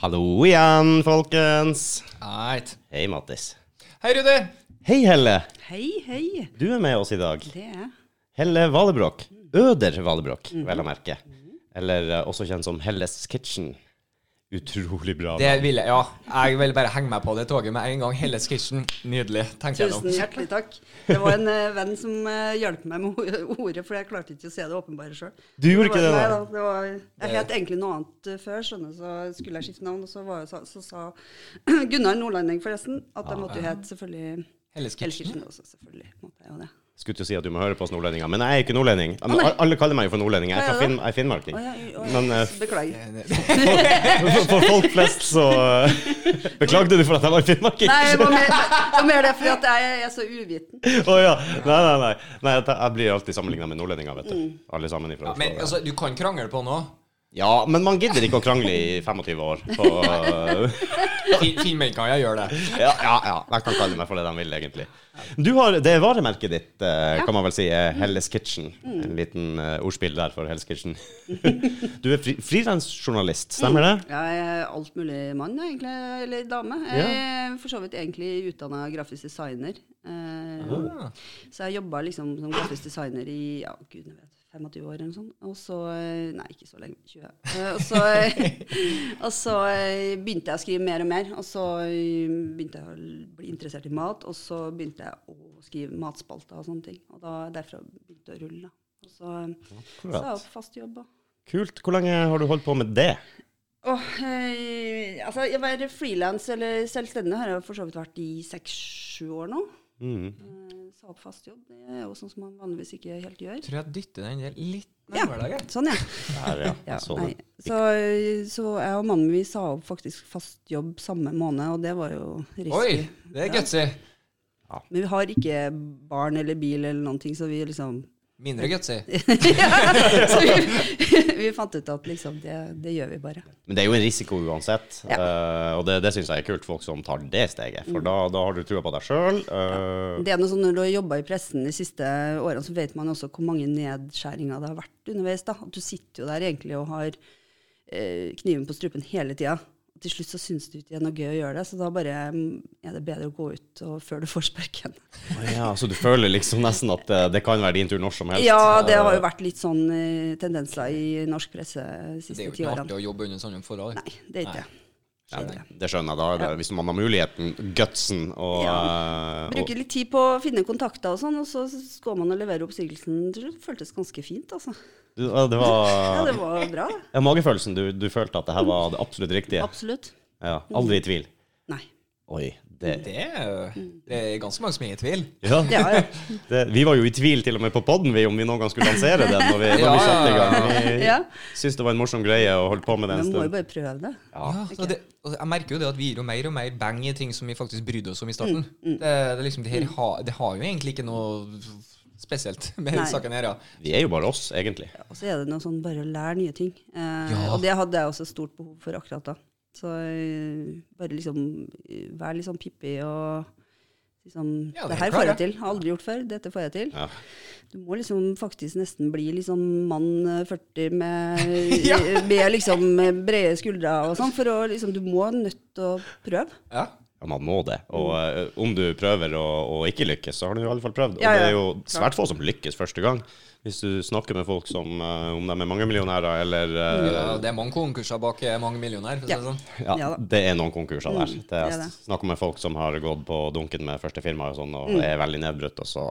Hallo igjen, folkens. Right. Hei, Mattis. Hei, Rudi. Hei, Helle. Hei, hei. Du er med oss i dag. Det er jeg. Helle Valebrokk. Øder Valebrokk, vel å merke. Eller eh, også kjent som Helles Kitchen. Utrolig bra. Det vil jeg, ja. Jeg vil bare henge meg på det toget med en gang. Hele skitsjen. Nydelig. Tenker jeg Tusen nå. hjertelig takk. Det var en eh, venn som eh, hjalp meg med o- ordet, for jeg klarte ikke å se det åpenbare sjøl. Du gjorde ikke det, Nei, da? da, det var, jeg het egentlig noe annet eh, før, skjønner du, så skulle jeg skifte navn. Og så, var, jeg- så, så sa Gunnar Nordlanding, forresten, at Ah. jeg måtte jo hete selvfølgelig Helles Kitchen. Elskirsen også, selvfølgelig. Måtte jeg jo det. Skulle til å si at du må høre på oss nordlendinger, men jeg er ikke nordlending. Men nei. al- alle kaller meg jo for nordlending. Jeg er, Hva fra er Finn, det jeg er finnmarking. Å, ja, å, ja. Men eh, Beklager. for, for folk flest så eh, Beklagde du for at jeg var finnmarking? Nei, det var mer, det var mer det fordi at jeg er så uviten. Å ja. Nei, nei, nei. nei jeg, jeg blir alltid sammenligna med nordlendinger, vet Mm. du. Alle sammen ifra Ja, Oslo. men altså, du kan krangle på nå. ja, men man gidder ikke å krangle i 25 år. På, eh, Fin- Filmen kan jeg gjøre det. ja, ja, ja. Jeg kan kalle meg for det de vil, egentlig. Du har, det er varemerket ditt, eh, kan man vel si, Mm. er Helles Kitchen. En liten eh, ordspill der for Helles Kitchen. Du er fri, frilansjournalist, stemmer det? Jeg er alt mulig mann, jeg, egentlig, eller dame. Jeg er for så vidt egentlig utdanna grafisk designer. Eh, Så jeg jobba liksom som grafisk designer i ja, gudene vet, 25 år eller noe sånt. Og så eh, Nei, ikke så lenge. 20. Eh, Og så, og så eh, begynte jeg å skrive mer og mer. Og så eh, begynte jeg å l- bli interessert i mat. Og så begynte jeg å skrive matspalter og sånne ting. Og da, derfra begynte det å rulle. da. Og så eh, så er jeg opp fast jobb. da. Kult. Hvor lenge har du holdt på med det? Åh, eh, altså, jeg være frilans eller selvstendig har jeg for så vidt vært i seks-sju år nå. Mm. Eh, Sa opp fast jobb. Det er jo sånn som man vanligvis ikke helt gjør. Tror jeg dytter den der litt Ja. nærmere deg. jeg. Sånn, ja. Der, ja. ja Jeg så nei. det. så, eh, så jeg og mannen min sa opp faktisk fast jobb samme måned, og det var jo Oi, risky. det er gutsy. Men vi har ikke barn eller bil eller noen ting, så vi liksom Mindre gutsy. Så vi, vi fant ut at liksom, det, det gjør vi bare. Men det er jo en risiko uansett, eh, og det, det syns jeg er kult, folk som tar det steget. For da, da har du trua på deg eh. sjøl. Mm. Det er noe sånn Når du har jobba i pressen de siste årene, så vet man også hvor mange nedskjæringer det har vært underveis. da. At du sitter jo der egentlig og har eh, kniven på strupen hele tida. Og Til slutt så syns du ikke det er noe gøy å gjøre det, så da bare mm, er det bedre å gå ut og før du får sparken. ja, så du føler liksom nesten at eh, det kan være din tur når som helst. Ja, det har jo vært litt sånn eh, tendenser i norsk presse Det er de siste jo ti ikke artig årene. å jobbe under sånne forhold. Nei, det er ikke det. Ja, det skjønner jeg. da er det- Hvis man har muligheten, gutsen og, eh, og Bruker litt tid på å finne kontakter og sånn, og så går man og leverer oppsigelsen til slutt. Føltes ganske fint, altså. du, ja, Det Ja, var det var bra. det. ja, magefølelsen. Du, du følte at det her var det absolutt riktige. Absolutt. Ja, aldri i tvil. Nei. Oi. Det, Det er, jo- Mm. det er ganske mange som er i tvil. ja. Ja, ja. Det, vi var jo i tvil til og med på podden vi, om vi noen gang skulle lansere den. Når vi, når Ja, vi satte i gang. ja, Men Vi Ja. syntes det var en morsom greie å holde på med det en Men må jo stund. bare prøve det. Ja, så det, og jeg merker jo det at vi gir jo mer og mer bang i ting som vi faktisk brydde oss om i starten. Det, Mm, det, er liksom, det, her ha, det har jo egentlig ikke noe spesielt med Nei. denne saken her, ja. Vi er jo bare oss, egentlig. Og så er det noe sånn bare å lære nye ting. Eh, Ja. Og det hadde jeg også stort behov for akkurat da. Så eh, bare liksom eh, vær litt sånn pippi og liksom Ja, det er Det her klart, får ja. jeg til. Har aldri gjort før. Dette får jeg til. Ja. Du må liksom faktisk nesten bli litt sånn mann eh, 40 med, Ja. med liksom eh, brede skuldre og sånn, for å liksom Du må nødt til å prøve. ja. Ja, man må det. Og eh, om du prøver å, å ikke lykkes, så har du i alle fall prøvd. Og Ja, ja. det er jo svært få som lykkes første gang. Hvis du snakker med folk som eh, om de er mangemillionærer eller eh, Ja, Det er mange konkurser bak eh, mange millioner. For å si det sånn. ja, Ja da. det er noen konkurser der. Mm, Det er, det er det. Mm. Snakker med folk som har gått på dunken med første firma og sånn, og er veldig nedbrutt, og så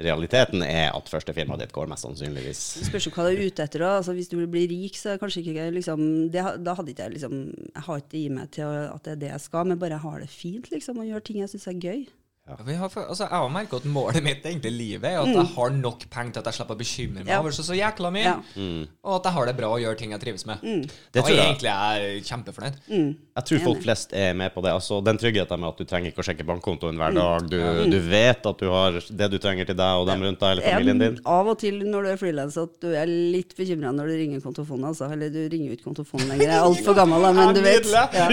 Realiteten er at første firmaet ditt går mest sannsynligvis Det spørs jo hva du er ute etter. da. Altså, hvis du vil bli rik, så er det kanskje ikke liksom, det, ha- Da hadde ikke jeg liksom Jeg har ikke i meg til å, at det er det jeg skal, men bare jeg har det fint liksom, og gjør ting jeg syns er gøy. Ja, for jeg, har, altså, jeg har merket at målet mitt egentlig i livet er at jeg har nok penger til at jeg slipper å bekymre meg Mm. Ja. over så, så jækla mye, Ja. Mm. og at jeg har det bra og gjør ting jeg trives med. Mm. Det Da tror er jeg jeg. egentlig jeg kjempefornøyd. Jeg tror folk flest er med på det. Altså, den tryggheten med at du trenger ikke å sjekke bankkontoen Mm. hver dag. Du, du vet at du har det du trenger til deg og dem rundt deg, eller familien din. Jeg- Av og til når du er frilans, at du er litt bekymra når du ringer kontofonen. Altså. Eller du ringer jo ikke kontofonen lenger. Jeg er altfor gammel, da, men Ja, du vet. nydelig. Ja.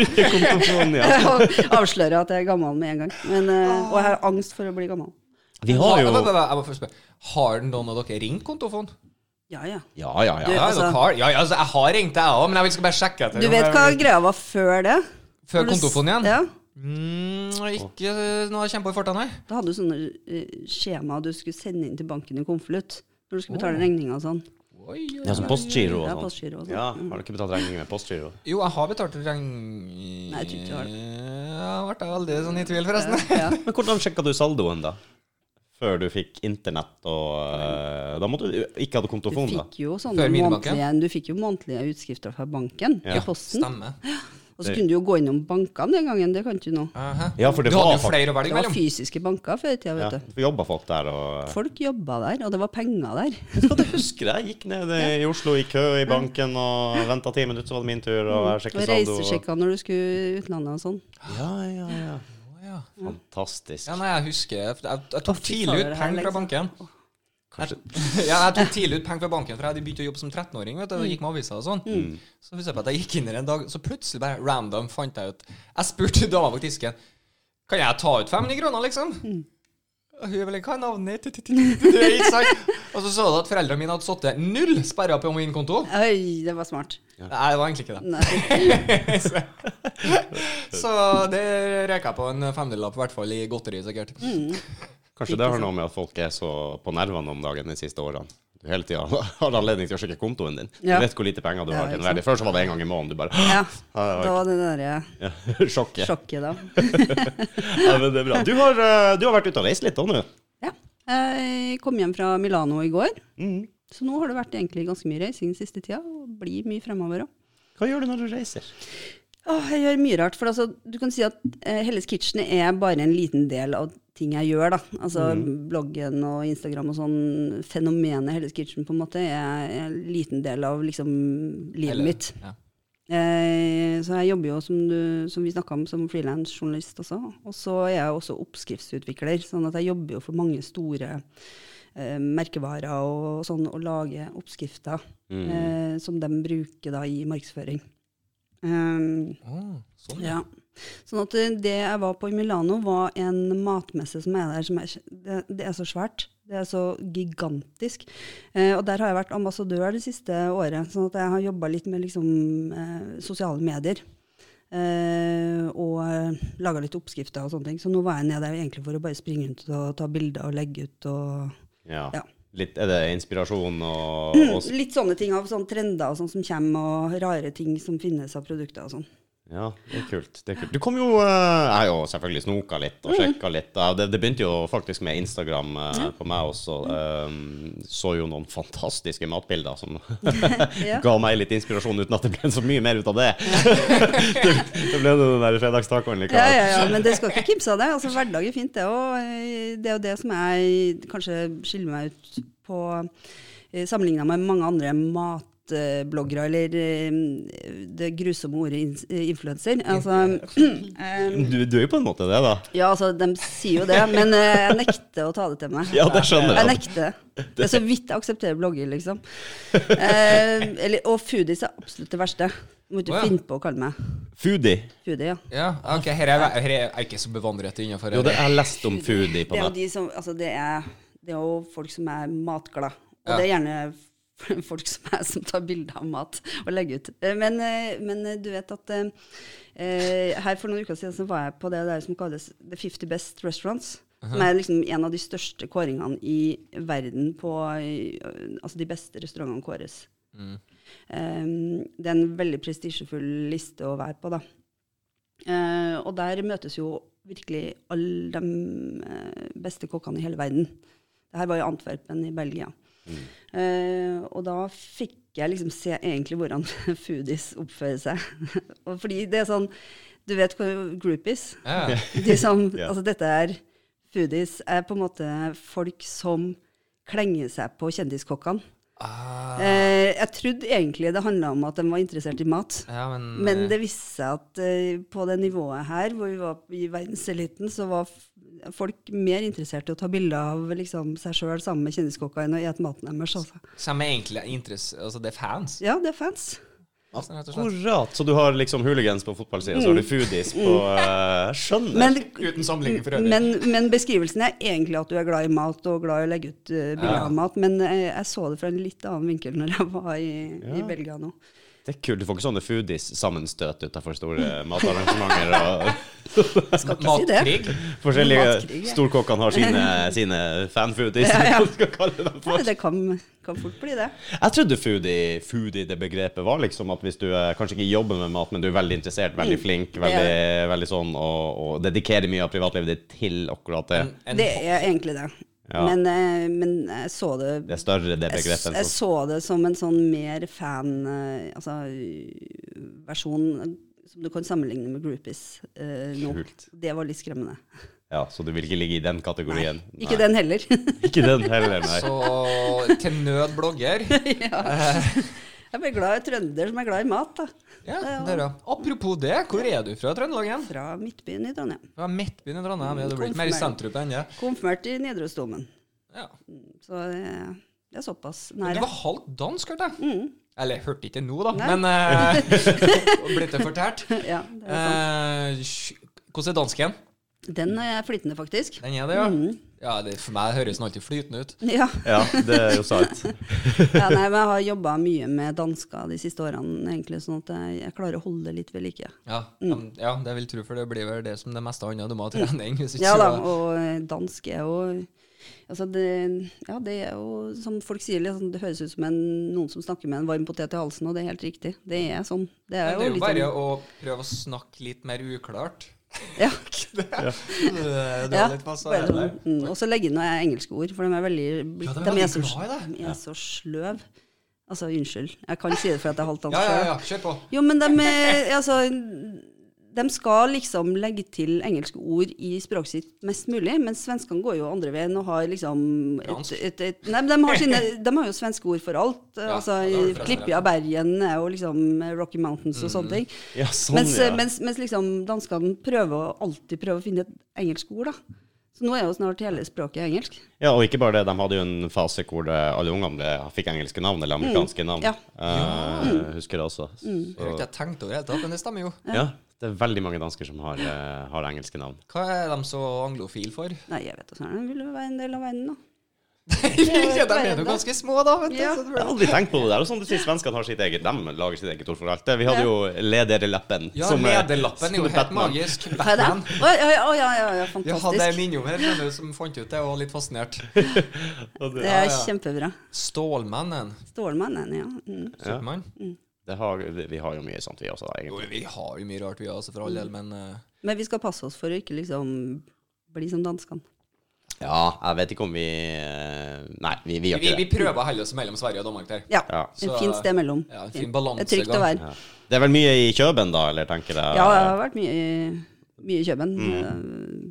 Kontofonen, ja. Og Avslører at jeg er gammel med en gang. Men, eh, og jeg har angst for å bli gammel. Vi har jo Jeg må- jeg må først spørre, Har noen av dere ringt kontofon? Ja, ja. Ja, ja, ja. Ja, altså- dere har, ja, ja, altså, jeg har ringt, jeg òg, men jeg skal bare sjekke etter. Du om vet jeg- hva greia var før det? Før Når du s- kontofonen igjen? Ja. Mm, ikke noe jeg kjemper i farta, nei. Da hadde du sånne eh, skjema du skulle sende inn til banken i konvolutt. Når du skulle betale regninga og sånn. Ja, som postgiro Ja, og postgiro og sånn. sånn. Ja, har du ikke betalt regninger med postgiro? Jo, jeg har betalt regn... Nei, jeg tror ikke du har det. Jeg ble veldig sånn i tvil, forresten. Ja. Men hvordan sjekka du saldoen, da? Før du fikk internett og eh, Da måtte du ikke hadde Du kontofon, da. fikk jo sånne Før minibanken? månedlige, du fikk jo månedlige utskrifter fra banken Ja. i posten. Stemmer. Og så kunne du jo gå innom bankene den gangen. Det kan du ikke nå. Aha. Ja, for det du var hadde fakt- jo flere å Det velge var mellom. fysiske banker før i tida, Ja, vet du. for jobba folk der og Folk jobba der, og det var penger der. Skal du huske det? Jeg gikk ned i Oslo i kø i banken og venta ti minutter, så var det min tur, og jeg Og sjekket saldo. og- reisesjekka når du skulle utlandet og sånn. Ja, ja, ja. Å, ja. Fantastisk. ja, nei, jeg husker Jeg, jeg tok Å, fy tidlig ut fader, det her, penger fra liksom. banken. ja, jeg tok tidlig ut penger fra banken, for jeg hadde begynt å jobbe som 13-åring. vet du, og gikk med aviser og sånn. Så husker jeg på at jeg gikk inn her en dag, så plutselig bare random fant jeg ut Jeg spurte dama bak disken Kan jeg ta ut 500 kroner, liksom. Og hun ville hva er navnet ditt? Ikke sant? Og så så du at foreldrene mine hadde sittet null sperra på min konto. Oi, det var smart. Nei, det var egentlig ikke det. Nei. Så det røyka jeg på en femdelapp, i hvert fall i godteri, sikkert. Kanskje det har noe med at folk er så på nervene om dagen de siste årene. Du hele tida har anledning til å sjekke kontoen din. Ja. Du vet hvor lite penger du Ja, har til ikke enhver tid. Før så var det en gang i måneden. Du bare Ja, Ja, da var det derre ja, Sjokket. sjokket, da. Ja, men det er bra. Du har, eh, du har vært ute og reist litt òg nå. Ja. Jeg kom hjem fra Milano i går, så nå har det vært egentlig ganske mye reising den siste tida. Og blir mye fremover òg. Hva gjør du når du reiser? Åh, jeg gjør mye rart. For altså, du kan si at eh, Helles Kitchen er bare en liten del av ting jeg gjør. da. Altså Bloggen og Instagram og sånn. Fenomenet Helles Kitchen på en måte er er en liten del av liksom livet Eller- mitt. Ja. Eh, så jeg jobber jo, som, du, som vi snakka om, som frilansjournalist også. Og så er jeg også oppskriftsutvikler, sånn at jeg jobber jo for mange store eh, merkevarer og sånn, og lager oppskrifter eh, som de bruker da i markedsføring. Um, Å, sånn, ja. ja. Sånn at eh, det jeg var på i Milano, var en matmesse som er der. Som er, det, det er så svært. Det er så gigantisk. Eh, og der har jeg vært ambassadør det siste året. Sånn at jeg har jobba litt med liksom, eh, sosiale medier. Eh, og eh, laga litt oppskrifter og sånne ting. Så nå var jeg nede der egentlig for å bare springe rundt og ta bilder og legge ut og Ja. Ja. Mm. Litt, er det inspirasjon og, og s- Litt sånne ting av sånne trender og sånn som kommer, og rare ting som finnes av produkter og sånn. Ja, det er kult. Det er kult. Du kom jo eh, Jeg har jo selvfølgelig snoka litt Mm. og sjekka litt. Ja, Det, det begynte jo faktisk med Instagram eh, på meg også. Mm. Eh, så jo noen fantastiske matbilder som Ja. ga meg litt inspirasjon, uten at det ble så mye mer ut av det. det, det ble den der fredagstacoen Ja, likevel. ja, ja, men det skal ikke kimse av det. Altså, hverdag er fint, det òg. Det er jo det som jeg kanskje skiller meg ut på sammenligna med mange andre matbloggere, eller eh, det grusomme ordet ins- influenser. Altså, eh, Du, du er jo på en måte det, da. ja, altså, de sier jo det, men eh, jeg nekter å ta det til meg. Ja, det skjønner Jeg jeg. nekter. Det er så vidt jeg aksepterer blogger, liksom. Eh, eller, og foodies er absolutt det verste. Må ikke Å, ja. finne på å kalle meg Foodie. foodie, ja. ja. Ok, her er, her er jeg ikke så bevandret innenfor Jo, det, jeg har lest om foodie på Det er jo nett. de som Altså, det er, det er jo folk som er matglad. Ja. Og det er gjerne folk som er som tar bilder av mat og legger ut. Eh, Men, eh, men eh, du vet at eh, eh, her for noen uker siden så var jeg på det der som kalles The 50 Best Restaurants. Som er liksom en av de største kåringene i verden på i, eh, Altså de beste restaurantene kåres. Eh, det er en veldig prestisjefull liste å være på, da. Eh, og der møtes jo virkelig alle de eh, beste kokkene i hele verden. Det her var jo Antwerpen i Belgia. Eh, og da fikk jeg liksom se egentlig hvordan foodies oppfører seg. og fordi det er sånn Du vet hva groupies Ja. de som, Ja. altså Dette er foodies er på en måte folk som klenger seg på kjendiskokkene. Ah, Eh, jeg trodde egentlig det handla om at de var interessert i mat. ja, men, Men det viste seg at eh, på det nivået her, hvor vi var i verdenseliten, så var f- folk mer interessert i å ta bilder av liksom, seg sjøl sammen med kjendiskokker enn å spise maten deres. Altså. Så de er egentlig interess... Altså, det er fans, Ja, det er fans. rett og slett. Akkurat. Så du har liksom hooligans på fotballsida, så har du foodies på eh, Skjønner. Mm. Men, Uten sammenligning for øvrig. men, men beskrivelsen er egentlig at du er glad i mat og glad i å legge ut eh, bilder Ja. av mat, men eh, jeg så det fra en litt annen vinkel når jeg var i, i Ja. Belgia nå. det er kult. Du får ikke sånne foodies-sammenstøt utafor store matarrangementer. Og Skal ikke si det. Matkrig. forskjellige Matkrig, ja. Storkokkene har sine, sine fanfoodies. Ja, ja. hva du skal kalle dem for. Nei, det kan, kan fort bli det. Jeg trodde foodie, foodie det begrepet var liksom at hvis du eh, kanskje ikke jobber med mat, men du er veldig interessert, Mm. veldig flink, veldig, veldig sånn, og, og dedikerer mye av privatlivet ditt til akkurat Mm. det. En, Det er egentlig det. Ja. Men, eh, men jeg så det Det er større, det jeg, begrepet. jeg enn sånn. så det som en sånn mer fan-versjon altså, øh, versjon som du kan sammenligne med groupies øh, nå. Kult. Det var litt skremmende. Ja, så du vil ikke ligge i den kategorien? Ikke den heller. Ikke den heller, nei. så til nød blogger. jeg ble glad i trønder som er glad i mat, da. Ja, det er bra. Apropos det, hvor er du fra Trøndelag igjen? Fra Midtbyen i Trondheim. Fra midtbyen i Trondheim? Ja, du blir ikke mer i sentrum enn det. Konfirmert i Nidarosdomen. Ja. Så det, det Mm. er såpass Du nære. var halvt dansk, hørte jeg. Eller hørte ikke nå, da, men eh, blitt det fortalt. Ja, det er sant. Eh, sj- Hvordan er dansken? Den er flytende, faktisk. Den er det, ja? Mm. Ja, det, For meg høres den alltid flytende ut. Ja. Ja, det er jo sant. ja, nei, men jeg har jobba mye med dansker de siste årene, egentlig, sånn at jeg, jeg klarer å holde litt ved like. Ja, Mm. men- ja det vil tro, for det blir vel det som det meste annet. Du må ha trening. hvis ikke Ja da, så- og eh, dansk er jo Altså det, ja, det er jo, som folk sier, litt sånn- det høres ut som en, noen som snakker med en varm potet i halsen, og det er helt riktig. Det er sånn. Det Men er jo, det er jo litt bare sånn- å prøve å snakke litt mer uklart. Ja. Du ja har litt masse der. bare sånn, mm, og så legge inn noen engelske ord, for de er veldig Ja, de er de veldig er så, glad i det. de er så sløv. Altså, unnskyld. Jeg kan si det for at jeg er halvt Ja, dansk. ja, ja. Kjør på. Jo, men de, eh, altså, de skal liksom legge til engelske ord i språket sitt mest mulig, mens svenskene går jo andre veien og har liksom et, Fransk. et, et, Nei, men de har, sine, de har jo svenske ord for alt. Ja, altså, ja, Mm. det har du forresten Klippia Bergen er jo liksom eh, Rocky Mountains og sånne ting. Ja, sånn, Mens, ja. mens, mens liksom danskene prøver å- alltid prøver å finne et engelsk ord, da. Så nå er jo snart hele språket engelsk. Ja, og ikke bare det, de hadde jo en fase hvor det, alle ungene ble- fikk engelske navn, eller amerikanske navn. Mm. ja. Mm. Eh, husker det også. Det har Så, ikke jeg tenkt over i det hele tatt, men det stemmer jo. ja, det er veldig mange dansker som har, eh, har engelske navn. Hva er de så anglofile for? Nei, jeg vet ikke. De vil jo være en del av verden, da. ja, de er jo ganske små, da. vet du. Ja. så det Jeg har blir- aldri tenkt på det der. Og sånn du sier, svenskene har sitt eget De lager sitt eget ord for alt. det. Vi hadde jo lederlappen. Ja, som, eh, Lederlappen er jo som helt Batman. magisk. Hva er det? Batman. Å ja, ja, ja, ja, ja, Jeg hadde en fantastisk. innom her skjønner du, som fant ut det, og var litt fascinert. Og Det Det, er ja. kjempebra. Stålmannen. Stålmannen, ja. Mm. Supermann. det har, vi har jo mye sånt, vi også, da, Jo, egentlig. vi har jo mye rart, vi altså, for all del, men eh, Men vi skal passe oss for å ikke liksom bli som danskene. Ja, jeg vet ikke om vi eh, Nei, vi, vi gjør vi, ikke vi det. prøver å helle oss mellom Sverige og Danmark der. Ja. Ja. Et Så- fint sted mellom. Ja, en fin Fint. balansegang. Det er trygt å være. Ja. Det er vel mye i Kjøben, da, eller tenker jeg? Ja, jeg har vært mye, i- mye i Køben. Mm.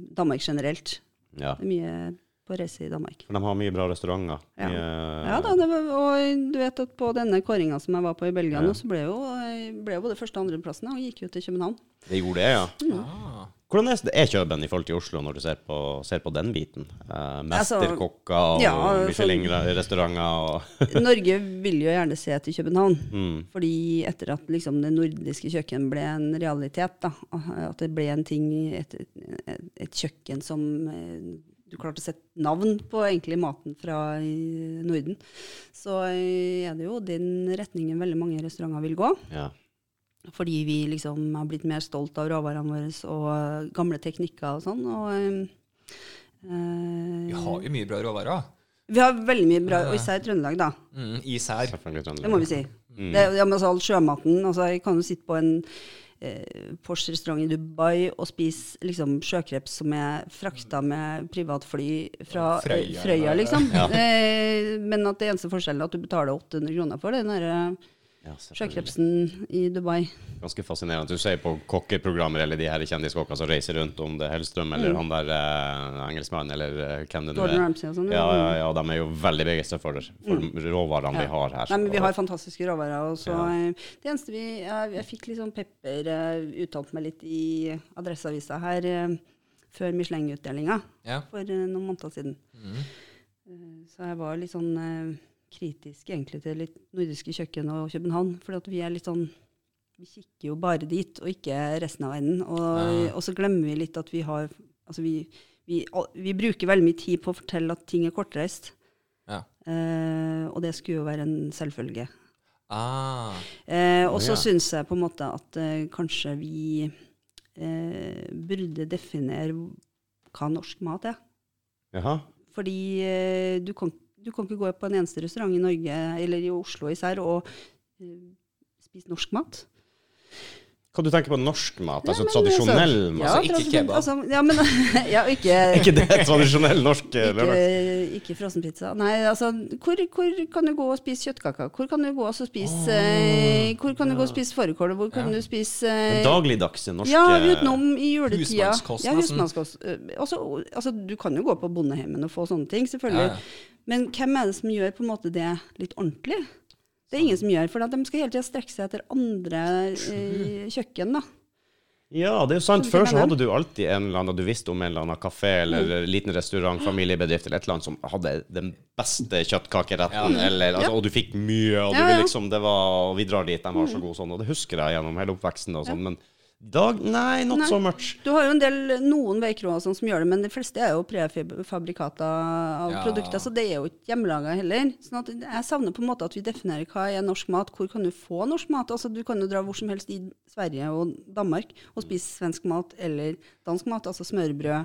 Eh, Danmark generelt. Ja. Det er mye på reise i Danmark. For de har mye bra restauranter. Ja. Mye, Ja da, det var, og du vet at på denne kåringa som jeg var på i Belgia nå, så ble jo, ble jo både første- og andreplassen, og gikk jo til København. Det gjorde det, ja. Ah. Hvordan er, er Kjøben i forhold til Oslo, når du ser på, ser på den biten? Eh, Altså, mesterkokker og ja, sånn- Michelin-restauranter og Norge vil jo gjerne se til København. Mm. Fordi etter at liksom, det nordiske kjøkken ble en realitet, da, at det ble en ting, et, et, et kjøkken som eh, du klarte å sette navn på egentlig maten fra i Norden, så eh, er det jo den retningen veldig mange restauranter vil gå. ja. Fordi vi liksom har blitt mer stolt av råvarene våre og gamle teknikker og sånn. Og, eh, eh, Vi har jo mye bra råvarer. vi har veldig mye bra, og især i Trøndelag, da. Mm, is her. Selvfølgelig Trøndelag. Mm. Det må vi si. Det, ja, men altså, all sjømaten altså, Jeg kan jo sitte på en eh, Porsche-restaurant i Dubai og spise liksom, sjøkreps som er frakta med privatfly fra Ja, Frøya, eh, Frøya, eller- liksom. Eh, men at det eneste forskjellen er at du betaler 800 kroner for det. Den der, eh, Ja, selvfølgelig. sjøkrepsen i Dubai. Ganske fascinerende. Du ser på kokkeprogrammer eller de her kjendiskokkene som reiser rundt, om det er Hellstrøm eller han der eh, engelskmannen eller eh, hvem det nå Mm. Gordon er. Ramsay og sånn. Ja, ja, ja, de er jo veldig begeistra for, for råvarene vi har her. Nei, men vi har fantastiske råvarer. Og så, Ja. eh, Det eneste vi Jeg, jeg fikk litt sånn pepper eh, uttalt meg litt i Adresseavisa her eh, før Michelin-utdelinga Ja. for eh, noen måneder siden. Eh, Så jeg var litt sånn eh, kritisk egentlig til litt nordiske kjøkken og København. For vi er litt sånn Vi kikker jo bare dit, og ikke resten av verden. Og, Ah. og så glemmer vi litt at vi har Altså vi, vi, al- vi bruker veldig mye tid på å fortelle at ting er kortreist. Ja. Eh, og det skulle jo være en selvfølge. Ah. Eh, og Ja. så syns jeg på en måte at eh, kanskje vi eh, burde definere hva norsk mat er. Jaha. Fordi eh, du, kan, du kan ikke gå på en eneste restaurant i Norge, eller i Oslo især, og eh, spise norsk mat. Hva du tenker på norsk mat? Altså Nei, men, tradisjonell altså, mat? Altså, ikke tradisjonell- kebab. Altså, ja, men, ja, ikke, Ikke det tradisjonell norsk eh, ikke, lørdag? ikke frossenpizza. Nei, altså, hvor, hvor kan du gå og spise kjøttkaker? Hvor kan du gå og så spise eh, Hvor kan du gå og spise fårikål? og Hvor kan Ja. du spise eh, Den dagligdagse norske Ja, utenom i eh, juletida. Husmannskost, Ja, nesten. husmannskost. Eh, Også, altså, du kan jo gå på bondeheimen og få sånne ting, Ja, selvfølgelig. ja. Men hvem er det som gjør på en måte det litt ordentlig? Det er ingen som gjør, for at de skal hele tida strekke seg etter andre eh, kjøkken, da. Ja, det er jo sant. Som Før ikke så er hadde du alltid en eller annen Du visste om en eller annen kafé eller Mm. liten restaurant, familiebedrift eller et eller annet som hadde den beste kjøttkakeretten, eller altså, Og du fikk mye, og du Ja, Mm. ja. liksom Det var og Vi drar dit, de var så gode sånn, og det husker jeg gjennom hele oppveksten og sånn, men i dag Nei, not Nei. so much. Du har jo en del, noen veikroer og sånn som gjør det, men de fleste er jo prefabrikata av Ja. produkter, så det er jo ikke hjemmelaga heller. Sånn at jeg savner på en måte at vi definerer hva er norsk mat, hvor kan du få norsk mat? Altså Du kan jo dra hvor som helst i Sverige og Danmark og spise svensk mat eller dansk mat, altså smørbrød,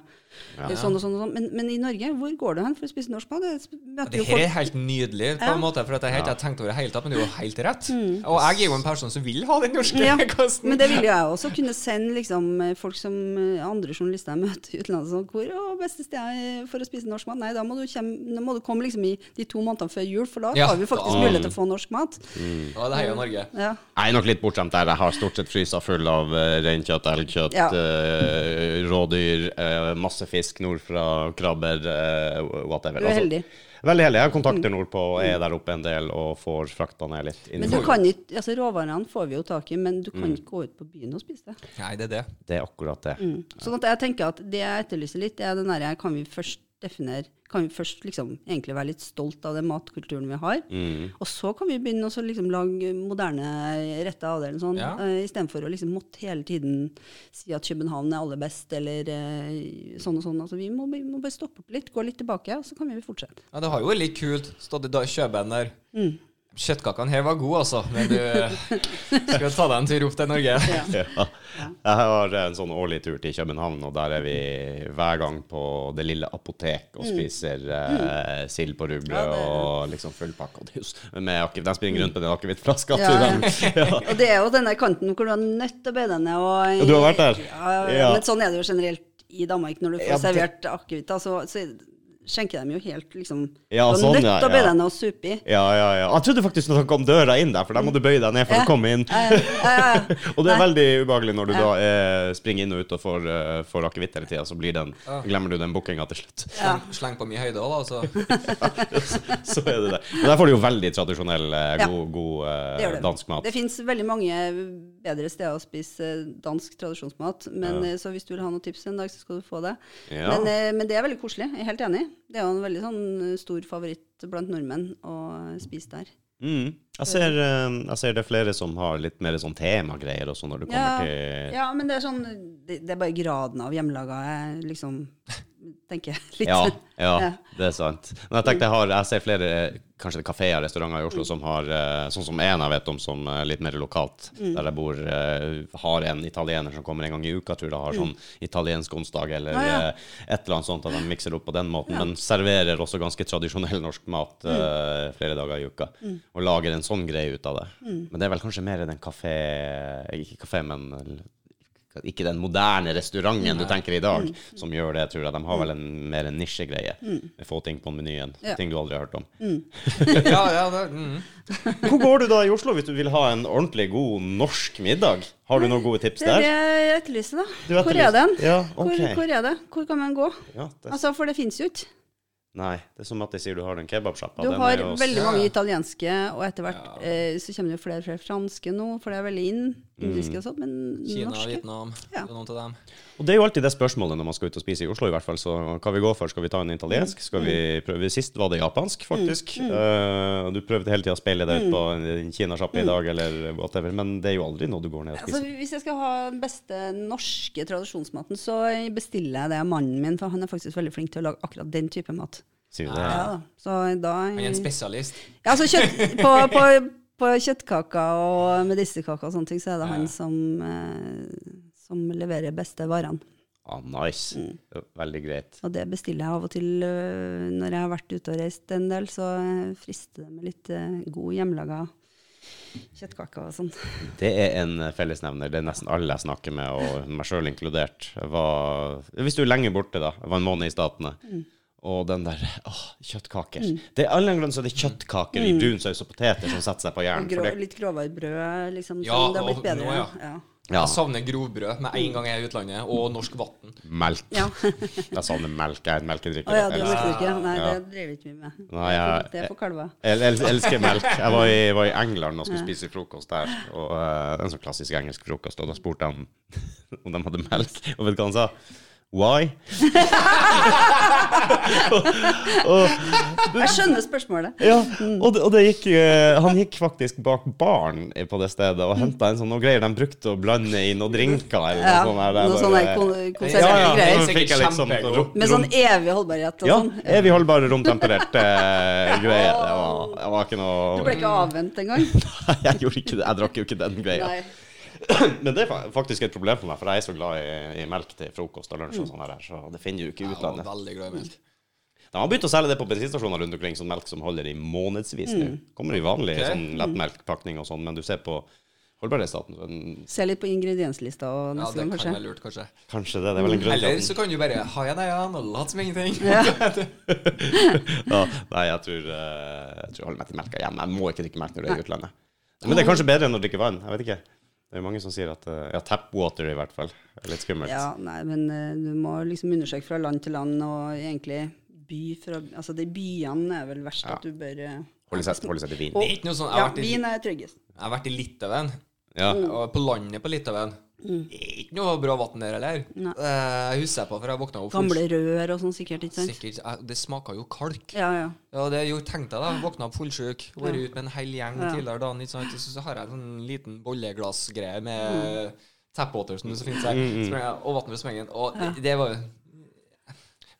eller sånn og sånn og sånn. Men, men i Norge, hvor går du hen for å spise norsk mat? Jeg sp- Ja, møter Det jo her er folk helt nydelig, på Ja. Mm. en måte, for at jeg har ikke tenkt over det hele tatt, men det er jo helt rett. Og jeg er jo en person som vil ha den norske Ja, kosten. men det ville jo jeg også kunne sende liksom, folk som eh, andre journalister jeg møter i utlandet sånn, hvor å, beste sted eh, for å spise norsk mat? Nei, da må du, kjem, da må du komme liksom i de to månedene før jul, for da Ja, har vi faktisk da- Mm. mulighet til å få norsk mat. Ja, det er jo Norge. Ja. Jeg er nok litt bortskjemt der. Jeg har stort sett frysa full av uh, reinkjøtt, elgkjøtt, Ja. eh, rådyr, eh, masse fisk nordfra, krabber, eh, whatever. Du Altså, er heldig. Veldig heldig. Jeg har kontakter nordpå og er der oppe en del og får frakta ned litt. Mm. Men du kan ikke, altså Råvarene får vi jo tak i, men du kan Mm. ikke gå ut på byen og spise det. Nei, det er det. Det er akkurat det. Sånn at jeg tenker at det jeg etterlyser litt, det er den derre kan vi først definere Kan vi først liksom egentlig være litt stolt av den matkulturen vi har? Og så kan vi begynne å så liksom lage moderne retter av det, eller sånn, Ja. eh, istedenfor å liksom måtte hele tiden si at København er aller best, eller eh, sånn og sånn. Altså, vi må, vi må bare stoppe opp litt, gå litt tilbake, og så kan vi fortsette. Ja, det har jo vært litt kult. Stått i da- kjøben der. Mm. Kjøttkakene her var gode, altså. Men du skal ta deg en tur opp til Norge. Ja. Jeg har en sånn årlig tur til København, og der er vi hver gang på det lille apotek og spiser eh, sild på rugbrød Mm. Ja, det er- og liksom full pakke. Og det er jo s- med akevitt. De springer rundt med den akevittflaska Ja, til ja. dem. Ja. Og det er jo denne kanten hvor du er nødt til å be deg ned. Og, Ja, du har vært der. Ja, Ja. Men sånn er det jo generelt i Danmark. Når du får Ja, det- servert akevitt, da, så, så skjenker de jo helt liksom Ja, Du er sånn, nødt til ja, å be ja. deg ned og supe i. Ja, ja, ja. Jeg trodde faktisk når de kom døra inn der, for der må du bøye deg ned for Ja. å komme inn. Ja, ja, ja. Og det er veldig ubehagelig når du da eh, springer inn og ut og får, eh, får akevitt hele tida, så blir den, glemmer du den bookinga til slutt. Ja. Sleng, sleng på mye høyde òg, da. altså. Så. Så er det det. Men der får du jo veldig tradisjonell, eh, Ja. god, god eh, Det gjør det. dansk mat. Det fins veldig mange bedre steder å spise eh, dansk tradisjonsmat, men, eh, så hvis du vil ha noen tips en dag, så skal du få det. Ja. Men, eh, men det er veldig koselig. Jeg er helt enig. Det er jo en veldig sånn eh, stor favoritt blant nordmenn å eh, spise der. Mm. Jeg, ser, eh, jeg ser det er flere som har litt mer sånn temagreier også når du Ja, kommer til ja, men det er sånn Det, det er bare graden av hjemmelaga jeg liksom tenker litt ja, ja, det er sant. Men jeg tenkte jeg har Jeg ser flere eh, kanskje kafeer og restauranter i Mm. Oslo som har eh, Sånn som en jeg vet om som er litt mer lokalt, Mm. der jeg bor, eh, har en italiener som kommer en gang i uka, tror jeg har sånn italiensk onsdag eller Ah, Mm. ja. eh, et eller annet sånt, at de mikser opp på den måten. Men serverer også ganske tradisjonell norsk mat Mm. eh, flere dager i uka. Og lager Mm. en sånn greie ut av det. Men det er vel kanskje mer den kafé Ikke kafé, men ikke den moderne restauranten du tenker i Mm. dag, som gjør det, tror jeg. De har vel en, mer en nisjegreie. Få ting på menyen. Ja. Ting du aldri har hørt om. ja, ja, det, mm. Hvor går du da i Oslo hvis du vil ha en ordentlig god norsk middag? Har du noen gode tips Det der? er det jeg etterlyser, da. Du etterlyser- Hvor er den? Ja, Hvor, ok. hvor er det? Hvor kan man gå? Ja, det, Altså, For det fins jo ikke. nei, det er som at de sier du har den kebabsjappa. Du Den har er jo s- veldig Ja, ja. mange italienske, og etter hvert eh, så kommer det jo flere og flere franske nå, for det er veldig inn. Mm. Indiske og sånt, men Kina, norske. Vietnam, Ja. det er noen av dem. Og det er jo alltid det spørsmålet når man skal ut og spise i Oslo, i hvert fall. Så hva vi går for? Skal vi ta en Mm. italiensk? Skal vi prøve Sist var det japansk, faktisk. Eh, og du prøvde hele tida å speile deg Mm. ut på en- en kinasjappe i dag, eller whatever. Men det er jo aldri noe du går ned og Altså, spiser. hvis jeg skal ha den beste norske tradisjonsmaten, så bestiller jeg det av mannen min, for han er faktisk veldig flink til å lage akkurat den type mat. Sier du Ja, det? da. Så da Han er en spesialist. Ja, altså kjøtt, på, på, på kjøttkaker og medisterkaker og sånne ting, så er det han som, eh, som leverer beste varene. Ah, nice. Mm. Veldig greit. Og det bestiller jeg av og til eh, når jeg har vært ute og reist en del, så eh, frister det med litt eh, god hjemmelaga kjøttkaker og sånn. Det er en fellesnevner. Det er nesten alle jeg snakker med, og meg sjøl inkludert. Jeg Var, hvis du er lenge borte, da. Jeg var en måned i Statene. Mm. Og den der åh, kjøttkaker. Det er all en grunn så er det kjøttkaker Mm. i brun saus og poteter som setter seg på hjernen. Og for Grå, det- litt gråvarbrød, liksom. Ja, sånn, det har blitt og- bedre. nå, ja. ja. Ja. Jeg savner grovbrød med en gang jeg er i utlandet, og norsk vann. Melk. Ja. Jeg savner melk. Jeg er en melkedrikker. Å ja, du Jeg merker det ikke? Nei, Ja. det driver ikke vi med. Nei, eh, jeg- Det er for kalver. el el elsker melk. Jeg var i, var i England og skulle spise frokost der. Og eh, En sånn klassisk engelsk frokost. Og da spurte jeg om, om de hadde melk. Og vet du hva han sa? Why? Jeg skjønner spørsmålet. Ja, og det, og det gikk, eh, han gikk faktisk bak baren på det stedet Mm. og henta en sånn noe greier de brukte å blande i noen drinker. Eller noe Ja, sånt der. Det noe er sånn bare- der kon- konserverte Ja, ja, greier. så fikk jeg litt sånn Sikkert kjempegod. rom- Med sånn evig holdbarhet og Ja, eh, sånn. evig holdbare romtempererte greier. eh, Det var, det var ikke noe Du ble ikke avvent engang? Nei, jeg gjorde ikke det. Jeg drakk jo ikke den greia. Nei. Men det er fa- faktisk et problem for meg, for jeg er så glad i, i melk til frokost og Mm. lunsj og sånn her, så det finner du ikke i Jeg var utlandet. veldig glad i melk. De har begynt å selge det på bensinstasjoner rundt omkring, sånn melk som holder i månedsvis nå. Kommer i vanlig Mm. Ok. Mm. sånn lettmelkpakning og sånn, men du ser på holdbarhetsstaten, så den- Se litt på ingredienslista og Ja, neste det gang, kan kanskje. være lurt, kanskje. kanskje det. Det er vel en grunn Mm. Eller til så at den- kan du bare ha igjen øynene og late som ingenting. ja, Nei, jeg tror, eh, jeg tror jeg holder meg til melka hjemme. Jeg må ikke drikke melk når det er i utlandet. Men det er kanskje bedre enn å drikke vann. Jeg vet ikke. Det er jo mange som sier at eh, Ja, tap water i hvert fall. Det er litt skummelt. Ja, nei, men eh, du må liksom undersøke fra land til land, og egentlig by fra Altså, de byene er vel verst at du bør eh, Holde seg, holde seg til vin. Det er ikke noe sånn, jeg Ja, Mm. har vært i, vin er tryggest. jeg har vært i Litauen, Ja. og på landet på Litauen. Det er Ikke noe bra vann der heller. Mm. Nei. Eh, Jeg husker jeg på for jeg våkna opp Gamle rør og sånn sikkert, ikke sant? Sikkert, jeg- det smaka jo kalk. Ja, ja. Ja, det er jo tenkte jeg da. Våkna opp fullsjuk, vært ute med en hel gjeng tidligere dagen. Ikke sant? Så, så har jeg en sånn liten bolleglassgreie Mm. med tapwater, som det så fint sier, sprenger- og vann fra smengen. Og det, det var jo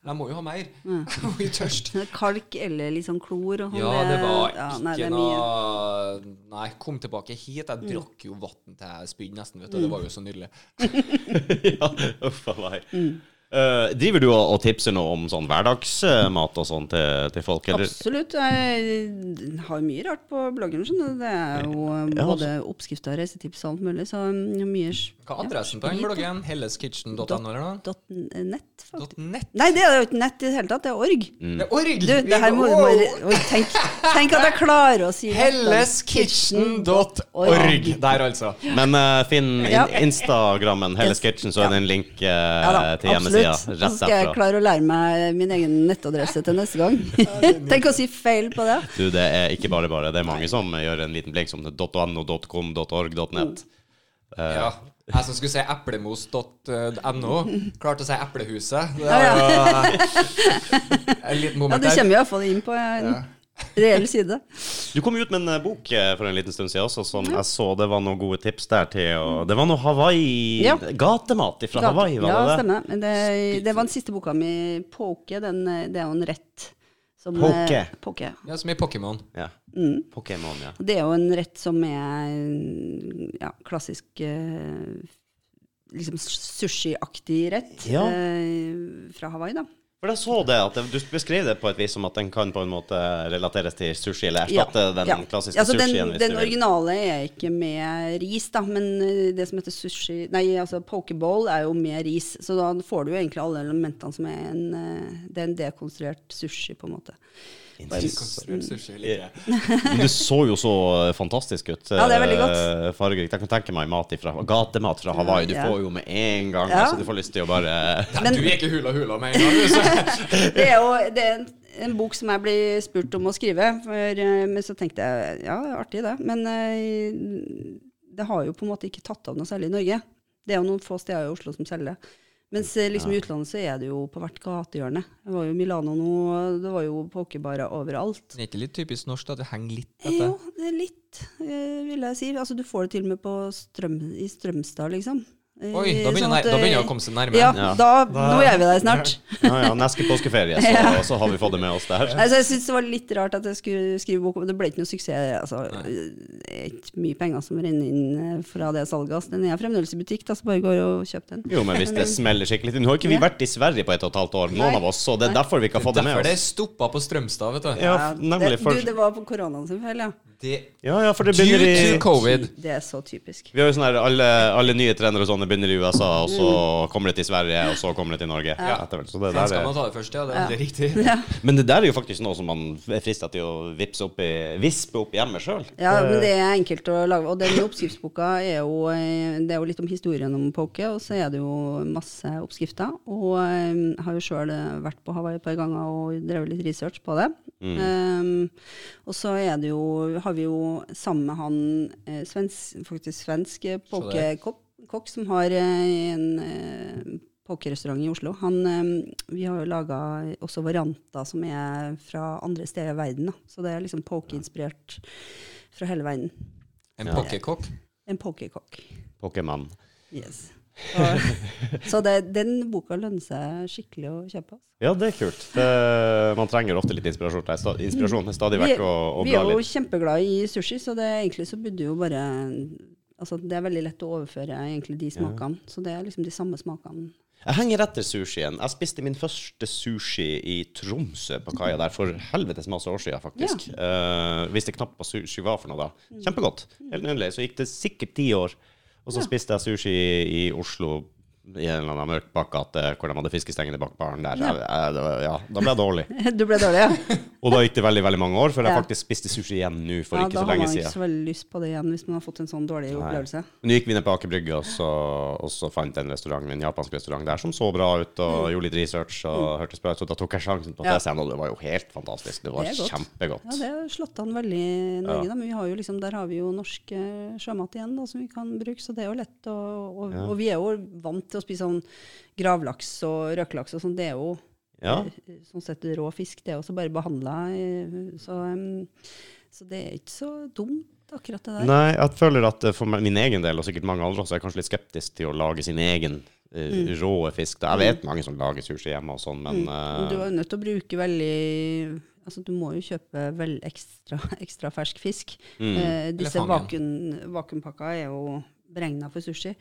Jeg må jo ha mer. Mm. Jeg må jo tørst. Kalk eller litt sånn klor og sånn. Ja, det var ja, nei, det ikke er mye. Mm. noe Nei, kom tilbake hit. Jeg drakk jo vann til jeg spydde nesten, vet du. Det var jo så nydelig. ja, uff a meg. Mm. Eh, driver du og, og tipser noe om sånn hverdagsmat og sånn til, til folk, eller? Absolutt. Jeg har mye rart på bloggen. skjønner du. Det er jo eh, Ja, både oppskrifter, reisetips og alt mulig. Så mm, mye s- Hva er adressen på den bloggen? helleskitchen.no eller noe? dot nett, faktisk. Dot .net? Nei, det er jo ikke nett i det hele tatt. Det er org. Mm. Det er org! Du, det her må, må, oi, tenk, tenk at jeg klarer å si altså. dette. Helleskitchen.org. Der, altså. Men eh, finn in Ja. Instagrammen, Helles Kitchen, så er det en link eh, Ja da, til hjemmesida absolutt. Og så rett skal jeg derfra. klare å lære meg min egen nettadresse til neste gang. Tenk å si feil på det. Du, det er ikke bare bare. Det er mange som gjør en liten blink som det er .no, .com, .org, .net. Eh, Ja. Jeg som skulle si eplemos.no, klarte å si Eplehuset. Det Ja, var ja. en liten ja, moment du der. kommer iallfall inn på eh, en reell side. Du kom jo ut med en eh, bok eh, for en liten stund siden også, som jeg så det var noen gode tips der til. Og det var noe Hawaii Ja. Gatemat fra Hawaii, var ja, det det? stemmer. Men det, det var den siste boka mi, Poke. Den, eh, det er jo en rett. Som, Poke. eh, Poke. Ja, som i Pokémon. Ja. Mm. Pokémon, ja. Det er jo en rett som er mm, ja, klassisk eh, liksom sushiaktig rett Ja. eh, fra Hawaii, da. For jeg så det at Du beskrev det på et vis som at den kan på en måte relateres til sushi, eller erstatte eh, den klassiske altså, den, sushien. hvis du Den vil. originale er ikke med ris, da, men eh, det som heter sushi Nei, altså pokeball er jo med ris, så da får du jo egentlig alle elementene som er en, eh, det er en dekonstruert sushi, på en måte. Interessant. Konstruert sushi liker jeg. Men det så jo så eh, fantastisk ut. Ja, det er veldig godt. eh, Fargerikt. Jeg kan tenke meg mat ifra, gatemat fra Hawaii. Du Ja. får jo med en gang Ja. altså, Du får lyst til å bare Nei, Men- du er ikke hula hula med en gang. du, så- Det er jo det er en, en bok som jeg blir spurt om å skrive, for, eh, men så tenkte jeg ja, det er artig det. Men eh, det har jo på en måte ikke tatt av noe særlig i Norge. Det er jo noen få steder i Oslo som selger det. Mens eh, liksom, i utlandet så er det jo på hvert gatehjørne. Det var jo i Milano nå, og det var jo pokerbarer overalt. Det er ikke litt typisk norsk at det henger litt Jo, etter? det er litt, eh, vil jeg si. Altså, du får det til og med på strøm, i Strømstad, liksom. Eh, Oi, da begynner, sånn at, jeg- da begynner jeg eh, å komme seg nærmere. ja, Ja. da, nå er vi der snart. Ja, ja, neste påskeferie, så, Ja. så har vi fått det med oss der. Altså, jeg synes det var litt rart at jeg skulle skrive bok om Det ble ikke noe suksess. Altså, det er ikke mye penger som renner inn eh, fra det salget. Altså. Den er fremdeles i butikk, da, så bare går og kjøp den. Jo, men hvis det smeller skikkelig til Nå har ikke vi vært i Sverige på et og et halvt år, noen Nei. av oss, så det er derfor vi ikke har fått det med Derfor det oss. stoppa på Strømstad, vet du. Ja, Ja, nemlig. det, For, du, det var på koronaen sin feil, ja. Det, ja, ja, for det due begynner to i covid. Det er så typisk. Vi har jo sånn her, alle, alle nye trenere og sånne begynner i USA, og så kommer det til Sverige, og så kommer det til Norge. Etter hvert. Så det der Skal man er, ta det først, ja? Det er veldig riktig. men det der er jo faktisk noe som man er frista til å vippse opp i, vispe opp hjemme sjøl. Ja, men det er enkelt å lage. Og den oppskriftsboka er jo eh, Det er jo litt om historien om poke, og så er det jo masse oppskrifter. Og eh, jeg har jo sjøl vært på Hawaii et par ganger og drevet litt research på det. Um, og så er det jo Har vi jo sammen med han eh, svensk, faktisk svensk eh, pokekokk kokk som har eh, en eh, pokerrestaurant i Oslo. Han, eh, vi har jo laga også varianter som er fra andre steder i verden. Da. Så det er liksom pokeinspirert fra hele verden. En pokkekokk. En pokerkokk. Pokémon. Yes. Og, så det, den boka lønner seg skikkelig å kjøpe. Altså. Ja, det er kult. Det, man trenger ofte litt inspirasjon. Det er sta- inspirasjon er stadig Vi, vekk å å vi bla er jo litt. kjempeglade i sushi, så det, er egentlig så burde jo bare Altså, det er veldig lett å overføre egentlig de smakene. Så det er liksom de samme smakene. Jeg henger etter sushien. Jeg spiste min første sushi i Tromsø på kaia der for helvetes masse år siden, faktisk. Eh, visste knapt hva sushi var for noe da. Kjempegodt. Helt nydelig. Så gikk det sikkert ti år, og så spiste jeg sushi i Oslo. I en eller annen mørk bakgate hvor de hadde fiskestengene bak baren der. Jeg- jeg- det var- Ja, da ble jeg dårlig. Du ble dårlig, ja? Og da gikk det veldig veldig mange år før jeg Ja. faktisk spiste sushi igjen nå for ja, ikke så Da har lenge man ikke siden. så veldig lyst på det igjen hvis man har fått en sånn dårlig opplevelse. Men Nå gikk vi ned på Aker Brygge, og så, og så fant jeg en restaurant, en japansk restaurant der som så bra ut, og gjorde litt research og hørtes bra ut. Så da tok jeg sjansen på at Mm. Ja. jeg ser noe. Det var jo helt fantastisk. Det var Det er godt. kjempegodt. Ja, Det har slått an veldig i Norge, da, men vi har jo liksom, der har vi jo norsk eh, sjømat igjen da, som vi kan bruke, så det er jo lett. å- og, og vi er jo vant til å spise sånn gravlaks og røkelaks og sånn. Det er jo Ja. eh, sånn sett rå fisk, det er også bare behandla. Så, em, så det er ikke så dumt, akkurat det der. Nei, jeg føler at eh, for meg- min egen del, og sikkert mange andre også, er jeg kanskje litt skeptisk til å lage sin egen eh, Mm. rå fisk. Da. Jeg vet mange som lager sushi hjemme og sånn, men Men eh, Mm. Du er jo nødt til å bruke veldig Altså, du må jo kjøpe vel ekstra, ekstra fersk fisk. mm. Eh, disse Eller vakuum, vakuumpakka er jo beregna for sushi.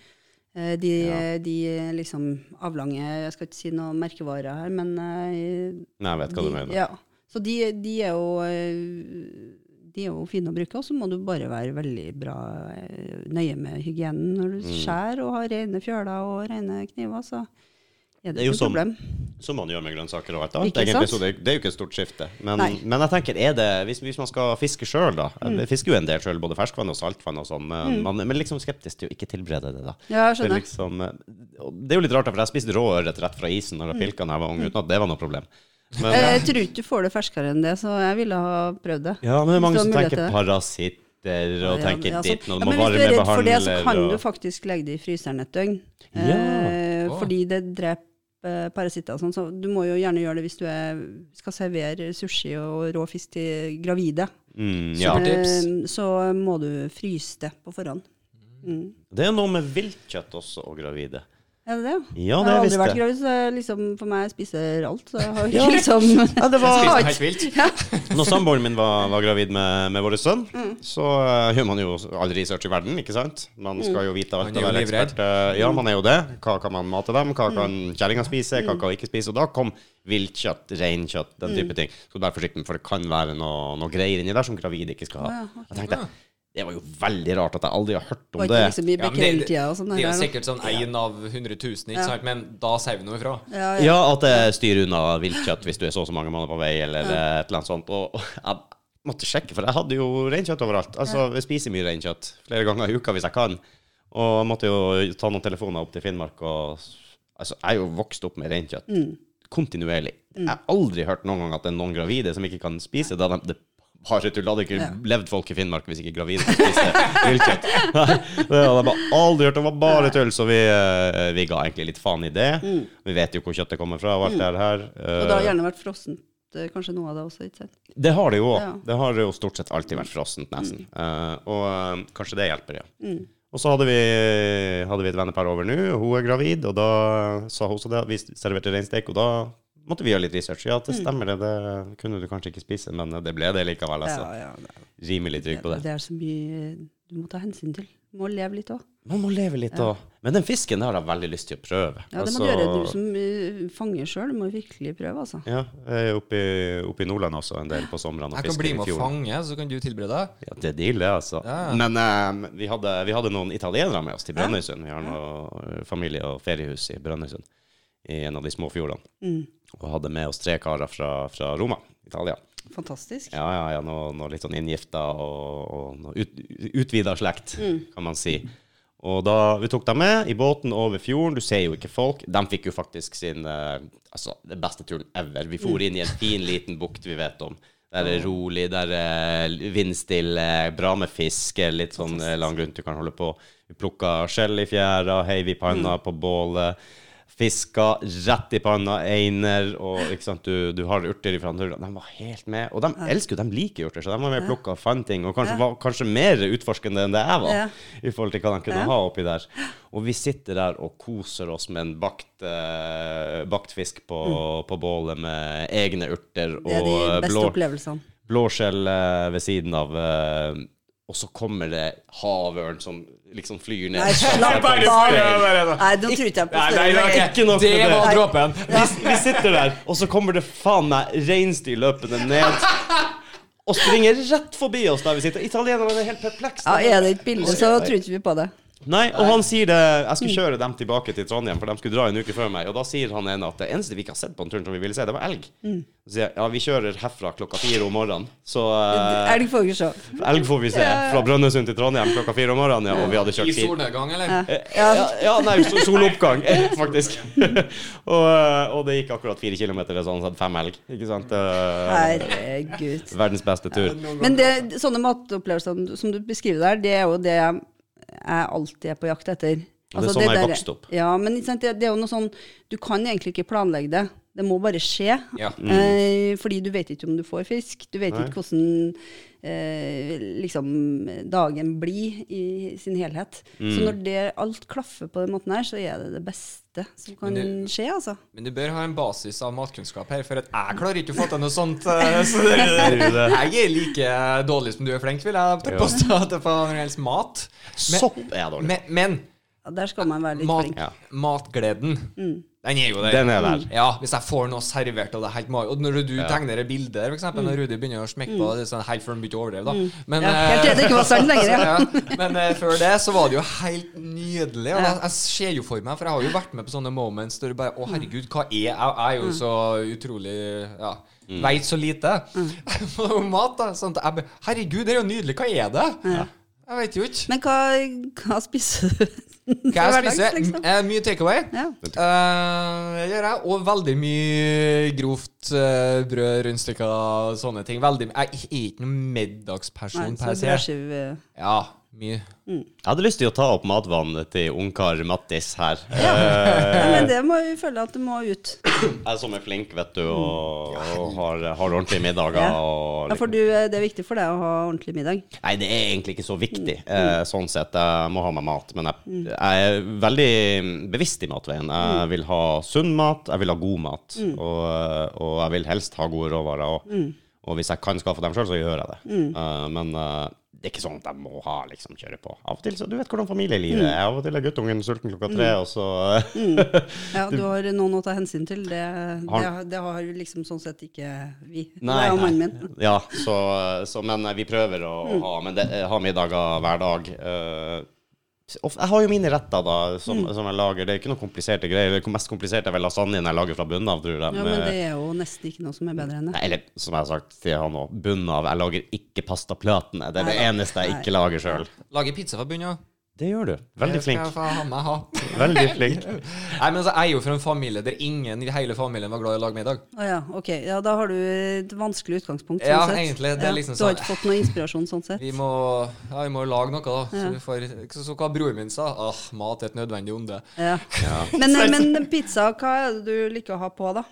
Eh, de, de liksom avlange Jeg skal ikke si noe merkevarer her, men eh, Nei, jeg vet hva de, du mener. Ja. Så de, de er jo eh, de er jo fine å bruke, og så må du bare være veldig bra eh, nøye med hygienen når du Mm. skjærer og har rene fjøler og rene kniver, så Det er er det jo sånn ikke noe som- problem. Som man gjør med grønnsaker og alt annet. Ikke egentlig, så sant? det, det er jo ikke et stort skifte. Men, Nei. Mm. men jeg tenker, er det, hvis, hvis man skal fiske sjøl, da Jeg fisker jo en del sjøl, både ferskvann og saltvann og sånn, men, man- men liksom skeptisk til å ikke tilberede det, da. Ja, Mm. jeg Det er, skjønner. liksom, eh, og det er jo litt rart, da, for jeg spiste rå ørret rett fra isen når jeg pilka da jeg var ung, uten at det var noe problem. Men, Mm. Eh, Jeg tror ikke du får det ferskere enn det, så jeg ville ha prøvd det. ja, men det er mange Hvis som du har tenker mulighet til det. parasitter og tenker Ja, altså- ditt, og ja, du må men hvis du varme er redd for det, så behandler kan du og faktisk legge det i fryseren et døgn. Ja. Eh, Åh. Fordi det dreper eh, parasitter og sånn, så du må jo gjerne gjøre det hvis du er, skal servere sushi og rå fisk til gravide. mm, ja. Tips. Eh, Så må du fryse det på forhånd. Mm. Det er noe med viltkjøtt også, og gravide. Eh, Er det det? Ja, det jeg har aldri visste vært jeg. gravid, så jeg liksom, for meg jeg spiser alt. Så jeg har Ja. ikke liksom Ja, det Spiste var... den helt vilt. Når samboeren min var, var gravid med, med vår sønn, Mm. så eh, gjør man jo all research i verden, ikke sant? Man Mm. skal jo vite alt Man er og jo Mm. være livredd. ekspert. eh, Ja, man er jo det. Hva kan man mate dem? Mm. Hva kan kjerringa spise? Hva kan hun ikke spise? Og da kom viltkjøtt, reinkjøtt, den Mm. type ting. Skal du være forsiktig, for det kan være noe, noe greier inni der som gravid ikke skal ha. Å, ja, ok. Jeg tenkte, det var jo veldig rart at jeg aldri har hørt om Var det. ikke liksom i Ja, men det, det Becquerel-tida og sånn. er jo der, da. sikkert sånn én av 100 000, ikke sant? men da sier vi noe ifra. Ja, ja. Ja, at det styrer unna viltkjøtt hvis du er så og så mange måneder på vei, eller et eller annet sånt. Og og jeg måtte sjekke, for jeg hadde jo reinkjøtt overalt. Altså, jeg spiser mye reinkjøtt flere ganger i uka hvis jeg kan. Og jeg måtte jo ta noen telefoner opp til Finnmark og Altså, jeg er jo vokst opp med reinkjøtt kontinuerlig. Jeg har aldri hørt noen gang at det er noen gravide som ikke kan spise. Da de, det er bare tull. Det hadde ikke levd folk i Finnmark hvis ikke gravide kunne spise viltkjøtt. Nei, det hadde jeg bare aldri hørt. Det var bare tull. Så vi, eh, vi ga egentlig litt faen i det. Vi vet jo hvor kjøttet kommer fra og alt det her. Mm. Og det har Eh, gjerne vært frossent, eh, kanskje noe av det også. ikke sant? Det har det jo òg. Ja. Mm. Det har jo stort sett alltid vært frossent, nesten. Eh, og eh, kanskje det hjelper, ja. Og så hadde vi, hadde vi et vennepar over nå, og hun er gravid, og da sa hun så det, vi serverte reinstek, og da måtte vi gjøre litt research. Ja, Mm. det stemmer det, det kunne du kanskje ikke spise, men det ble det likevel. Ja, Altså. ja, det, Rimelig trygg på er, det. det er så mye eh, du må ta hensyn til. Du må leve litt òg. Man må leve litt da. Men den fisken der har jeg veldig lyst til å prøve. Ja, det Altså, må du gjøre. Du som eh, fanger sjøl, må virkelig prøve, altså. Ja, jeg er oppe i- oppe i Nordland også en del på somrene og Jeg kan fisker bli i med og fjorden. fange, så kan du tilberede deg. Ja, det er deal, det, altså. Ja. Men eh, vi, hadde, vi hadde noen italienere med oss til Brønnøysund. Vi har noe eh, familie- og feriehus i Brønnøysund, i en av de små fjordene. Og hadde med oss tre karer fra, fra Roma, Italia. Fantastisk. Ja, ja, ja, noe, noe litt sånn inngifta og, og noe ut, utvida slekt, kan man si. Og da vi tok dem med i båten over fjorden, du ser jo ikke folk. De fikk jo faktisk sin eh, altså, den beste turen ever. Vi for inn i en fin, liten bukt vi vet om. Der er det rolig, der er vindstille, bra med fiske, litt sånn eh, lang rundt du kan holde på. Vi plukka skjell i fjæra, heiv i panna på bålet. Fiska rett i panna, einer, og ikke sant, du, du har urter ifra andre. De var helt med. Og de elsker jo, de liker urter, så de var med og plukka og fant ting. Og kanskje, var kanskje mer utforskende enn det jeg var, Ja. i forhold til hva de kunne ha oppi der. Og vi sitter der og koser oss med en bakt, eh, bakt fisk på, på bålet med egne urter og Mm. Det er de eh, beste blå, opplevelsene. blåskjell eh, ved siden av. eh, og så kommer det havørn som liksom flyr ned. Nei, slapp av! Nei, nå tror ikke jeg på større Ikke nok det med det. var dråpen! Vi, vi sitter der, og så kommer det faen meg reinsdyr løpende ned. Og springer rett forbi oss der vi sitter. Italienerne er helt perplekse. Ja, Er det et bilde, så tror ikke vi på det. Nei, og han sier det Jeg skulle Mm. kjøre dem tilbake til Trondheim, for de skulle dra en uke før meg. Og da sier han ene at det eneste vi ikke har sett på den turen som vi ville se, det var elg. Mm. Så sier jeg ja, vi kjører herfra klokka fire om morgenen, så eh, Elg får vi se. Elg får vi se. Fra Brønnøysund til Trondheim klokka fire om morgenen, ja. Og vi hadde I kjørt fire solnedgang, eller? Ja, ja nei, sol- soloppgang, eh, faktisk. og, eh, og det gikk akkurat fire kilometer, så han hadde fem elg. Ikke sant? Eh, Herregud. verdens beste tur. Men det, sånne matopplevelser som du beskriver der, det er jo det jeg jeg alltid er på jakt etter. Altså, Og det er sånn jeg der- vokste opp. Ja, men ikke sant, det, det er jo noe sånn Du kan egentlig ikke planlegge det. Det må bare skje. Ja. Eh, fordi du vet ikke om du får fisk. Du vet ikke hvordan eh, liksom dagen blir i sin helhet. Så når det alt klaffer på den måten her, så er det det beste som kan Men skje, altså. Men du bør ha en basis av matkunnskap her, for at jeg klarer ikke å få til noe sånt. eh, Så det- jeg er like dårlig som du er flink, vil jeg påstå, til faen når det gjelder mat. Sopp er dårlig. Men, men Ja, der skal man være litt mat, flink. Ja. matgleden, Mm. den er jo der. Den er der. Ja, hvis jeg får noe servert av det helt mag- Og når du tegner bilder, f.eks., når Rudi begynner å smekke på det er sånn helt før han begynte å overdrive, da. Men, Mm. eh, Ja, helt til det ikke var sant lenger, ja. ja. Men eh, før det så var det jo helt nydelig. Og jeg, jeg ser jo for meg, for jeg har jo vært med på sånne moments der du bare Å, herregud, hva er jeg? Jeg er Mm. jo så utrolig ja, Mm. Veit så lite. Mm. Og mat, da. Sånn, at jeg, bare, herregud, det er jo nydelig. Hva er det? Jeg veit jo ikke. Men hva, hva spiser du? Hva jeg hverdags, spiser? liksom? Eh, mye takeaway. Ja. Eh, det gjør jeg. Og veldig mye grovt eh, brød, rundstykker og sånne ting. Veldig, jeg er ikke noen middagsperson Nei, så per se. brødskive Ja. Mye. Jeg hadde lyst til å ta opp matvanene til ungkar Mattis her. Ja, men det må vi føle at det må ut. Jeg som er flink, vet du, og, og har, har ordentlige middager. Mm. Ja. Og Ja, for du, eh, det er viktig for deg å ha ordentlig middag. Nei, det er egentlig ikke så viktig, Mm. eh, sånn sett. Jeg må ha meg mat. Men jeg, jeg er veldig mm, bevisst i matveien. Mm. Jeg vil ha sunn mat, jeg vil ha god mat, og, og jeg vil helst ha gode råvarer. Og, Mm. og hvis jeg kan skaffe dem sjøl, så gjør jeg det. Eh, men eh, det er ikke sånn at jeg må ha liksom kjøre på. Av og til, så Du vet hvordan familielivet Mm. er. Av og til er guttungen sulten klokka tre, og så Ja, du har noen å ta hensyn til. Det, det, Har- det har liksom sånn sett ikke vi. Nei, det er jo nei. mannen min. Mm. Ja, så, så, men eh, vi prøver å, å ha, men det, eh, ha middager hver dag. eh, of- jeg har jo mine retter da, som, Mm. som jeg lager. Det er ikke noen kompliserte greier. Det mest kompliserte er vel lasagnen jeg lager fra bunnen av, tror jeg. Ja, men det er jo nesten ikke noe som er bedre enn Nei, det. Eller som jeg har sagt til han òg, bunnen av. Jeg lager ikke pastaplatene. Det er det Nei. eneste jeg Nei. ikke lager sjøl. Lage pizza fra bunnen av. Det gjør du. Veldig Det skal jeg flink. faen meg ha. Veldig flink. Nei, men altså, Jeg er jo fra en familie der ingen i hele familien var glad i å lage middag. Å ja, ok. Ja, da har du et vanskelig utgangspunkt. Ja, sånn sett. egentlig, det er liksom Du har sånn- ikke fått noe inspirasjon sånn sett. Vi må, ja, vi må lage noe, da. Så, vi får, så, så hva broren min sa. Ah, mat er et nødvendig onde. Ja. Men, eh, men pizza, hva er det du liker å ha på, da?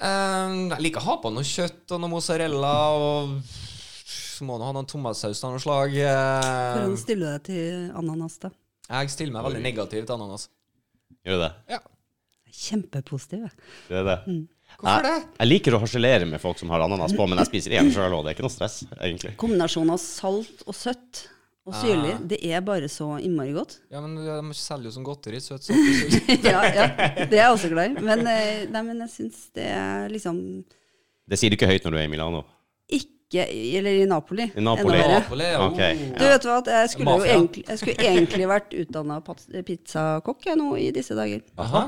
Ehm, jeg liker å ha på noe kjøtt og noe mozzarella og så må du ha noen tomatsaus av noe slag. Ehm, Hvordan stiller du deg til ananas, da? jeg stiller meg veldig negativ til ananas. Gjør du det? Ja. Jeg er Kjempepositiv. jeg. Du er det. Mm. Hvorfor jeg, det? jeg liker å harselere med folk som har ananas på, men jeg spiser én sjøl òg. Det er ikke noe stress, egentlig. Kombinasjonen av salt og søtt og Ah. syrlig, det er bare så innmari godt. Ja, men De selger jo som godteri. Søt, søt, søt. ja, ja, det er jeg også glad i. Men, eh, nei, men jeg syns det er liksom Det sier du ikke høyt når du er i Milano. ikke Eller i Napoli. I Napoli. Enda verre. Napoli, ja. Ok, Du vet hva, at jeg skulle jo Mafia. egentlig, jeg skulle egentlig vært utdanna pizzakokk jeg nå i disse dager. Aha.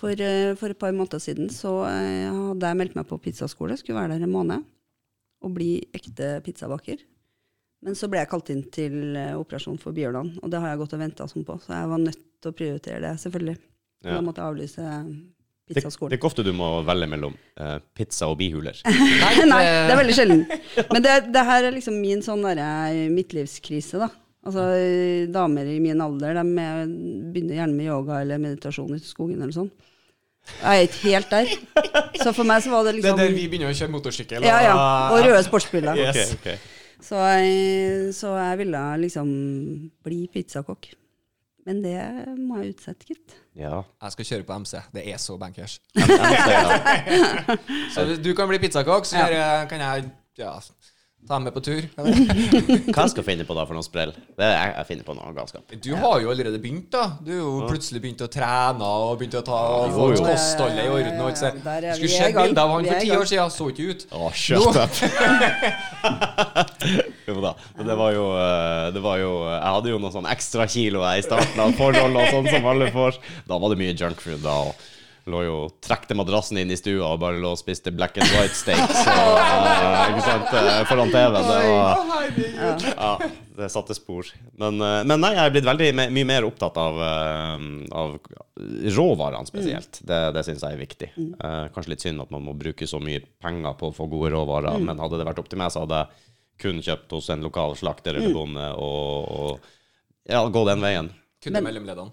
For, eh, for et par måneder siden så eh, hadde jeg meldt meg på pizzaskole, skulle være der en måned og bli ekte pizzabaker. Men så ble jeg kalt inn til eh, operasjon for Bjørland, og det har jeg gått og venta sånn på, så jeg var nødt til å prioritere det, selvfølgelig. Ja. Da måtte jeg avlyse Det, det er pizzaskolen. ikke ofte du må velge mellom eh, pizza og bihuler. Nei, det er veldig sjelden. Men det, det her er liksom min sånn derre midtlivskrise, da. Altså, eh, damer i min alder de er, begynner gjerne med yoga eller meditasjon ute i skogen eller sånn. Jeg er ikke helt der. Så for meg så var Det er det liksom der vi begynner å kjøre motorsykkel. Ja, ja. Og røde sportsbiler. Yes. Ok, ok. Så, jeg, så jeg ville liksom bli pizzakokk. Men det må jeg utsette, gitt. Ja. Jeg skal kjøre på MC. Det er så bankers. Jeg ser det. Så hvis du kan bli pizzakokk, så gjør jeg- kan jeg ja, ta med på tur. Hva jeg skal finne på da for noe sprell? Det er, jeg finner på noe galskap. Du har jo allerede begynt, da. Du er jo plutselig begynt å trene og begynt å ta og få Jo, jo. kostholdet i orden. og alt sånt. Der er Du skulle vi i sjekke gang. bildet av han Vi er for i ti gang. år siden, så ikke ut. Å, shut up! jo da. Men det var jo, eh, det var jo Jeg hadde jo noen sånn ekstra kilo jeg i starten av forholdet og sånn som alle får. Da var det mye junkfood da. og Lå jo Trekte madrassen inn i stua og bare lå og spiste black and white steaks eh, ikke sant, eh, foran TV-en. Det var Ja, det satte spor. Men, eh, men nei, jeg er blitt veldig me- mye mer opptatt av, eh, av råvarene spesielt. Det, det syns jeg er viktig. Eh, Kanskje litt synd at man må bruke så mye penger på å få gode råvarer, men hadde det vært opp til meg, så hadde jeg kun kjøpt hos en lokal slakter eller bonde og, og ja, gå den veien. Kun i mellomleddene.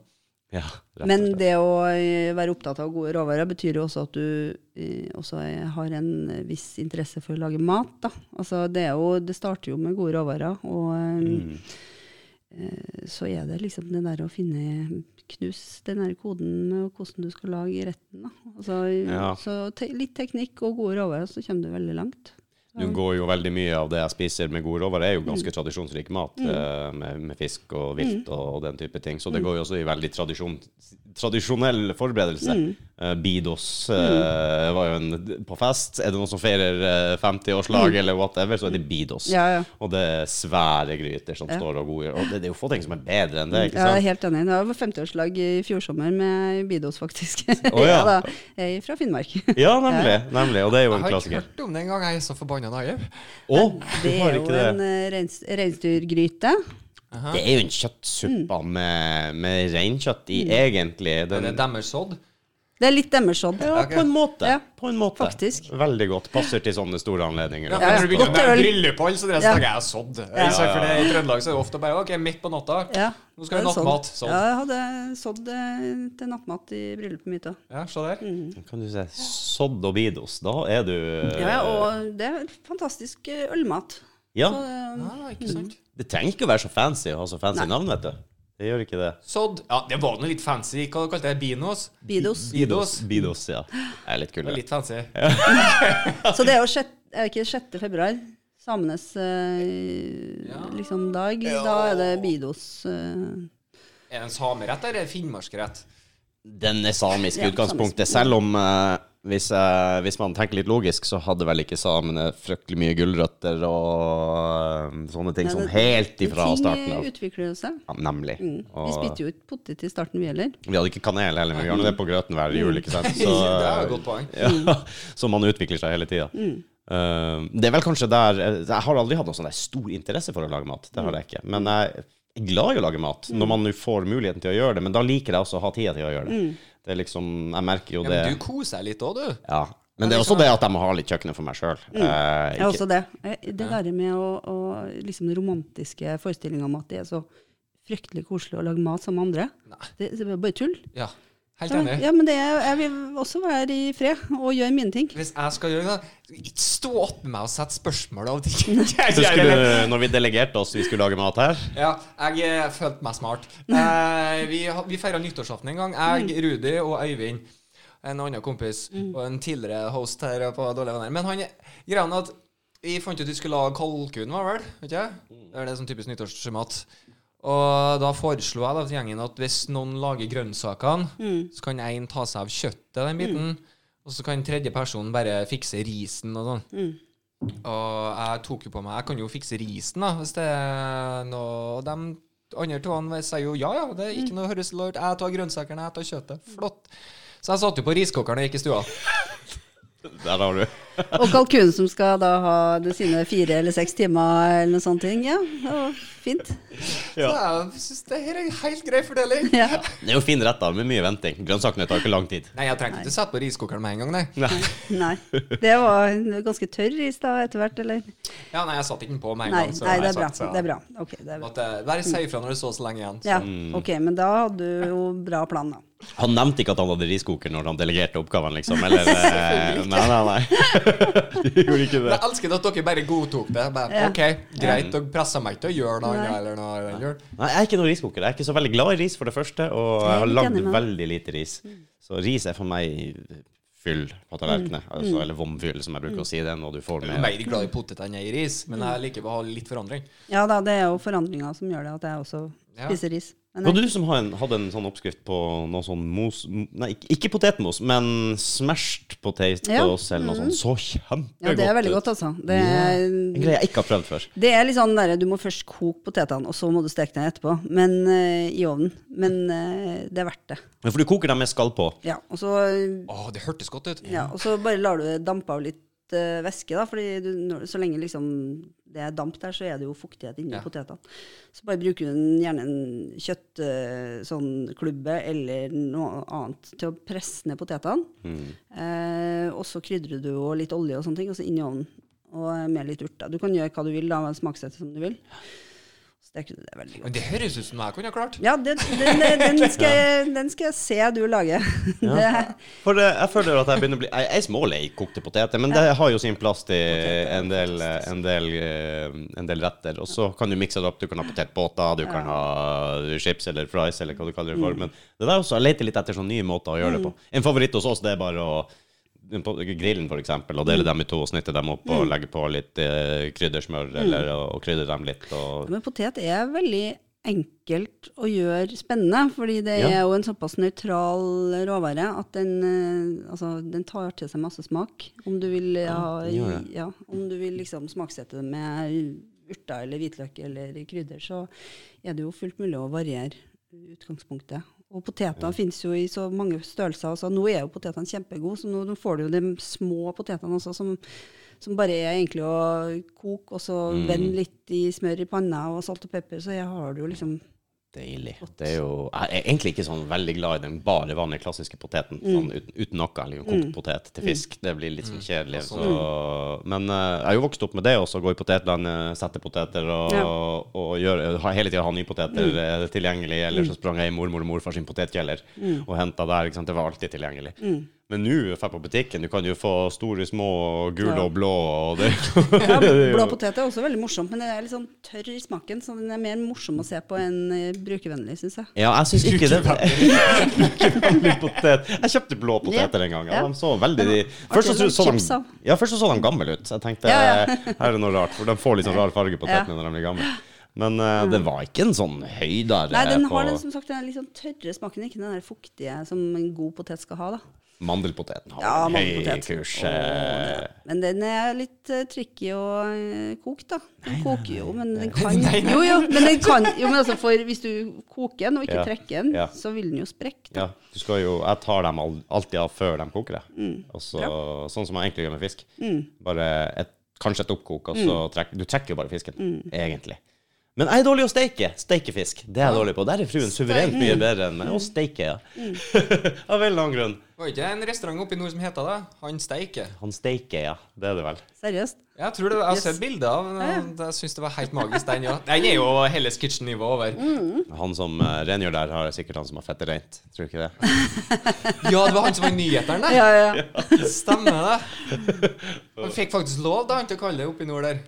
Ja, rett og Men slett. det å eh, være opptatt av gode råvarer betyr jo også at du eh, også eh, har en viss interesse for å lage mat. Da. Altså, det, er jo, det starter jo med gode råvarer, og Mm. eh, eh, så er det liksom det der å finne Knus den der koden med hvordan du skal lage retten. Da. Altså, Ja. Så te litt teknikk og gode råvarer, så kommer du veldig langt. Nå går jo veldig mye av det jeg spiser med god råvare, er jo Mm. ganske tradisjonsrik mat, eh, med, med fisk og vilt og, og den type ting. Så Mm. det går jo også i veldig tradisjon, tradisjonell forberedelse. Mm. Eh, Bidos eh, var jo en på fest. Er det noen som feirer eh, 50-årslag eller whatever, så er det Bidos. Mm. Ja, ja. Og det er svære gryter som står og godgjør. Og det, det er jo få ting som er bedre enn det, ikke Ja, jeg sant? er helt enig. Det var 50-årslag i fjor sommer med Bidos, faktisk. Å, ja. da. Jeg er fra Finnmark. Ja, nemlig. nemlig. Og det er jo en Jeg har ikke klassiker. hørt om den gang jeg er så forbanna naiv. Å, du Det har er jo ikke det. en eh, reins- reinsdyrgryte. Det er jo Mm. en kjøttsuppe med, med reinkjøtt i, egentlig. Er Den, det deres sodd? Det er litt deres odd. Ja, på en måte. Ja. På en måte. Faktisk. Veldig godt. Passer til sånne store anledninger. Ja, når du begynner Godt med øl. bryllupphold, så det Ja. resten av jeg har sådd. For det, I Trøndelag så er det ofte bare OK, midt på natta. Ja. Nå skal vi det er sådd. nattmat. Sånn. Ja, Ja. jeg hadde sådd eh, til nattmat i bryllupet mitt òg. se der. Mm. Kan du se Sodd og Bidos. Da er du Ja, ja, og Eh, det er fantastisk eh, ølmat. Ja. Så, eh, Ja, Ah, ikke sant. Det trenger ikke å være så fancy å ha så fancy Nei. navn, vet du. Det gjør ikke det. Sådd. Ja, det var nå litt fancy. Hva kalte jeg det? Binos? Bidos. Bidos. Bidos, ja. Det er litt Det var kulere. Litt fancy. Så det er jo sjett, er ikke 6. februar, samenes eh, liksom dag. Da er det Bidos. eh, Er det en samerett eller er det finnmarksrett? Den er samisk i Ja, utgangspunktet, samisk. selv om eh, hvis, eh, hvis man tenker litt logisk, så hadde vel ikke samene fryktelig mye gulrøtter og eh, sånne ting Nei, sånn det- helt ifra starten Ting av. eh, utvikler jo seg. Ja, nemlig. Vi Og spiste jo ikke potet i starten, vi heller. vi hadde ikke kanel heller, men vi har nå det på grøten hver jul, ikke sant? Så, det er jo et godt poeng. Ja, så man utvikler seg hele tida. Eh, det er vel kanskje der eh, Jeg har aldri hatt noen sånn der stor interesse for å lage mat. Det har jeg ikke. Men jeg er glad i å lage mat når man nå får muligheten til å gjøre det. Men da liker jeg også å ha tida til å gjøre det. Det er liksom, Jeg merker jo Ja, det. men du koser deg litt òg, du. Ja. Men det er også det at jeg Mm. må ha litt kjøkkenet for meg sjøl. Ja, også det. Eh, Det der med å, å liksom den romantiske forestillinga om at det er så fryktelig koselig å lage mat sammen med andre. Det, det er bare tull. Ja, helt Ja, enig. ja, men det er, jeg vil også være i fred og gjøre mine ting. Hvis jeg skal gjøre det, ikke stå opp med meg og sette spørsmål av ting. når vi delegerte oss vi skulle lage mat her Ja, jeg eh, følte meg smart. Eh, vi ha- vi feira nyttårsaften en gang, jeg, Rudi og Øyvind. En annen kompis og en tidligere host her på Dårlige venner. Men han greia er at vi fant ut vi skulle lage kalkun, var det vel? Vet ikke? jeg? Det er det som typisk nyttårsmat. Og da foreslo jeg da til gjengen at hvis noen lager grønnsakene, så kan én ta seg av kjøttet, den biten. Og så kan tredje person bare fikse risen og sånn. Og jeg tok jo på meg Jeg kan jo fikse risen, da, hvis det er noe Og de andre to han sier jo ja, ja, det er ikke Mm. noe høres lurt Jeg tar grønnsakene, jeg tar kjøttet. Flott. Så jeg satt jo på riskokeren og gikk i stua. Der har du. Og kalkunen som skal da ha det sine fire eller seks timer eller noe sånt. ting. Ja, det var fint. Så jeg syns det her er en helt grei fordeling. Ja. Det er jo fin rett, da, med mye venting. Grønnsakene tar jo ikke lang tid. Nei, jeg trengte ikke sette på riskokeren med en gang, nei. Nei. Det var ganske tørr i stad etter hvert, eller? Ja, nei, jeg satt ikke den på med en Nei, gang. så altså, nei, det jeg er bra. satt, så- Det er bra. Ok, det er bra. Mm. At, eh, Vær si ifra når det så så lenge igjen. Ja, ok, men da hadde du jo bra plan, da. Han nevnte ikke at han hadde riskoker når han delegerte oppgaven, liksom. Eller, eh, nei, nei, nei. Du gjorde ikke Men Jeg elsker at dere bare godtok det. Bare, Ja. OK, greit, dere presser meg ikke til å gjøre noe annet eller noe. annet gjør. Nei, jeg er ikke noen riskoker. Jeg er ikke så veldig glad i ris, for det første. Og jeg har litt lagd enig med Mm. deg. veldig lite ris. Så ris er for meg fyll på tallerkenene. Mm. Altså, eller vomfyll, som jeg bruker å si. Det er noe du får Jeg med. er mer glad i potet enn jeg er i ris, men jeg liker å ha litt forandring. Ja da, det er jo forandringa som gjør det at jeg også Ja. spiser ris. Men Var det du som hadde en, hadde en sånn oppskrift på noe sånn mos Nei, ikke, ikke potetmos, men smashed potatoes Ja. Mm. eller noe sånt. Så kjempegodt ja, det er veldig ut. godt, altså. Det er, En greie jeg ikke har prøvd før. det er litt sånn derre du må først koke potetene, og så må du steke dem etterpå. Men eh, i ovnen. Men eh, det er verdt det. Men for du koker dem med skall på. Ja, og så, Å, det hørtes godt ut. ja, og så bare lar du det dampe av litt eh, væske, da. Fordi du, når, så lenge liksom det er damp der, så er det jo fuktighet inni Ja. potetene. Så bare bruker du en, gjerne en kjøttklubbe sånn, klubbe eller noe annet til å presse ned potetene. Eh, og så krydrer du og litt olje og sånne ting, og så inn i ovnen. Og eh, med litt urter. Du kan gjøre hva du vil, da, smaksette som du vil. Steker du det veldig godt. Men det høres ut som noe jeg kunne ha klart. Ja, den, den, den, skal, jeg- den skal jeg se du lager. Det, For eh, jeg føler at jeg begynner å bli Jeg jeg er smålei kokte poteter, men det har jo sin plass til en del, en del, eh, en del retter. Og så kan du mikse det opp. Du kan ha potetbåter, du kan ha chips eller fries eller hva du kaller det for. Men det der også, jeg leter litt etter sånne nye måter å gjøre det på. En favoritt hos oss, det er bare å på grillen, for eksempel, og dele dem i to og snitte dem opp og legge på litt eh, kryddersmør eller og, og krydre dem litt. Og, Men potet er veldig enkelt å gjøre spennende, fordi det Ja. er jo en såpass nøytral råvare at den, eh, altså, den tar til seg masse smak. Om du vil, den eh, ha, gjør det. ja, om du vil liksom smaksette det med urter eller hvitløk eller krydder, så er det jo fullt mulig å variere utgangspunktet. Og poteter finnes jo i så mange størrelser. Altså, nå er jo potetene kjempegode, så nå, nå får du jo de små potetene også, som, som bare er egentlig å Mm. koke og så vende litt i smør i panna og salt og pepper, så jeg har du jo liksom Deilig. Det er jo, jeg er egentlig ikke sånn veldig glad i den bare vanlige klassiske Mm. poteten. Sånn, uten, uten noe. eller Kokt potet til fisk. Det blir litt sånn kjedelig. Så, men eh, jeg er jo vokst opp med det også. Gå i potetlandet, sette poteter og, Ja. Mm. og, gjøre- ha, hele tida ha nye poteter eh, tilgjengelig. Eller så sprang jeg i mormor og morfar sin potetkjeller Mm. og henta der. Ikke sant? Det var alltid tilgjengelig. Men nå drar på butikken. Du kan jo få store, små, gule og blå. Og det, Ja, det er jo- blå potet er også veldig morsomt, men den er litt sånn tørr i smaken, så den er mer morsom å se på enn eh, brukervennlig, syns jeg. Ja, jeg syns ikke det. Brukervennlig potet. Jeg kjøpte blå poteter en gang. Ja, Ja. de så veldig de, artig først, så, sånn så chips de, av. ja, først så så de gamle ut. Så jeg tenkte Ja, ja. eh, her er det noe rart, for de får litt sånn rar farge på Ja. tetene når de blir gamle. Men eh, det var ikke en sånn høydare Nei, den på har den som sagt den litt sånn tørre smaken, ikke den der fuktige som en god potet skal ha, da. Mandelpoteten har Ja, en høy mandelpotet. kurs. Åh, eh, Men den er litt eh, tricky å eh, koke, da. Den koker jo, men den kan Nei, nei. Jo, jo, men den kan Jo, men altså, for hvis du koker den og ikke Ja. trekker den, Ja. så vil den jo sprekke, da. Ja, du skal jo, jeg tar dem al- alltid av før de koker det. Mm. Og så, Sånn som jeg egentlig gjør med fisk. Bare et, kanskje et oppkok, og Mm. så trekker du trekker jo bare fisken, egentlig. Men jeg er dårlig å steike. Steike fisk. Det er jeg dårlig på. Der er fruen suverent mye Mm. bedre enn meg. Å steike, ja. Av veldig lang grunn. Var ikke det en restaurant oppe i nord som heter det? Han Steike. Han steiker, ja. Det er det vel. Seriøst. Jeg tror det, jeg har Yes. sett bilder av den. og Jeg syns det var helt magisk, den òg. Den er jo Helles Kitchen-nivå over. Mm. Han som eh, rengjør der, har sikkert han som har fettet rent. Tror du ikke det? Ja, det var han som var i nyhetene, Ja, ja, ja. det. Stemmer det. Han fikk faktisk lov, da, han til å kalle det oppe i nord der.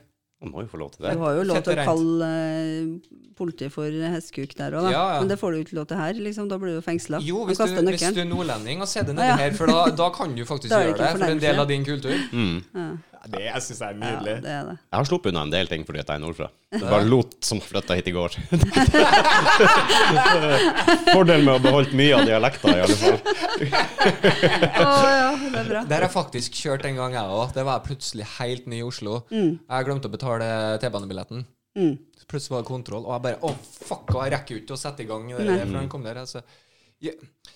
Han må jo få lov til det. Du har jo lov Fett og til å rent. kalle eh, politiet for hestkuk der òg, da. Ja, ja. Men det får du jo ikke lov til her, liksom. Da blir du jo fengsla. Jo, Du hvis du, kaster hvis du nøkkelen. er nordlending og ser det nedi Ja. her, for da, da kan du faktisk Da er gjøre det ikke det. For det er en del fornærmelse. av din kultur. Ja. Det jeg syns jeg er Ja, det er det. Jeg har sluppet unna en del ting fordi at jeg er nordfra. Jeg bare lot som jeg flytta hit i går. Fordelen med å beholde mye av dialekta, i alle fall. Å ja, det er bra. Der har jeg faktisk kjørt en gang, jeg òg. Det var jeg plutselig helt ny i Oslo. Jeg glemte å betale T-banebilletten. Mm. Så plutselig var det kontroll, og jeg bare Å, fuck, og jeg rekker jo ikke å sette i gang. Det, der, for han kom der, altså. Ja,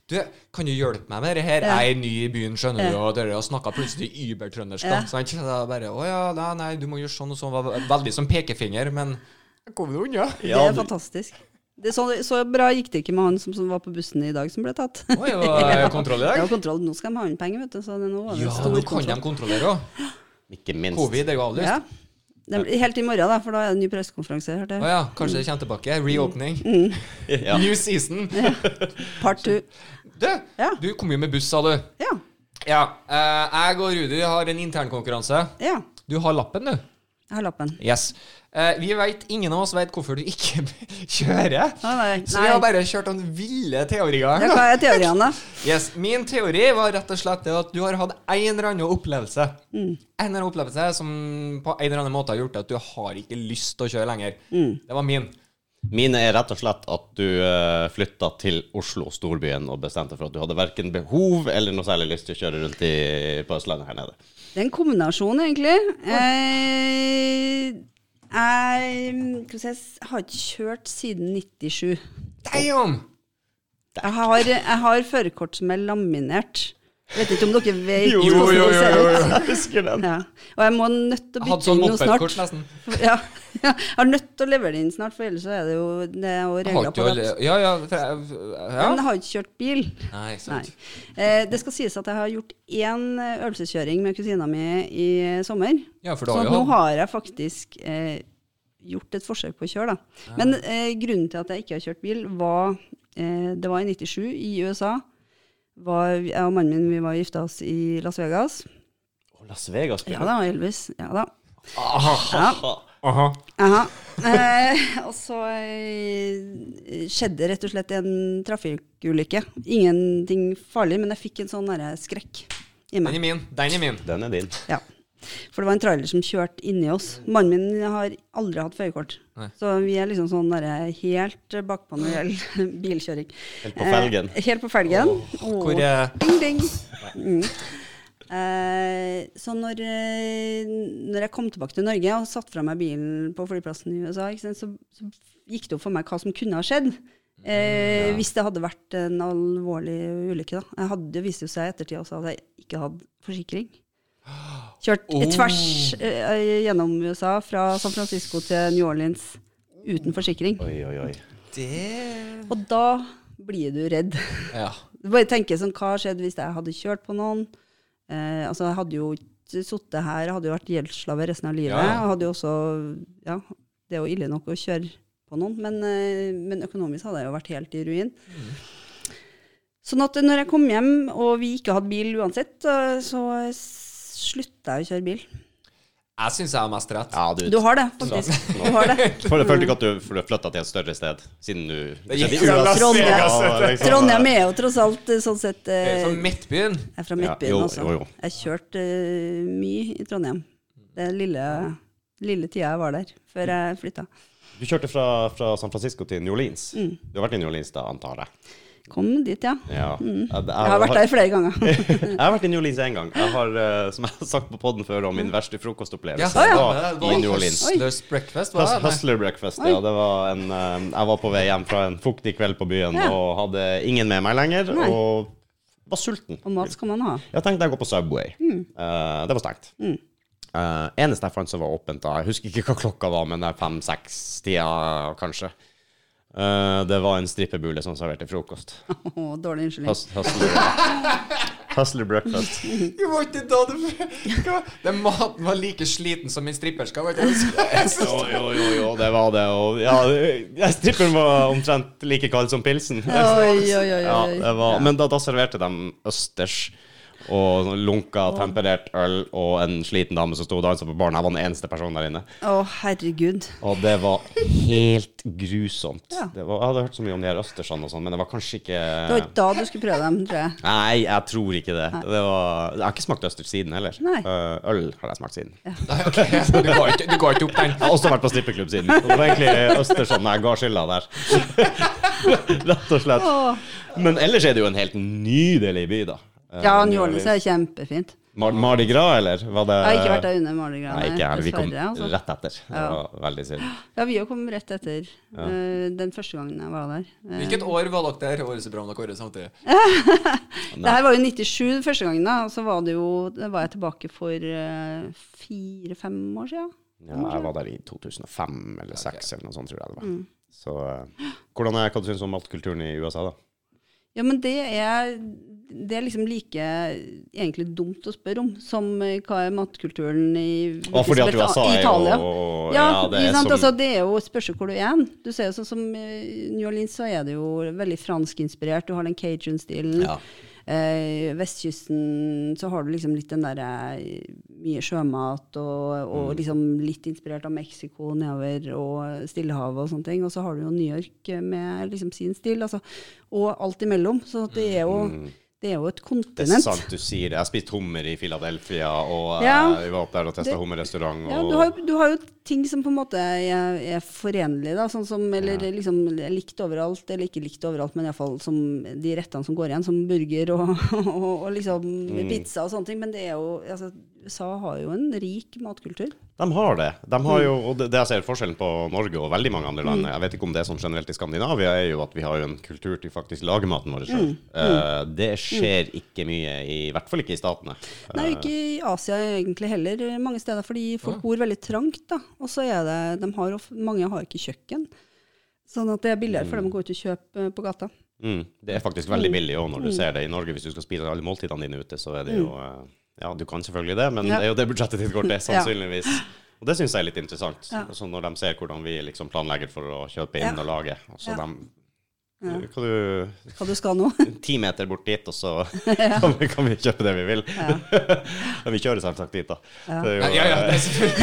du, kan du hjelpe meg med dette her? Ja. Jeg er ny i byen, skjønner du, Ja. og dere har snakka plutselig übertrøndersk. Ja. Ja. Så jeg bare Å ja, nei, nei, du må gjøre sånn og sånn. Var Veldig som pekefinger, men jeg kom jo unna. Det Ja, er du- fantastisk. Det, så, så bra gikk det ikke med han som, som var på bussen i dag, som ble tatt. Oi, det var eh, kontroll i Det dag. var kontroll. Nå skal de ha inn penger, vet du. Så det nå var det Ja, stor nå kan de kontroll. kontrollere òg. Ikke minst. Covid er jo avlyst. Ja. De, helt i morgen, da, for da er det en ny pressekonferanse. hørte Å jeg. ja, kanskje det kommer tilbake. Reopening. Mm. Ja. New season. Part two. Du, Ja. du kom jo med buss, sa du. Ja. Ja. eh, jeg og Rudi har en internkonkurranse. ja. Du har lappen, du. Jeg har lappen. Yes. Eh, vi vet, Ingen av oss vet hvorfor du ikke kjører. Nei, nei. Så vi har nei. bare kjørt noen ville Ja, teorier. hva er teorien, da? Yes, Min teori var rett og slett det at du har hatt en eller annen opplevelse. Mm. En eller annen opplevelse som på en eller annen måte har gjort at du har ikke lyst til å kjøre lenger. Mm. Det var min. Mine er rett og slett at du uh, flytta til Oslo, storbyen, og bestemte for at du hadde verken behov eller noe særlig lyst til å kjøre rundt i, på Østlandet her nede. Det er en kombinasjon, egentlig. Eh, jeg skal vi si, jeg har ikke kjørt siden 97. Damn! Jeg har, jeg har førerkort som er laminert. Jeg vet ikke om dere vet Jo, hvordan jo, det ser jo, jo, ut. Jeg husker den. Ja. Og jeg må nødt til å Jeg hadde bytte sånn inn noe mopedkort snart. nesten. Ja. Jeg har nødt til å levere det inn snart, for ellers så er det jo, det er jo Jeg har regler ikke på alle- det. Ja, ja, for jeg- ja. Men jeg har ikke kjørt bil. Nei, Nei. sant. Eh, det skal sies at jeg har gjort én øvelseskjøring med kusina mi i eh, sommer. Ja, for da Så har nå jo hatt har jeg faktisk eh, gjort et forsøk på å kjøre, da. Men eh, grunnen til at jeg ikke har kjørt bil, var eh, Det var i 97 i USA. Var, jeg og mannen min vi var gifta oss i Las Vegas. Å, Las Vegas. Ja da, Elvis. Ja da. Aha. Aha. Aha. Eh, og så eh, skjedde rett og slett en trafikkulykke. Ingenting farlig, men jeg fikk en sånn derre skrekk i Den meg. er min. Den er min. Den er din. Ja. For det var en trailer som kjørte inni oss. Mannen min har aldri hatt førerkort. Nei. Så vi er liksom sånn derre helt bakpå når det gjelder bilkjøring. Helt på felgen. Eh, helt på felgen. Hvor eh, Åh, er Ding, ding. Mm. Eh, så når, eh, når jeg kom tilbake til Norge og satte fra meg bilen på flyplassen i USA, ikke sant, så, så gikk det opp for meg hva som kunne ha skjedd. Eh, Hvis det hadde vært en alvorlig ulykke. Da. Jeg hadde, det viste jo seg i ettertid også at jeg ikke hadde forsikring. Kjørt i tvers eh, gjennom USA, fra San Francisco til New Orleans, uten forsikring. Oi, oi, oi. Det Og da blir du redd. Ja. Du bare tenker sånn, hva skjedde hvis jeg hadde kjørt på noen? Eh, altså, jeg hadde jo ikke sittet her, jeg hadde jo vært gjeldsslave resten av livet. Ja. Og hadde jo også, ja, det er jo ille nok å kjøre på noen, men, eh, men økonomisk hadde jeg jo vært helt i ruin. Sånn at når jeg kom hjem, og vi ikke hadde bil uansett, eh, så slutta jeg å kjøre bil. Jeg syns jeg har mest rett. Ja, du, Du har det, faktisk. Nå- Du har det. For jeg følte ikke at du flytta til et større sted, siden du Det gikk Siden fra du- Las Vegas, Ja, liksom. Trondheim er jo tross alt eh, sånn sett eh, Fra Midtbyen. Jeg er fra Ja, Midtbyen jo, også. jo, jo. Jeg kjørte eh, mye i Trondheim. Den lille, lille tida jeg var der, før jeg flytta. Du kjørte fra, fra San Francisco til New Orleans. Mm. Du har vært i New Orleans da, antar jeg? Kom dit, ja. Ja. Jeg, Mm. Jeg har vært der flere ganger. Jeg har vært i New Orleans én gang. Jeg har, eh, som jeg har sagt på poden før, om min Mm. verste frokostopplevelse. Ja, Det ja, var det var i New Orleans. Hustlers breakfast, var Hus- det? eller? Hustler breakfast, ja. Det var en, eh, jeg var på vei hjem fra en fuktig kveld på byen Ja. og hadde ingen med meg lenger, Nei. og var sulten. Og mat skal man ha. Jeg tenkte jeg går på Subway. Eh, det var stengt. Eh, eneste jeg fant som var åpent da, jeg husker ikke hva klokka var, men det er fem-seks-tida kanskje. Eh, det var en strippebule som serverte frokost. Å, dårlig unnskyldning. Hus- Hustler, hustler breakfast. Det var ikke da du Hva? Den maten var like sliten som min stripperska. vet du. Jo, jo, jo, jo, det var det. Og, ja, stripperen var omtrent like kald som pilsen. Oi, oi, oi. Ja, oi. det var, men da, da serverte de østers og sånn lunka, temperert øl og en sliten dame som sto og dansa på baren. Jeg var den eneste personen der inne. Å, herregud. Og det var helt grusomt. Ja. Det var, jeg hadde hørt så mye om de her østersene og sånn, men det var kanskje ikke Det var ikke da du skulle prøve dem, tror jeg. Nei, jeg tror ikke det. det var, jeg har ikke smakt østers siden heller. Nei. Eh, Øl har jeg smakt siden. Jeg Nei, ok, Du ga ikke, du ga ikke opp den. har også vært på strippeklubb siden. Og Det var egentlig østersene jeg ga skylda der. Rett og slett. Å. Men ellers er det jo en helt nydelig by, da. Eh, Ja, New Orleans er kjempefint. Mar Mardi Gras, eller? Var det Jeg har ikke vært der under Mardi Gras, Nei, ikke jeg heller. Vi kom dessverre, altså. rett etter. Det var veldig synd. Ja, vi jo kom rett etter eh, den første gangen jeg var der. Eh, Hvilket år var dere der? Årets program dere året samtidig. Det her var jo 97 den første gangen, da, og så var, det jo, da var jeg tilbake for fire-fem år siden. Ja, jeg var der i 2005 eller 2006 eller noe sånt, tror jeg det var. Mm. Så eh, hvordan er, hva du syns du om matkulturen i USA, da? Ja, men det er, det er liksom like egentlig dumt å spørre om som eh, hva er matkulturen i Og fordi at spesielt USA i er Italia. jo og- Ja, ja, det er ikke sant? som Altså, det er jo et spørsmål hvor du er. hen. Du ser jo sånn som eh, New Orleans, så er det jo veldig franskinspirert. Du har den cajun-stilen. Ja. Eh, vestkysten så har du liksom litt den derre mye sjømat og, og Mm. liksom litt inspirert av Mexico nedover og Stillehavet og sånne ting. Og så har du jo New York med liksom sin stil, altså. Og alt imellom. Så at det er jo, det er jo Mm. Det et er kontinent. sant du sier det. Jeg spiste hummer i Philadelphia, og eh, Ja. vi var opp der og testa Det- hummerrestaurant. Ja, og- du har, jo- du har jo ting som på en måte er, er forenlige, da, sånn som, eller liksom er likt overalt, eller ikke likt overalt, men iallfall som de rettene som går igjen, som burger og, og, og liksom pizza og sånne ting. Men det er jo, altså, USA har jo en rik matkultur. De har det. De har jo, Mm. og det, det jeg ser forskjellen på Norge og veldig mange andre land, jeg vet ikke om det er sånn generelt i Skandinavia, er jo at vi har jo en kultur til faktisk lage maten vår Mm. sjøl. det skjer ikke mye, i, i hvert fall ikke i statene. Nei, Eh. ikke i Asia egentlig heller, mange steder, fordi folk bor veldig trangt, da. Og så er det, de har, of- mange har ikke kjøkken, sånn at det er billigere for dem å gå ut og kjøpe eh, på gata. Mm. Det er faktisk veldig billig òg, Mm. når du ser det i Norge. Hvis du skal spise alle måltidene dine ute, så er det jo eh, Ja, du kan selvfølgelig det, men Ja. det er jo det budsjettet ditt går til, Ja. sannsynligvis. Og det syns jeg er litt interessant, så når de ser hvordan vi liksom planlegger for å kjøpe inn Ja. og lage. Og så Ja. de Hva du Hva du skal nå? ti meter bort dit, og så kan, vi, kan vi kjøpe det vi vil. vi kjører selvsagt dit, da. Det er jo, eh, Ja, ja, det er selvfølgelig.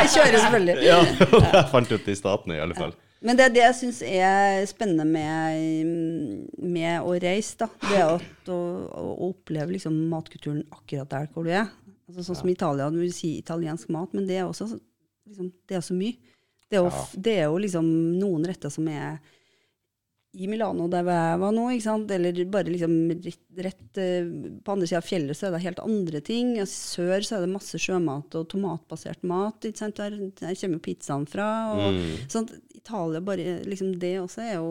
Jeg kjører selvfølgelig. ja, det var det jeg fant ut i staten, i alle fall. Men det er det jeg syns er spennende med, med å reise, da. Det er at å, å oppleve liksom matkulturen akkurat der hvor du er. Altså, sånn som i Italia, du vil si italiensk mat, men det er også så- liksom, det er så mye. Det er, jo, f- det er jo liksom noen retter som er i Milano, der hvor jeg var nå, ikke sant? eller bare liksom rett, rett eh, på andre sida av fjellet, så er det helt andre ting. I sør så er det masse sjømat og tomatbasert mat. Ikke sant? Der, der kommer jo pizzaen fra. Mm. Og, sånn at Italia bare liksom Det også er jo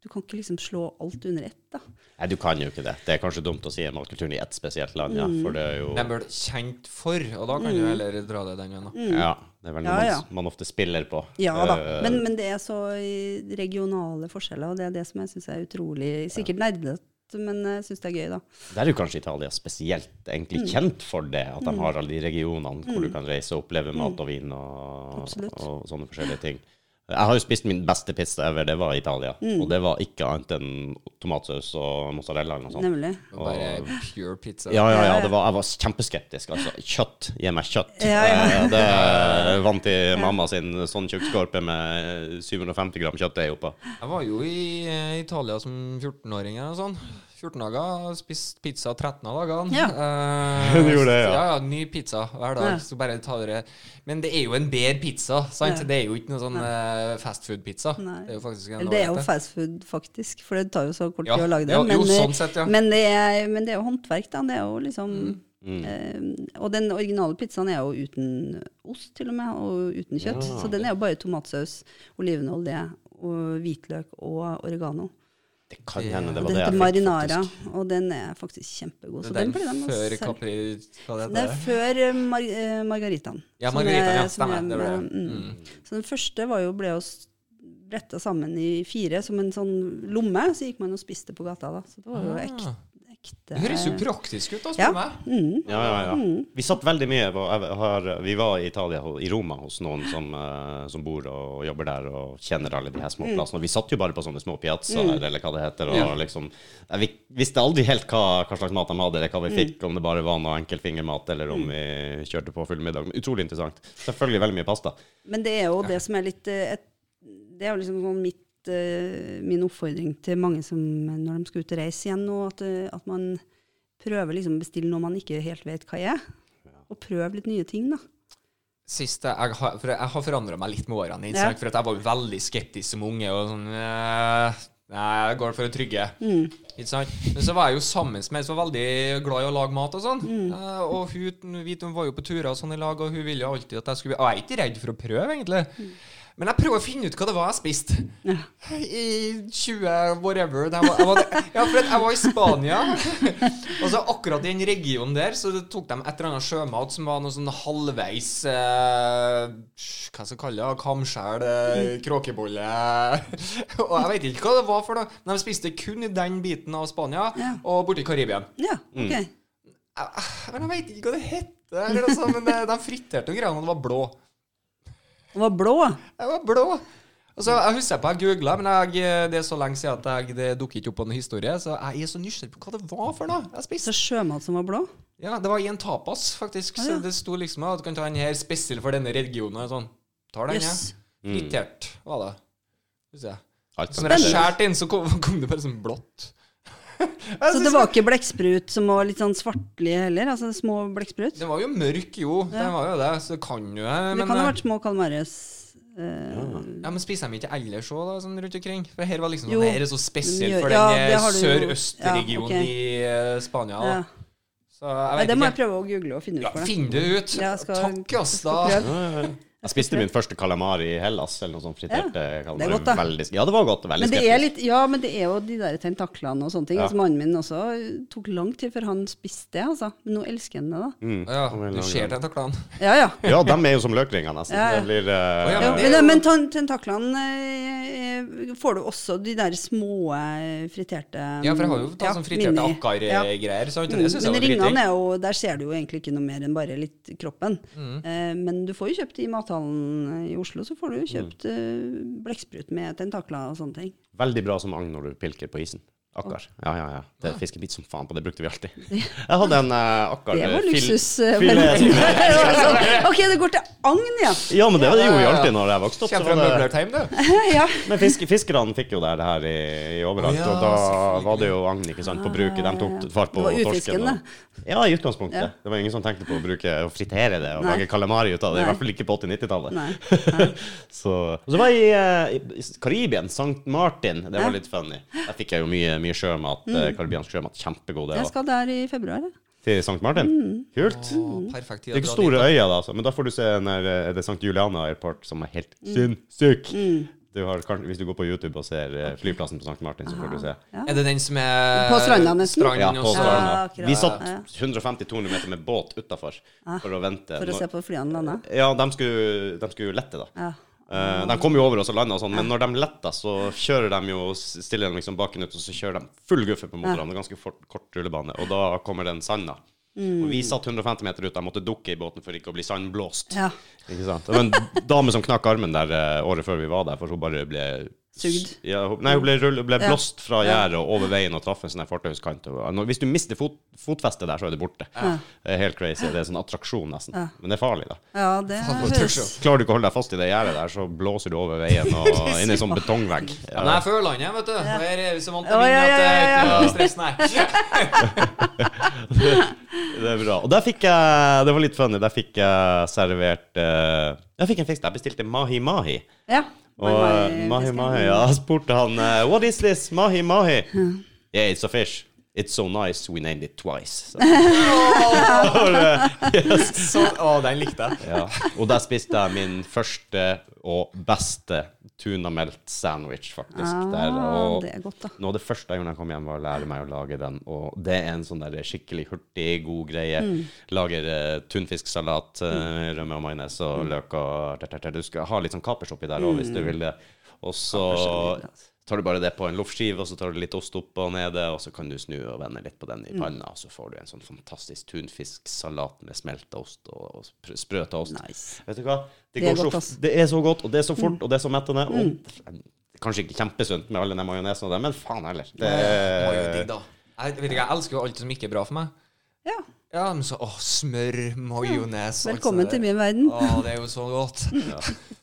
Du kan ikke liksom slå alt under ett, da. Nei, du kan jo ikke det. Det er kanskje dumt å si matkulturen Mm. i ett spesielt land, ja, for det er jo De ble kjent for, og da kan du heller dra det den veien. da. Ja. Det er vel Mm. Ja, noe man- ja. man ofte spiller på. Ja da. Eh, Men, men det er så i- regionale forskjeller, og det er det som jeg syns er utrolig Sikkert nerdete, men jeg syns det er gøy, da. Der er jo kanskje Italia spesielt egentlig Mm. kjent for det, at de har alle de regionene hvor du kan reise og oppleve mat og vin og, Mm. Absolutt. og sånne forskjellige ting. Jeg har jo spist min beste pizza ever, det var i Italia. Mm. Og det var ikke annet enn tomatsaus og mozzarella eller noe sånt. Nemlig. Bare pure pizza. Ja, ja, ja. Det var, jeg var kjempeskeptisk. Altså, kjøtt. Gi meg kjøtt. Ja, ja. Eh, Det jeg vant til mamma sin sånn tjukkskorpe med 750 gram kjøttdeig oppå. Jeg var jo i eh, Italia som 14-åring og sånn. 14 dager, spist pizza 13 av dagene. Eh, Du gjorde det, ja. ja. ja. Ny pizza hver dag. Ja. Så bare ta dere Men det er jo en bedre pizza, sant? Ja. Det er jo ikke noe sånn eh, fastfood-pizza. Nei. Det er jo faktisk en Eller det er jo ålreit, fast food, faktisk, for det tar jo så kort Ja, tid å lage det. jo- jo, eh, sånn sett, ja. men, det er, men det er jo håndverk, da. Det er jo liksom Mm. eh, Og den originale pizzaen er jo uten ost, til og med, og uten kjøtt. Ja. Så den er jo bare tomatsaus, olivenolje, og hvitløk og oregano. Det kan hende det Og var den det jeg heter fikk, marinara, faktisk. og den er faktisk kjempegod. Så det den er blir den de å før selge. Capri Hva det Det er heter det? før eh, mar eh, margaritaen. Ja, som margaritaen, er- ja, som stemmer, er- det var det. Mm. Så den første var jo, ble jo bretta sammen i fire som en sånn lomme, så gikk man og spiste på gata da. Så det var jo ekte. Ah. ekte Det høres jo praktisk ut, da, spør eh, Ja. du meg. Mm. Ja, ja, ja. Vi satt veldig mye på jeg har, Vi var i Italia, ho- i Roma, hos noen som, eh, som bor og jobber der og kjenner alle de her Mm. små plassene. Og vi satt jo bare på sånne små piazzaer, eller hva det heter. Og Ja. liksom, jeg vi- visste aldri helt hva, hva slags mat de hadde, eller hva Mm. vi fikk, om det bare var noe enkelfingermat, eller om vi kjørte på full middag. Men Utrolig interessant. Selvfølgelig veldig mye pasta. Men det er jo det som er litt eh, et, Det er jo liksom sånn mitt, eh, min oppfordring til mange som når de skal ut og reise igjen nå, at, eh, at man prøver liksom å bestille noe man ikke helt vet hva er. Og prøv litt nye ting, da. Siste, jeg har, for jeg har forandra meg litt med årene. Ikke Ja. sant? For at jeg var jo veldig skeptisk som unge. Og sånn eh, Nei, jeg går for det trygge. Ikke sant? Men så var jeg jo sammen med ei som var veldig glad i å lage mat og sånn. Eh, og hun, vi to var jo på turer og sånn i lag, og hun ville jo alltid at jeg skulle Og jeg er ikke redd for å prøve, egentlig. Men jeg prøver å finne ut hva det var jeg spiste. I 20 whatever. da Jeg var, jeg var, ja, for at jeg var i Spania. Og så akkurat i den regionen der Så det tok de et eller annet sjømat som var noe sånn halvveis eh, Hva skal jeg kalle det? Kamskjell, eh, kråkebolle Og jeg vet ikke hva det var for noe. Men de spiste kun i den biten av Spania Ja. og borti Karibia. Ja, Mm. ok. Jeg, men jeg vet ikke hva det het. Eller noe sånt, men det- de friterte noen greier, og det var blå. Den var blå. Jeg var blå. Og så, jeg husker på jeg googla, men jeg, det er så lenge siden at jeg, det dukker ikke opp på noen historie. Så jeg er så nysgjerrig på hva det var for noe jeg spiste. Så sjømat som var blå? Ja, det var i en tapas, faktisk. Ah, Så ja. det sto liksom at du kan ta den her spesiell for denne regionen. og Sånn. Tar den, Jøss. ja. Fritert var det. Skal vi se. Alt Så når jeg kan- skjærte inn, så kom, kom det bare sånn blått. Så det var ikke blekksprut som var litt sånn svartlig heller? Altså små blekksprut? Den var jo mørk, jo. Den var jo det, så det kan jo Det Men, kan ha eh, vært små kalmares eh, ja, men spiser de ikke ellers òg, da, sånn rundt omkring? For her var liksom Jo. sånn, her er så spesiell for Ja, den det eh, har du jo. Ja, sørøstregionen ok. i eh, Spania. ja. da. Så jeg Nei, vet det må jeg ikke. prøve å google og finne ut Ja, for deg. Finn det ut. Ja, jeg skal- Takk, ass, da. skal prøve. Jeg spiste min første calamari i Hellas, eller noe sånt fritert. Ja, Ja, det er godt, da. Veldig, ja, det var godt. Veldig Men det er skeptisk. litt, ja, men det er jo de der tentaklene og sånne ting. Ja. Altså, mannen min også eh, tok lang tid før han spiste det, altså. Men nå elsker han det, da. Ja, Veldig du ser tentaklene. Ja, ja. Mm. Ja, de er jo som løkringer, nesten. Ja, ja. Det blir eh, Ja, ja men det er men, jo- men ten- tentaklene eh, eh, får du også de der små eh, friterte Ja, for jeg har jo ja, tatt sånn friterte mini- ja. akkar-greier. sant? Og Mm, Det synes jeg men var dritdigg. ringene er jo Der ser du jo egentlig ikke noe mer enn bare litt kroppen. Eh, men du får jo kjøpt i mathallen eh, i Oslo, så får du jo kjøpt eh, blekksprut med tentakler og sånne ting. veldig bra som agn når du pilker på isen. Akkar. Ja, ja, ja. Det Ah. fisker litt som faen på, det brukte vi alltid. Jeg hadde en eh, akkar Det var fil- luksus. eh, filet men- som- Det var sånn, ok, det går til agn, ja. Ja, men det, var det gjorde vi Ja, ja, ja. alltid når jeg vokste sånn, opp. så Kjenner fra var det- Møblertheim, du. ja. Men fisk, fiskerne fikk jo det her i, i overalt, Å ja, og da var det jo agn ikke sant, på bruket. De tok fart på Ah, Det var torsken. utfisken, Og, ja, i utgangspunktet. Det var ingen som tenkte på å bruke å fritere det og Nei. lage kalamari ut av det. Nei. I hvert fall ikke på 80-90-tallet. Nei. så, og så var jeg i, eh, i Karibien, St. Martin. Det Ja. Mm. var litt funny. Der fikk jeg jo mye, mye sjømat. eh, Karibiansk sjømat. Kjempegod, det Jeg òg. skal der i februar. jeg. Til St. Martin? Mm. Kult. Å, Perfekt tid Det er å ikke dra store dit. Mm. øyer, da, altså. men da får du se den der, eh, det St. Juliana Airport, som er helt sinnssyk. Du har, kan- hvis du går på YouTube og ser eh, flyplassen på St. Martin, så får Ah. du se. Er det den som er På stranda nesten? stranden Ja, på og så- Ja, stranda. Ah, akkurat. Vi satt Ja. Ah, 150-200 meter med båt utafor for å vente. For å Når- se på flyene lande. Ja, de skulle, de skulle lette, da. Ja. Eh, de kom jo over oss og landa og sånn, men når de letter, så kjører de jo stiller de liksom baken ut, og så kjører de full guffe på motorene. Ganske fort, kort rullebane. Og da kommer den sanda. Mm. Og vi satt 150 meter ut, jeg måtte dukke i båten for ikke å bli sandblåst. Ja. Ikke sant? Det var en dame som knakk armen der eh, året før vi var der, for hun bare ble Sugd. Ja, hun, nei, hun ble, rull, ble Ja. blåst fra gjerdet og over veien og traff en sånn her fortauskant. Og, når- Hvis du mister fot, fotfestet der, så er det borte. Det er helt crazy. Det er sånn attraksjon, nesten. Men det er farlig, da. ja, det Faen, for høres tørsel. Klarer du ikke å holde deg fast i det gjerdet der, så blåser du over veien og inn i en sånn betongvegg. Ja, men jeg er Førlandet, vet du. Og her er vi så vant til Ja, vind ja, at det ja, ikke ja, er noe stress, nei. Det er bra. Og der fikk jeg Det var litt funny. Der fikk jeg servert eh, Jeg fikk en fiks der. Jeg bestilte mahi-mahi. Ja. Og eh, mahi mahi, ja, jeg spurte han eh, What is this? Mahi mahi. Yeah, it's a fish. It's so nice, we named it twice. Så, eh, Så, å, den likte jeg. ja. Og der spiste jeg min første og beste tunamelt sandwich, faktisk. der, Ah, og det er godt, da. noe av det første jeg gjorde da jeg kom hjem, var å lære meg å lage den. Og det er en sånn der skikkelig hurtig, god greie. Lager eh, tunfisksalat, eh, rømme og majones og løk og tert, tert, tert. Du skal ha litt sånn kapers oppi der òg, hvis du vil det. Og så altså. tar du bare det på en loffskive, og så tar du litt ost opp og nede, og så kan du snu og vende litt på den i panna, og så får du en sånn fantastisk tunfisksalat med smelta ost og, og spr- sprøta ost. Nice. Vet du hva? Det, Det er går så, godt, ass. Mm. det er så godt, og det er så fort, og det er så mettende. Og kanskje ikke kjempesunt med all den majonesen og det, men faen heller. Det, Det var jo digg, da. Jeg, vet ikke, jeg elsker jo alt som ikke er bra for meg. Ja. Ja, men så, åh, smør, majones alt Velkommen sånt til der. min verden. Mm. Å, det er jo så godt.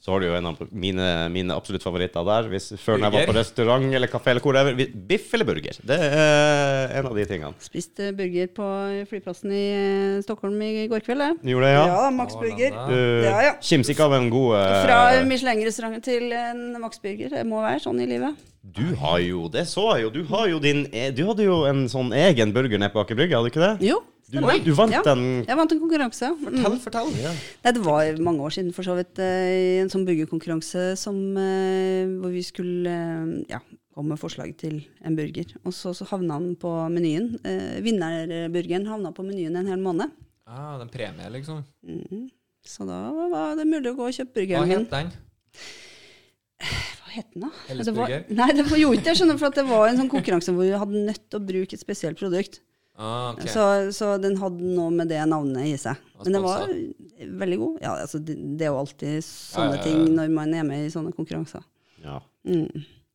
så har du jo en av mine, mine absolutt favoritter der. Hvis, før når jeg var Burger. på restaurant eller kafé eller hvor det er. vi- Biff eller burger? Det er en av de tingene. Spist eh, burger på flyplassen i eh, Stockholm i går kveld, jeg. Gjorde jeg, ja? Ja, Max Burger. Du Ja, ja. kimser ikke av en god eh, Fra Michelin-restaurant til en Max Burger. Det må være sånn i livet. Du har jo, det så jeg jo, du har jo din e- Du hadde jo en sånn egen burger nede på Aker Brygge, hadde du ikke det? Jo. Du, stemmer. du vant ja. den Jeg vant en konkurranse. Mm. Fortell, fortell. Nei, det var mange år siden, for så vidt. eh, i En sånn burgerkonkurranse som, eh, hvor vi skulle eh, ja, komme med forslag til en burger. Og så, så havna den på menyen. Eh, vinnerburgeren havna på menyen en hel måned. Ah, den premie, liksom. Så da var det mulig å gå og kjøpe Hva burgeren min. het den? Hva het den, da? Helles Det var, burger? nei, det var, gjorde ikke jeg, skjønner du, for at det var en sånn konkurranse hvor vi hadde nødt til å bruke et spesielt produkt. Ah, ok. Så, så den hadde noe med det navnet i seg. Og Men den var veldig god. Ja, altså, det, det er jo alltid sånne Ja, ja, ja. ting når man er med i sånne konkurranser. Ja, Mm.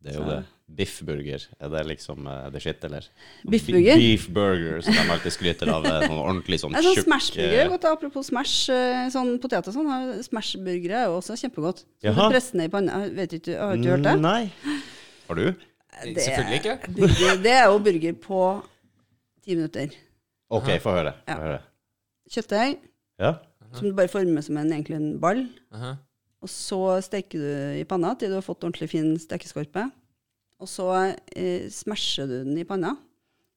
det er jo det. Biffburger, er det liksom eh, det shit, eller? Biffburger? Bi- Beefburger, som de alltid skryter av. eh, Sånn ordentlig sånn Nei, sånn tjukk, smashburger eh, er godt. da. Apropos smash, eh, sånn potet og sånn. har- Smashburgere er jo også kjempegodt. Så Jaha. du presser ned i panna. Jeg Vet ikke, har du ikke hørt det? Mm, Nei. Har du? det- Selvfølgelig ikke. Burger, det er jo burger på ti minutter. OK, få høre. Få Ja. høre. Kjøttdeig Ja. som du bare former som en, egentlig en ball. Aha. Og så steker du i panna til du har fått ordentlig fin stekeskorpe. Og så eh, smasher du den i panna,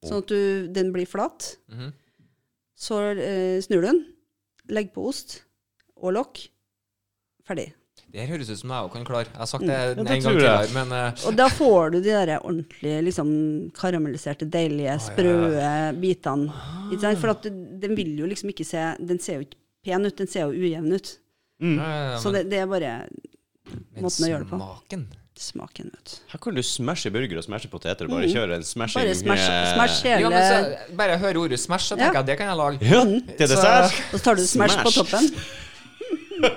sånn at du, den blir flat. Mhm. Så eh, snur du den, legger på ost og lokk. Ferdig. Det her høres ut som jeg òg kan klare. Jeg har Mm. sagt det det en gang tror jeg. tidligere, men eh, Og da får du de der ordentlige, liksom, karamelliserte, deilige, sprø bitene. Ikke sant? For at den den vil jo liksom ikke se Den ser jo ikke pen ut, den ser jo ujevn ut. ja, ja, ja, Så men- det, det er bare men måten å gjøre det på. Smaken. smaken, vet du. Her kan du smashe burger og smashe poteter og bare kjøre en smashing Mm. Bare smash, eh, smash Ja, hele men så, bare jeg hører ordet smash, så tenker jeg det kan jeg lage. Ja, til dessert. Og så tar du smash, på smash. toppen. Da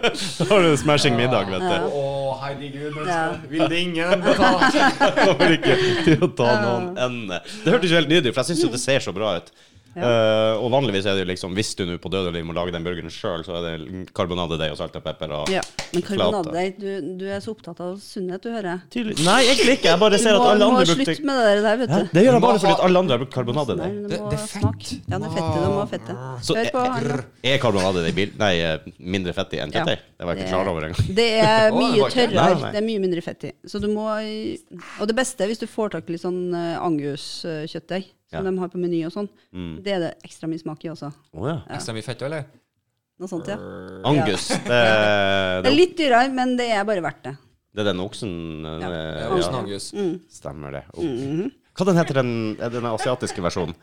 har du en smashing middag, vet Å, du. herregud, men Ja. så vil det ingen betale? Kommer ikke til å ta noen ende. Det hørtes jo helt nydelig ut, for jeg syns jo det ser så bra ut. Eh, og vanligvis er det jo liksom, hvis du nå på død og liv må lage den burgeren sjøl, så er det karbonadedeig og salt og pepper og Ja. Men Flate. karbonadedeig, du, du er så opptatt av sunnhet, du hører. jeg. Tydelig. Nei, egentlig ikke. Jeg bare Du ser at må, alle må andre slutte brukte med det der, Hæ? vet du. Det gjør jeg Du må bare fordi ha- at alle andre har brukt karbonadedeig. Nei, Det- må det er ha fett. smak. Ja, det er fett. Det må ha fett. Så Hør på han. da. er, er karbonadedeig bil- nei, eh, mindre fettig enn kjøttdeig? Ja. Det var jeg ikke klar over engang. Det Å, er det mye var ikke- tørrere. Nei, nei. Det er mye mindre fett i. Så du må Og det beste er hvis du får tak i litt sånn eh, Angus-kjøttdeig, som Ja. Mm. de har på meny og sånn. Det er det ekstra mye smak i også. Å ja. Ekstra mye fett, eller? Noe sånt, ja. Angus. Det, Det det, er litt dyrere, men det er bare verdt det. Det er den oksen? eh, Ja. Ja. Oksen Angus. Mm. Stemmer det. Ok. Mm-hmm. Hva den heter den, er det den asiatiske versjonen?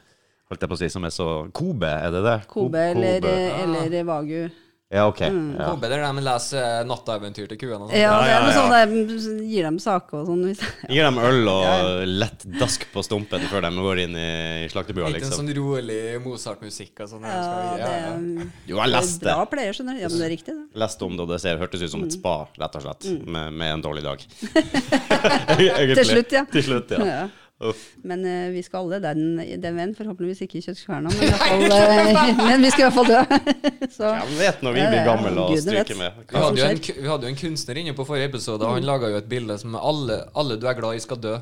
Holdt jeg på å si, som er så Kobe, er det det? Ko- Kobe eller, eh, mm, Kobe. eller Vagu. Ja, OK. Ja. Kobe, det er der de leser eh, 'Natteventyr til kuene' og sånn. Ja, Ja, det ja, er noe ja. sånn der gir dem saker og sånn. Hvis, Gir dem øl og lett dask på stumpen før de går inn i slaktebua, Litt en liksom. sånn rolig Mozart-musikk og sånn. ja, det ja. er, Jo, jeg det er leste. bra pleier, skjønner du. Ja, Mm. men det er riktig, det. Leste om det, og det ser, hørtes ut som et spa, rett og slett, med, med en dårlig dag. Mm. Til slutt, ja. Til slutt, ja. Ja. Uff. Men eh, vi skal alle den, den veien, forhåpentligvis ikke i kjøttkverna, men, i hvert fall, eh, men vi skal i hvert fall dø. Så Hvem vet når vi Ja, blir ja, gamle og gudene vet. stryker med? Vi Ja. Hva- hadde, jo en, ku- vi hadde jo en kunstner inne på forrige episode, Mm. og han laga jo et bilde som alle, alle du er glad i, skal dø.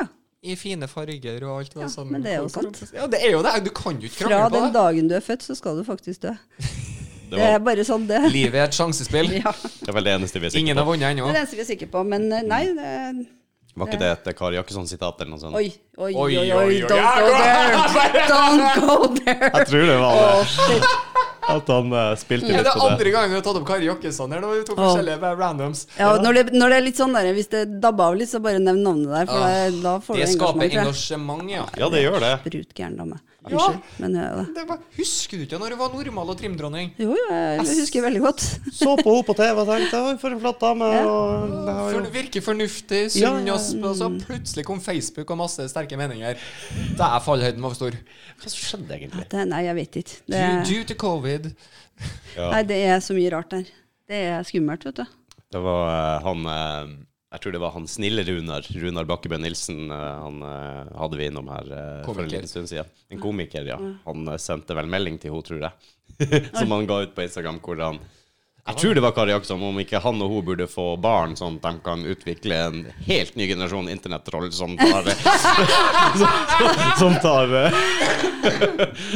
ja. I fine farger og alt det Ja, sånn. men det er jo sant. Ja, det er jo det. Du kan jo ikke Fra krangle på den det. dagen du er født, så skal du faktisk dø. Det Det er var, bare sånn det. Livet er et sjansespill. Ja. det er vel det eneste vi er sikre Ingen har på. vunnet Det er ennå. det eneste vi er sikre på. Men eh, nei, det er Var ikke det et Kari Jakkesson-sitat eller noe sånt? Oi, oi, oi, Oi, oi, oi, oi. don't go there! Don't go there! Jeg tror det var Å, det. shit. At han eh, spilte Er litt det på det. andre gangen vi har tatt opp Kari Jakkesson her? Det var jo to forskjellige bare randoms. Ja, når det, når det er litt sånn der, hvis det dabber av litt, så bare nevn navnet der, for Ah, da, da får du Det skaper engasjement. tror jeg. engasjement, ja. Ja, det gjør det. Sprut gæren dame. Ja. Unnskyld, men jeg er det. Det var, husker du ikke når du var normal og trimdronning? Jo, jeg husker veldig godt. Så på henne på TV og tenkte oi, for en flott dame. Og, det var jo- For, virker fornuftig, Ja, sunn ja. og sp- og så plutselig kom Facebook og masse sterke meninger. Da er fallhøyden var for stor. Hva som skjedde egentlig? Det, nei, jeg vet ikke. Det, Due, due to covid. nei, det er så mye rart der. Det er skummelt, vet du. Det var eh, han eh, Jeg tror det var han snille Runar. Runar Bakkebø Nilsen. eh, han eh, hadde vi innom her eh, for en Komiker. liten stund siden. En komiker, ja. Han eh, sendte vel melding til henne, tror jeg. Som han ga ut på Instagram, hvor han jeg tror det var Kari Jakkesson, om ikke han og hun burde få barn, sånn at de kan utvikle en helt ny generasjon internettroll som tar Som tar eh,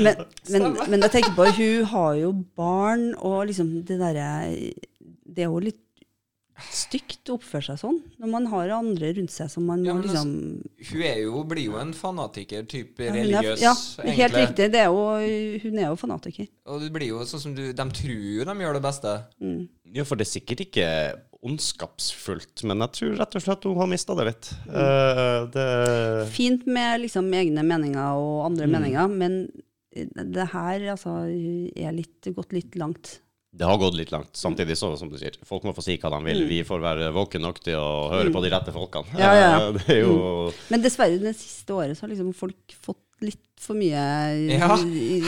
Men, men, men jeg tenker på, hun har jo barn, og liksom det derre Det er jo litt stygt å oppføre seg sånn, når man har andre rundt seg som man Ja, må men altså, liksom Hun er jo, blir jo en fanatiker, type Ja, hun er, religiøs, ja, helt egentlig. riktig. Det er jo, hun er jo fanatiker. Og det blir jo sånn som du, de tror jo de gjør det beste. Ja, for det er sikkert ikke ondskapsfullt, men jeg tror rett og slett hun har mista det litt. Mm. Eh, det Fint med liksom egne meninger og andre Mm. meninger, men det her altså er litt, gått litt langt. Det har gått litt langt. Samtidig så, som du sier, folk må få si hva de vil. Vi får være våkne nok til å høre på de rette folkene. Mm. Ja, ja, ja. Mm. Eh, Det er jo Men dessverre, det siste året så har liksom folk fått litt for mye Ja.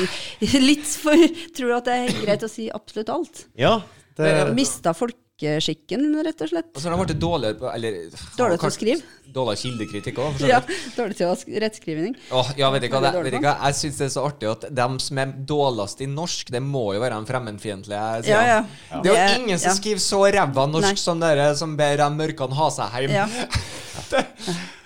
Litt for Tror at det er helt greit å si absolutt alt. Ja. Det, Mista folkeskikken, rett og slett. Og så har de blitt dårligere på Eller Dårlig til å skrive. Dårligere kildekritikk òg, for så Ja, vidt. dårlig til å sk- rettskrivning. Åh, ja, vet ikke hva det Veldig dårlig vet ikke hva. Jeg syns det er så artig at dem som er dårligst i norsk, det må jo være de fremmedfiendtlige. sier Ja, ja. han. Det er Ja. jo ingen som Ja. skriver så ræva norsk Nei. som dere som ber de mørkene ha seg hjem. Ja.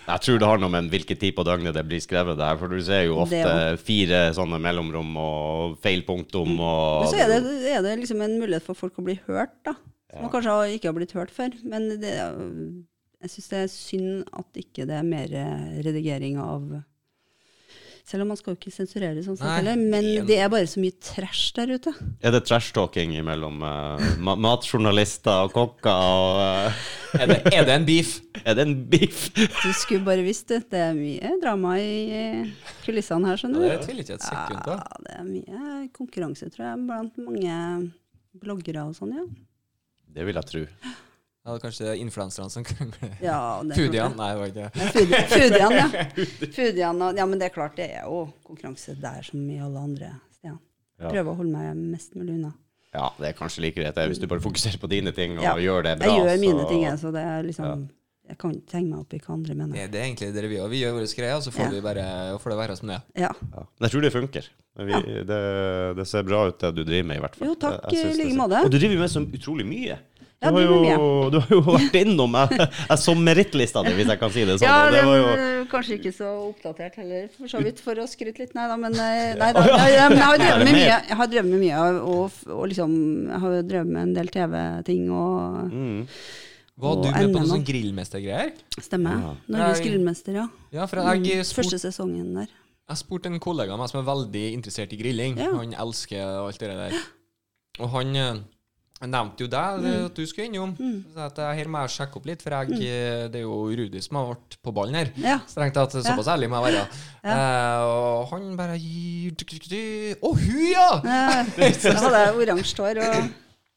jeg tror det har noe med hvilken tid på døgnet det blir skrevet der, for du ser jo Det ofte fire sånne mellomrom og feil punktum og Mm. Men så er det, er det liksom en mulighet for folk å bli hørt, da. Som man kanskje har- ikke har blitt hørt før. Men det, er jo- jeg syns det er synd at ikke det er mer eh, redigering av Selv om man skal jo ikke sensurere sånn sett Nei. heller, men det er bare så mye trash der ute. Er det trash-talking mellom eh, ma matjournalister og kokker og Er, det, er det en beef? eh, Er det en biff? Du skulle bare visst det. Det er mye drama i eh, kulissene her, skjønner du. Det tviler ikke et sekund på. Ja, det er mye konkurranse, tror jeg, blant mange bloggere og sånn, ja. Det vil jeg tro. Ja, det er kanskje influenserne som krangler. ja det er klart det. Foodian? Nei, det var ikke det. Nei, Food, foodian, ja. Foodian, og- ja, men det er klart, det er jo konkurranse der som i alle andre steder. Ja. Prøve å holde meg mest mulig unna. Ja, det er kanskje like greit det, hvis du bare fokuserer på dine ting og Ja. gjør det Jeg bra. gjør mine så- ting, jeg, så det er liksom Jeg kan ikke henge meg opp i hva andre Det, mener. det er egentlig det vi gjør. Vi gjør våre greier, og så får, Ja. vi bare, og får det være som det er. Ja. Ja. Men jeg tror det funker. Vi, det, det ser bra ut, det du driver med, i hvert fall. Jo, takk, Jeg- jeg synes i like det ser- måte. Og du driver med så utrolig mye. Du, Ja, har, driver jo, du har jo vært innom Jeg, jeg så merittlista di, hvis jeg kan si det sånn. Ja, og det var jo, kanskje ikke så oppdatert heller, for så vidt, for å skryte litt. Nei da, men eh, nei, da, nei, ja, men jeg har drevet med mye. Jeg har drevet med mye, og, og liksom Jeg har jo drevet med en del TV-ting og Mm. Var Og du med på NM. noen sånn grillmestergreier? Stemmer. Norges Nei. grillmester, ja. Ja, for jeg Mm, Første spurte sesongen der. Jeg spurte en kollega av meg som er veldig interessert i grilling. Ja. Han elsker alt det der. Og han eh, Jeg nevnte jo deg, Mm. det at du skulle innom. Så at jeg, her må jeg sjekke opp litt, for jeg, eh, det er jo Rudi som har vært på ballen her. Ja. Strengt tatt. Såpass ærlig må jeg være. Eh, og han bare gir Å, hun, ja! Eh, Da hadde jeg oransje hår. Og,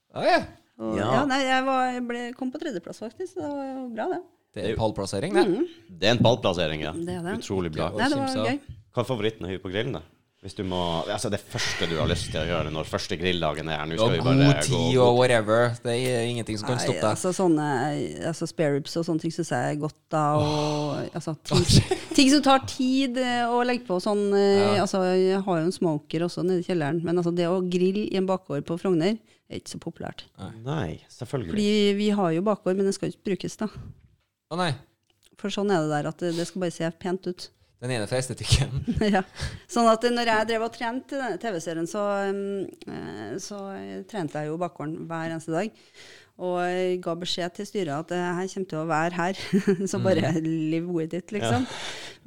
Ja, ja. og, ja. Ja. nei, jeg, var, jeg ble, kom på tredjeplass, faktisk. så Det var jo bra, det. Det er pallplassering, Mm. det. Det er en pallplassering, ja. Det er det. Utrolig bra. Og Nei, det kimsa. var gøy. Hva er favoritten å hive på grillen, da? Hvis du må, altså Det første du har lyst til å gjøre når første grilldagen er her Nå Og skal vi bare god gå tid og whatever. Det er ingenting som kan Nei, stoppe deg. Altså, sånne altså spareribs og sånne ting syns jeg er godt da. Og, altså, ting, ting som tar tid eh, å legge på sånn eh, altså, Jeg har jo en smoker også nede i kjelleren, men altså, det å grille i en bakgård på Frogner er ikke så populært. Nei, selvfølgelig. Fordi vi har jo bakgård, men den skal jo ikke brukes, da. Å nei. For sånn er det der at det, det skal bare se pent ut. Den ene fra estetikken. ja. Sånn at når jeg drev og trente i denne TV-serien, så, um, eh, så trente jeg jo bakgården hver eneste dag. Og jeg ga beskjed til styret at eh, jeg kommer til å være her, så bare live with it, liksom.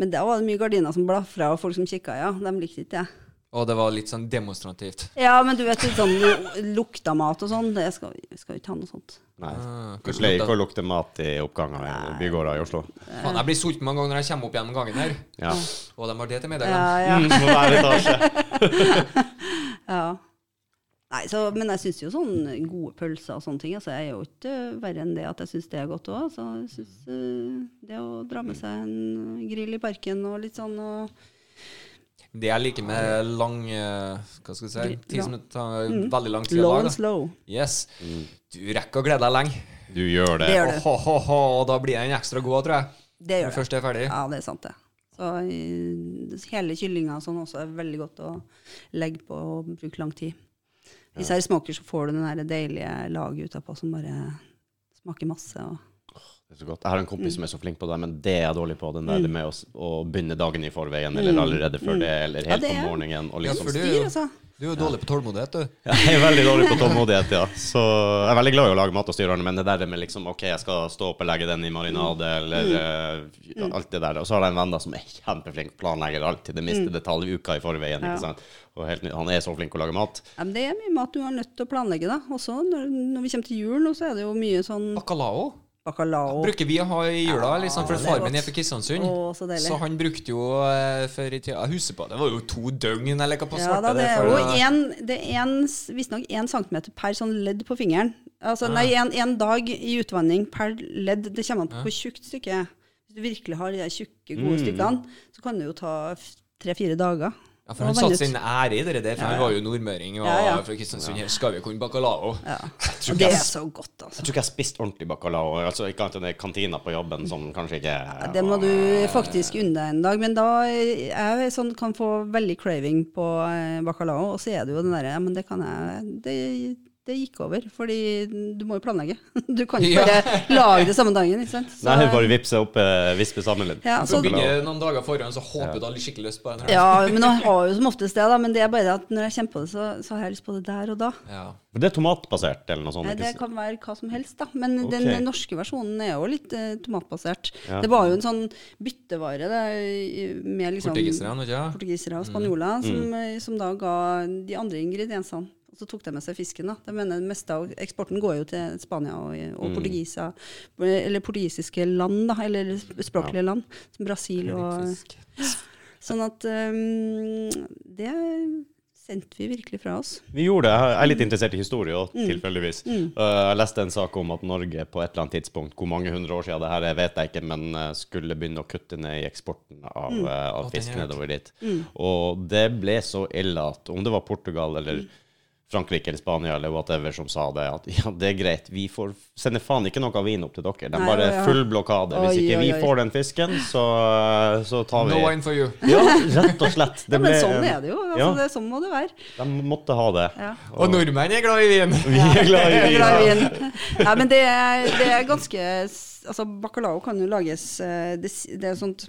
Men da var det mye gardiner som blafra, og folk som kikka, ja. De likte ikke jeg. Og det var litt sånn demonstrativt. Ja, men du vet, litt sånn lu- lukta mat og sånn, det skal, jeg skal jo ikke ha noe sånt. Nei. Ah, Du pleier ikke å lukte mat i oppganger i bygårder i Oslo. Faen, jeg blir sulten mange ganger når jeg kommer opp gjennom gangen her. Ja. Og de har det til Ja, middagen. ja. Mm, må være etasje. Ja. Nei, så, men jeg syns jo sånn gode pølser og sånne ting. Altså, jeg er jo ikke verre enn det at jeg syns det er godt òg. Så jeg syns eh, det å dra med seg en grill i parken og litt sånn og Det jeg liker med lang eh, Hva skal jeg si? Gri- Tid som tar Mm. veldig lang tid low å lage. and da. slow. Yes. Du rekker å glede deg lenge. Du gjør det. Det gjør du. Ho, ho, ho, og da blir den ekstra god, tror jeg. Det Når gjør det. først det er ferdig. Ja, det er sant, det. Så eh, hele kyllinga og sånn også er veldig godt å legge på og bruke lang tid. Især i smaker så får du den der deilige laget utapå som bare smaker masse. Og Det er så godt. Jeg har en kompis som er så flink på det, men det er jeg dårlig på. Den der med å, s- å begynne dagen i forveien, eller allerede før det, eller helt det om er- morgenen. Og Ja, liksom. for du, dyr, altså. du er jo dårlig på tålmodighet, du. Jeg er veldig dårlig på tålmodighet, ja. Så jeg er veldig glad i å lage mat og styre, men det der med liksom OK, jeg skal stå opp og legge den i marinade, eller eh, alt det der. Og så har jeg en venn da som er kjempeflink, planlegger alt til det minste detalj uka i forveien. Ja. ikke sant? Og helt, ny- han er så flink å lage mat. Ja, men det er mye mat du er nødt til å planlegge, da. Også når, når vi kommer til jul nå, så er det jo mye sånn Bacalao bacalao. bruker vi å ha i jula, liksom, for det er far min godt. er fra Kristiansund. Å, så deilig. så han brukte jo eh, før i tida Jeg husker på, det var jo to døgn jeg lekka på Ja svarte. da, det er for jo å- en, det er en, s- visstnok én centimeter per sånn ledd på fingeren. Altså, Nei, én dag i utvanning per ledd. Det kommer an på hvor tjukt stykket er. Hvis du virkelig har de der tjukke, gode Mm. stykkene, så kan det jo ta f- tre-fire dager. Ja, for å han vanne satte ut. sin ære i det der, for han var jo nordmøring og Ja, ja. fra Kristiansund. Her skal vi kunne bacalao. Ja. Jeg tror ikke Og jeg det er s- så godt, altså. Jeg tror ikke jeg har spist ordentlig bacalao. altså Ikke annet enn i kantina på jobben, som kanskje ikke Det må du faktisk unne deg en dag. Men da eh, jeg er sånn, kan få veldig craving på eh, bacalao, og så er det jo den derre Ja, men det kan jeg det, det gikk over, fordi du må jo planlegge. Du kan ikke bare lage det samme dagen, ikke sant. Så, Nei, bare vipse opp eh, vispe sammen litt. Ja, Så så- Bacalao. begynner noen dager forhånd, så håper du har litt skikkelig lyst på den. her. ja, men jeg har jo som oftest det, da. Men det er bare at når jeg kjenner på det, så, så har jeg lyst på det der og da. Ja. For Det er tomatbasert eller noe sånt? Nei, ikke det s- kan være hva som helst, da. Men Ok. den norske versjonen er jo litt eh, tomatbasert. Ja. Det var jo en sånn byttevare det, i- med liksom Portugiserne, vet du ja. portugisere Mm. og spanjoler som, eh, som da ga de andre ingrediensene. Og så tok de med seg fisken. da. Jeg mener, det meste av eksporten går jo til Spania og, og Mm. portugiser, eller portugisiske land, da, eller språklige land, som Brasil og Fisk. Sånn at eh, det sendte vi virkelig fra oss. Vi gjorde det. Jeg er Mm. litt interessert i historie òg, tilfeldigvis. Uh, jeg leste en sak om at Norge på et eller annet tidspunkt, hvor mange hundre år siden det her er, vet jeg ikke, men uh, skulle begynne å kutte ned i eksporten av, Mm. uh, av den fisk er nedover dit. Og det ble så ille at om det var Portugal Mm. eller Frankrike eller Spania eller whatever som sa det, at ja, det er greit, vi får sende faen ikke noe av vin opp til dere. De Nei, bare ja, ja. full blokade. Hvis Oi, ikke oi, oi. vi får den fisken, så, så tar vi No wine for you. Ja, rett og slett. Det Ja, men ble sånn en- er det jo. Altså, Ja. det, sånn må det være. De måtte ha det. Ja. Og nordmenn er glad i vin! Vi er glad i Det er vin. bra vin. Ja, men det er, det er ganske s- Altså, bacalao kan jo lages eh, Det, s- det er et sånt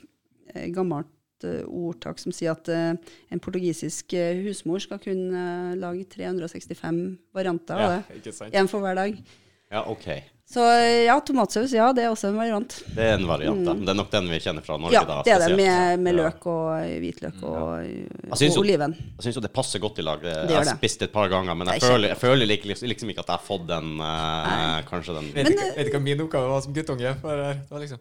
eh, gammelt eh, ordtak som sier at eh, en portugisisk eh, husmor skal kunne eh, lage 365 varianter av det. Ikke sant? Én for hver dag. Ja, ok. Så eh, ja, tomatsaus, ja, det er også en variant. Det er en variant, da. Men Det er nok den vi kjenner fra Norge, Mm. Ja, da. det er det spesielt. med, Ja. med Mm, løk og eh, hvitløk og, Jeg og synes jo- oliven. Jeg syns jo det passer godt i lag. Jeg gjør har det. spist det et par ganger, men jeg Det er føler, jeg føler lik- liksom, liksom ikke at jeg har fått den eh, Kanskje den Vet, ikke, vet ikke hva min oppgave var som guttunge. For det var liksom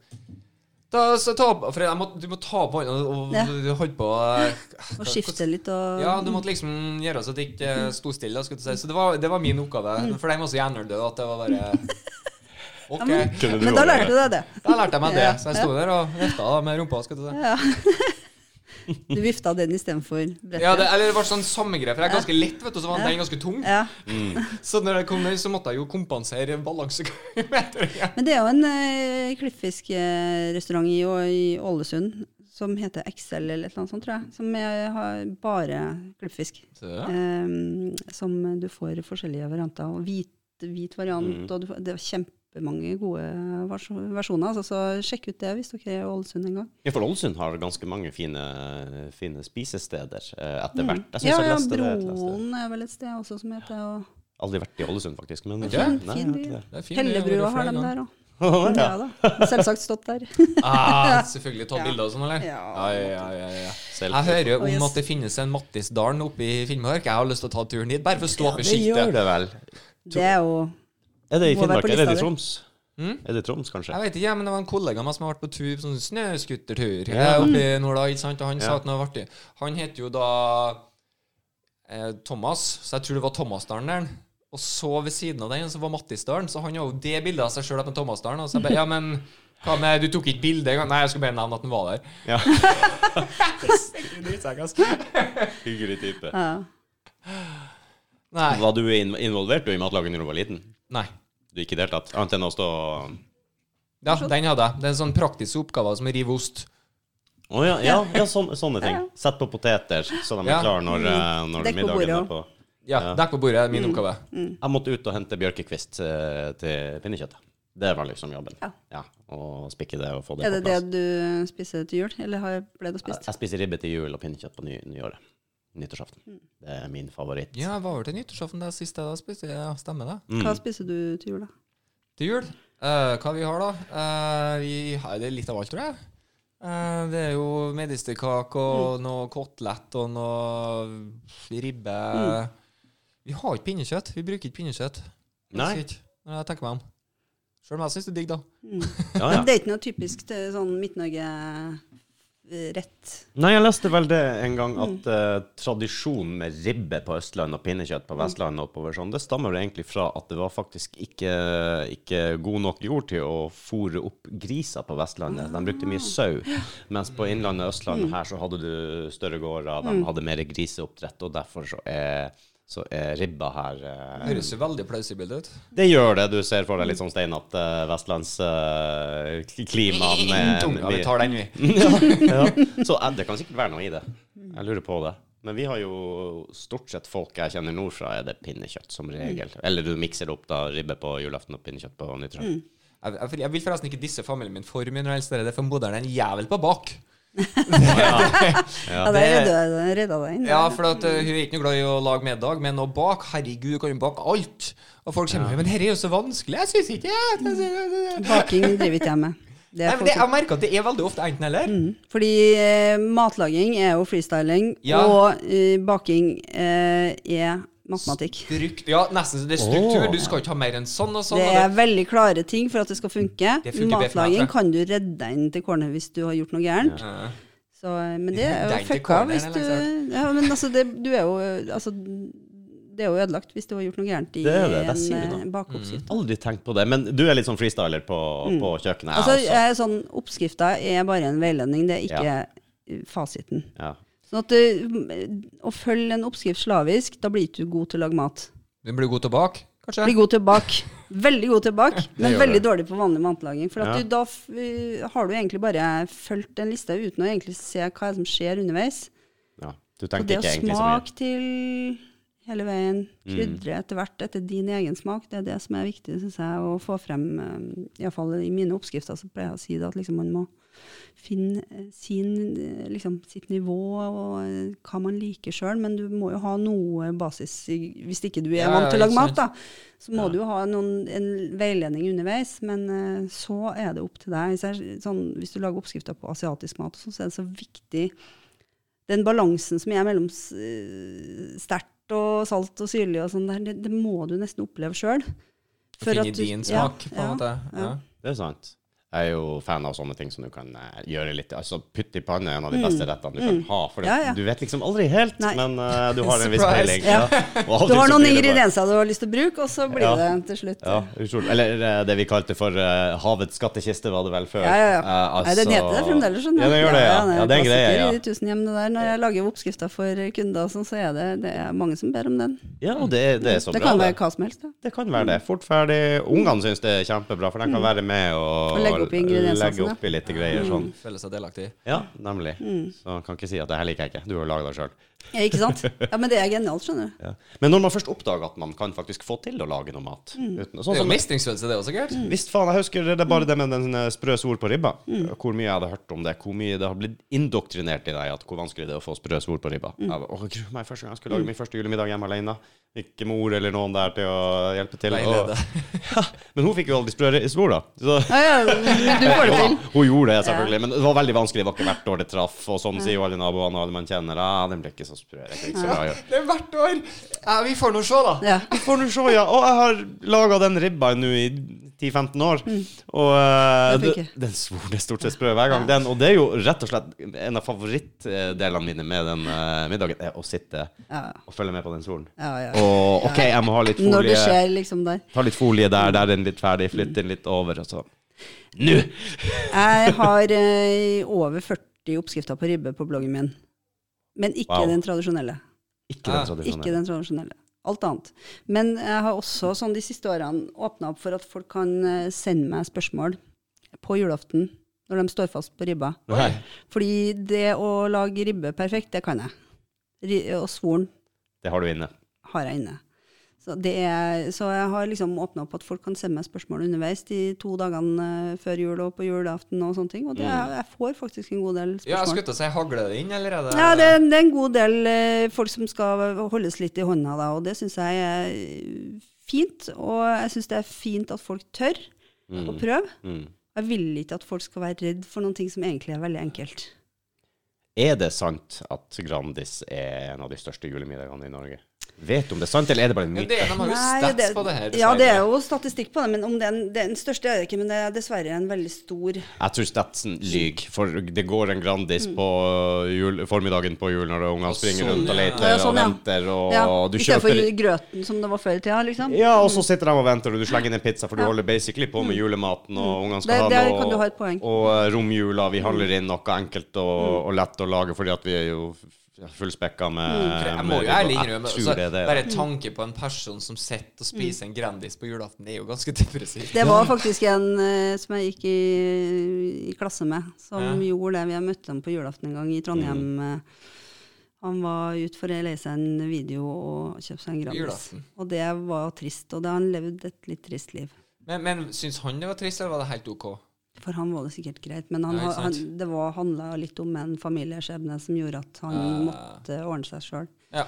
da, så ta opp, for jeg må, Du må ta opp hånda og Ja. du holdt på eh, Og skifte litt og Ja, du måtte liksom gjøre så at det ikke eh, sto stille. da, skulle jeg til å si. Så det var, det var min oppgave. Mm. For de var så hjernedøde at det var bare Ja, OK. men, Kunne du men overleve? da lærte du deg det. Da lærte jeg meg det. Så jeg sto der og vifta da med rumpa. Skal du si. Ja. Du vifta den istedenfor brettet. Ja, det, eller det var sånn samme greie, for jeg er ganske lett, vet du, så var den ganske tung. Ja. Mm. Så når jeg kom ned, så måtte jeg jo kompensere balansemeteren. Men det er jo en uh, klippfiskrestaurant i, i Ålesund som heter Excel eller et eller annet sånt, tror jeg. Som er, har bare klippfisk. Ehm, som du får i forskjellige varianter. Og hvit, hvit Mm. variant. Og du, får- det er kjempemange gode vers versjoner. Altså, så sjekk ut det hvis dere er i Ålesund en gang. Ja, for Ålesund har ganske mange fine, fine spisesteder eh, etter hvert. Jeg synes Mm. Ja, jeg ja, leste det et eller annet sted. Broen er vel et sted også som heter og Aldri vært i Ålesund, faktisk. Men Ikke? Nei, jeg Fin har ikke det. Det er fint, Hellebrua har de der òg. Ja da. Selvsagt stått der. Ah, selvfølgelig tatt Ja. bilder og sånn, eller? Ja. ja, ja, ja, ja. Jeg Selfie. hører jo Å, yes. om at det finnes en Mattisdalen oppe i Finnmark. Jeg har lyst til å ta turen dit, bare for å stå opp i Det gjør skiltet. det vel. Det er jo Er det i Må være på Finnmark? Er det lista i di. Troms? Mm? Er det i Troms, kanskje? Jeg vet ikke, ja, men det var en kollega av meg som har vært på tur, sånn snøskutertur eh, Ja. oppe i Norda, ikke sant? Og han sa Ja. at noe artig. Han heter jo da eh, Thomas, så jeg tror det var Thomasdalen der. Og så ved siden av den så var Mattisdalen, så han har jo det bildet av seg sjøl på Thomasdalen. Og så jeg bare, ja, men hva med Du tok ikke bilde engang? Nei, jeg skulle bare nevne at den var der. Ja. Dritsekk, ass. Hyggelig type. ja. Nei. Var du in- involvert du i matlaging da du var liten? Nei. Du ikke deltatt? Annet enn å stå Ja, den hadde jeg. Det er en sånn praktisk oppgave som å rive ost. Å ja, ja, ja sånn- sånne, sånne ting. Ja, Mm. ja. Sett på poteter, så de er Ja. klare når, eh, når Dekk på middagen bordet er også. på. Ja, Ja. Mm. Dekk på bordet er min oppgave. Jeg måtte ut og hente bjørkekvist eh, til pinnekjøttet. Det var liksom jobben. Ja. Og spikke det og få det Er det på det plass. du spiser til jul, eller har pleid å Jeg, spise? jeg spiser ribbe til jul og pinnekjøtt på ny, nyåret. Mm. Nyttårsaften. Det er min favoritt. Ja, jeg var vel til nyttårsaften der sist jeg da spiste. Ja, stemmer det. Hva spiser du til jul, da? Til jul, eh, hva vi har da? Eh, vi har det er litt av alt, tror jeg. Eh, det er jo medisterkake og noe kotelett og noe ribbe. Vi har ikke pinnekjøtt. Vi bruker ikke pinnekjøtt. Nei. Faktisk ikke, Når jeg tenker meg om. Selv om jeg syns det er digg, da. Ah, Ja, Men ja. Det er ikke noe typisk til sånn Midt-Norge-rett. Nei, jeg leste vel det en gang Mm. at eh, tradisjonen med ribbe på Østlandet og pinnekjøtt Mm. på Vestlandet og oppover sånn, det stammer vel egentlig fra at det var faktisk ikke, ikke god nok jord til å fôre opp griser på Vestlandet. De brukte mye sau, mens på Innlandet og Mm. Østlandet her så hadde du større gårder, de hadde mer griseoppdrett, og derfor så er, så er ribba her eh, Høres jo veldig plausibilt ut. det gjør det. Du ser for deg litt sånn steinete uh, vestlandsklima eh, med, Tunga, Mm. vi med tar den, vi. ja, ja. Så eh, det kan sikkert være noe i det. Jeg lurer på det. Men vi har jo stort sett folk jeg kjenner nordfra, er det pinnekjøtt Mm. som regel. Eller du mikser det opp da, ribbe på julaften og pinnekjøtt på nyttårsaften. Mm. Jeg, jeg, jeg vil forresten ikke disse familien min for mye når jeg helst er det, for moderen er en jævel på bak. Ja, der det- redda jeg- redda deg inn. Ja, for at, uh, hun er ikke noe glad i å lage middag, men å bake Herregud, du kan jo bake alt. Og folk kommer Men dette er jo så vanskelig. Jeg syns ikke jeg- jeg synes- Baking driver ikke jeg med. Det Nei, er men det, folk Jeg merker at det er veldig ofte enten-eller. Mm. Fordi eh, matlaging er jo freestyling, Ja. og eh, baking eh, er matematikk. Ja, nesten så det er struktur. Du skal ikke ha mer enn sånn og sånn. Det og er veldig klare ting for at det skal funke. Det funker bedre for meg, tror Matlaging jeg. kan du redde deg inn til kornet hvis du har gjort noe gærent. det- Ja. Så, eh, men det Redde er jo deg til fucka corneren, hvis du Ja, men altså, det, du er jo Altså, det er jo ødelagt hvis du har gjort noe gærent i Det er det, det en sier du eh, bakeoppskrift. Mm. Aldri tenkt på det. Men du er litt sånn freestyler på, på kjøkkenet. Altså, jeg også. jeg er sånn, oppskrifta er bare en veiledning, det er ikke eh, fasiten. Ja. Sånn at eh, å følge en oppskrift slavisk, da blir ikke du god til å lage mat. Du blir god til å bake, kanskje? Blir god til å bake. Veldig god til å bake, men gjør veldig det. dårlig på vanlig matlaging. For Ja. at du, da f- eh, har du egentlig bare fulgt en liste uten å egentlig se hva som skjer underveis. Ja. Du Og tenkte det å ikke egentlig så mye. smake til hele veien, krydre etter hvert etter din egen smak, det er eh, det som er viktig, syns jeg, å få frem. Iallfall i mine oppskrifter så pleier jeg å si det, at liksom man må finne eh, sin, eh, liksom, sitt nivå og eh, hva man liker sjøl. Men du må jo ha noe basis i, hvis ikke du er Ja, vant til å ja, lage ikke mat. da. Så må du jo ha noen, en veiledning underveis, men eh, så er det opp til deg. Så er, sånn, hvis du lager oppskrifter på asiatisk mat, og sånn, så er det så viktig den balansen som er mellom s- eh, sterkt og salt og syrlig og sånn der, det, det må du nesten oppleve sjøl. Finne din smak, på en måte. Ja. Det er sant. Jeg er jo fan av sånne ting som du kan eh, gjøre litt Altså, Pytt i panne er en av de beste rettene du kan ha. For Mm. Ja, ja. du vet liksom aldri helt, Nei. men eh, du har en viss Surprise. peiling. Ja. Og av og Du til så blir har noen det bare- ingredienser du har lyst til å bruke, og så blir Ja. det til slutt. Ja, utrolig. Eller eh, det vi kalte for eh, havets skattkiste, var det vel før. Ja, ja, ja. Eh, Nei, den heter det fremdeles, skjønner Ja, den gjør det, ja. ja, det er en klassiker greie, i de ja. tusen hjem, det der. Når jeg lager oppskrifter for kunder, og sånn, så er det, det er mange som ber om den. Ja, og det, det er så det bra. kan det. være hva som helst. Da. Det kan være det. Fort ferdig. Ungene syns det er kjempebra, for de kan være med og, Mm. Og legge opp i ingrediensene Mm. legge opp i litt greier sånn. Føle Mm. seg delaktig. Ja, nemlig. Så han kan ikke si at det her liker jeg ikke, du har laga det sjøl. Ja, ikke sant? Ja, men det er genialt, skjønner du. Ja. Men når man først oppdager at man kan faktisk få til å lage noe mat Mm. uten, Det Sånn er jo som mestringsfølelse, det også, sikkert. Visst faen, jeg husker det er bare det med den eh, sprø svor på ribba. Mm. Hvor mye jeg hadde hørt om det. Hvor mye det har blitt indoktrinert i deg at hvor vanskelig det er å få sprø svor på ribba. Mm. Jeg bare, Åh, gru meg første gang jeg skulle lage min første julemiddag hjemme alene. Ikke mor eller noen der til å hjelpe til. Veilede. ja, men hun fikk jo aldri sprø ri- svor, da. Så, Ja, ja, men du får det til. Ja, hun gjorde det, selvfølgelig. Men det var veldig vanskelig. Det var ikke hvert år det traff. Og sånn sier jo alle naboene og alle man kjenner. Ah, den ble ikke så sprø. Det er ikke så bra å gjøre. Det er hvert år! Ja, vi får nå se, da. Ja. Får du se, ja. Og jeg har laga den ribba nå i 10-15 år. Mm. Og eh, Den fikk d- jeg. den svor det stort sett sprø hver gang. Den, og det er jo rett og slett en av favorittdelene mine med den eh, middagen, er å sitte Ja, og følge med på den svoren. ja, ja. Og OK, jeg må ha litt Når folie. det skjer liksom der. Ta litt folie der, der er den litt ferdig, flytt den litt over, og så Nå! Jeg har eh, over 40 oppskrifter på ribbe på bloggen min, men ikke Wow. den tradisjonelle. Ikke Ah, den tradisjonelle. Ikke den tradisjonelle. Alt annet. Men jeg har også sånn de siste årene åpna opp for at folk kan eh, sende meg spørsmål på julaften når de står fast på ribba. Nei. Fordi det å lage ribbe perfekt, det kan jeg. Ri og svoren Det har du inne. har jeg inne. Så, det er, så jeg har liksom åpna opp at folk kan sende meg spørsmål underveis de to dagene eh, før jul og på julaften og sånne ting. Og det, er- jeg får faktisk en god del spørsmål. Mm. Ja, jeg skulle til å si, hagler det inn, eller er det Ja, det, det er en god del eh, folk som skal holdes litt i hånda, da, og det syns jeg er eh, fint. Og jeg syns det er fint at folk tør å prøve. Mm. Jeg vil ikke at folk skal være redd for noen ting som egentlig er veldig enkelt. Er det sant at Grandis er en av de største julemiddagene i Norge? Vet du om det er sant, eller er det bare en Ja, myte? det er, De har jo Nei, stats det- på det her. Ja, det er dessverre. jo statistikk på det, men om den, den største er det ikke. Men det er dessverre en veldig stor Jeg tror Statsen lyver, for det går en Grandis på jul, formiddagen på jul når ungene springer sånn, rundt og ja. leter Ja, Mm. sånn, og ja. venter, og ja, du Istedenfor kjøper grøten som det var før i tida, liksom. ja, og så sitter de og venter, og du slenger inn en pizza, for du holder basically på Mm. med julematen, og ungene skal Der- ha der noe, kan du ha et poeng. Mm. og eh, romjula, vi handler inn noe enkelt og, og lett å lage, fordi at vi er jo fullspekka med Mm. For Eh, Jeg må med- jo ærlig innrømme Jeg tror altså, det er det. Bare tanke på en person som sitter og spiser en Grandis på julaften, det er jo ganske depressivt. Det var faktisk en eh, som jeg gikk i, i klasse med, som Ja. gjorde det. Vi har møtt ham på julaften en gang i Trondheim. Mm. eh, Han var ute for å lese en video og kjøpe seg en Grandis. Julaften. Og det var trist. Og det han levde et litt trist liv. Men, men syns han det var trist, eller var det helt OK? For han var det sikkert greit, men han, Ja, ikke ha- han, sant. det var- handla litt om en familieskjebne som gjorde at han Eh. måtte ordne seg sjøl. Ja.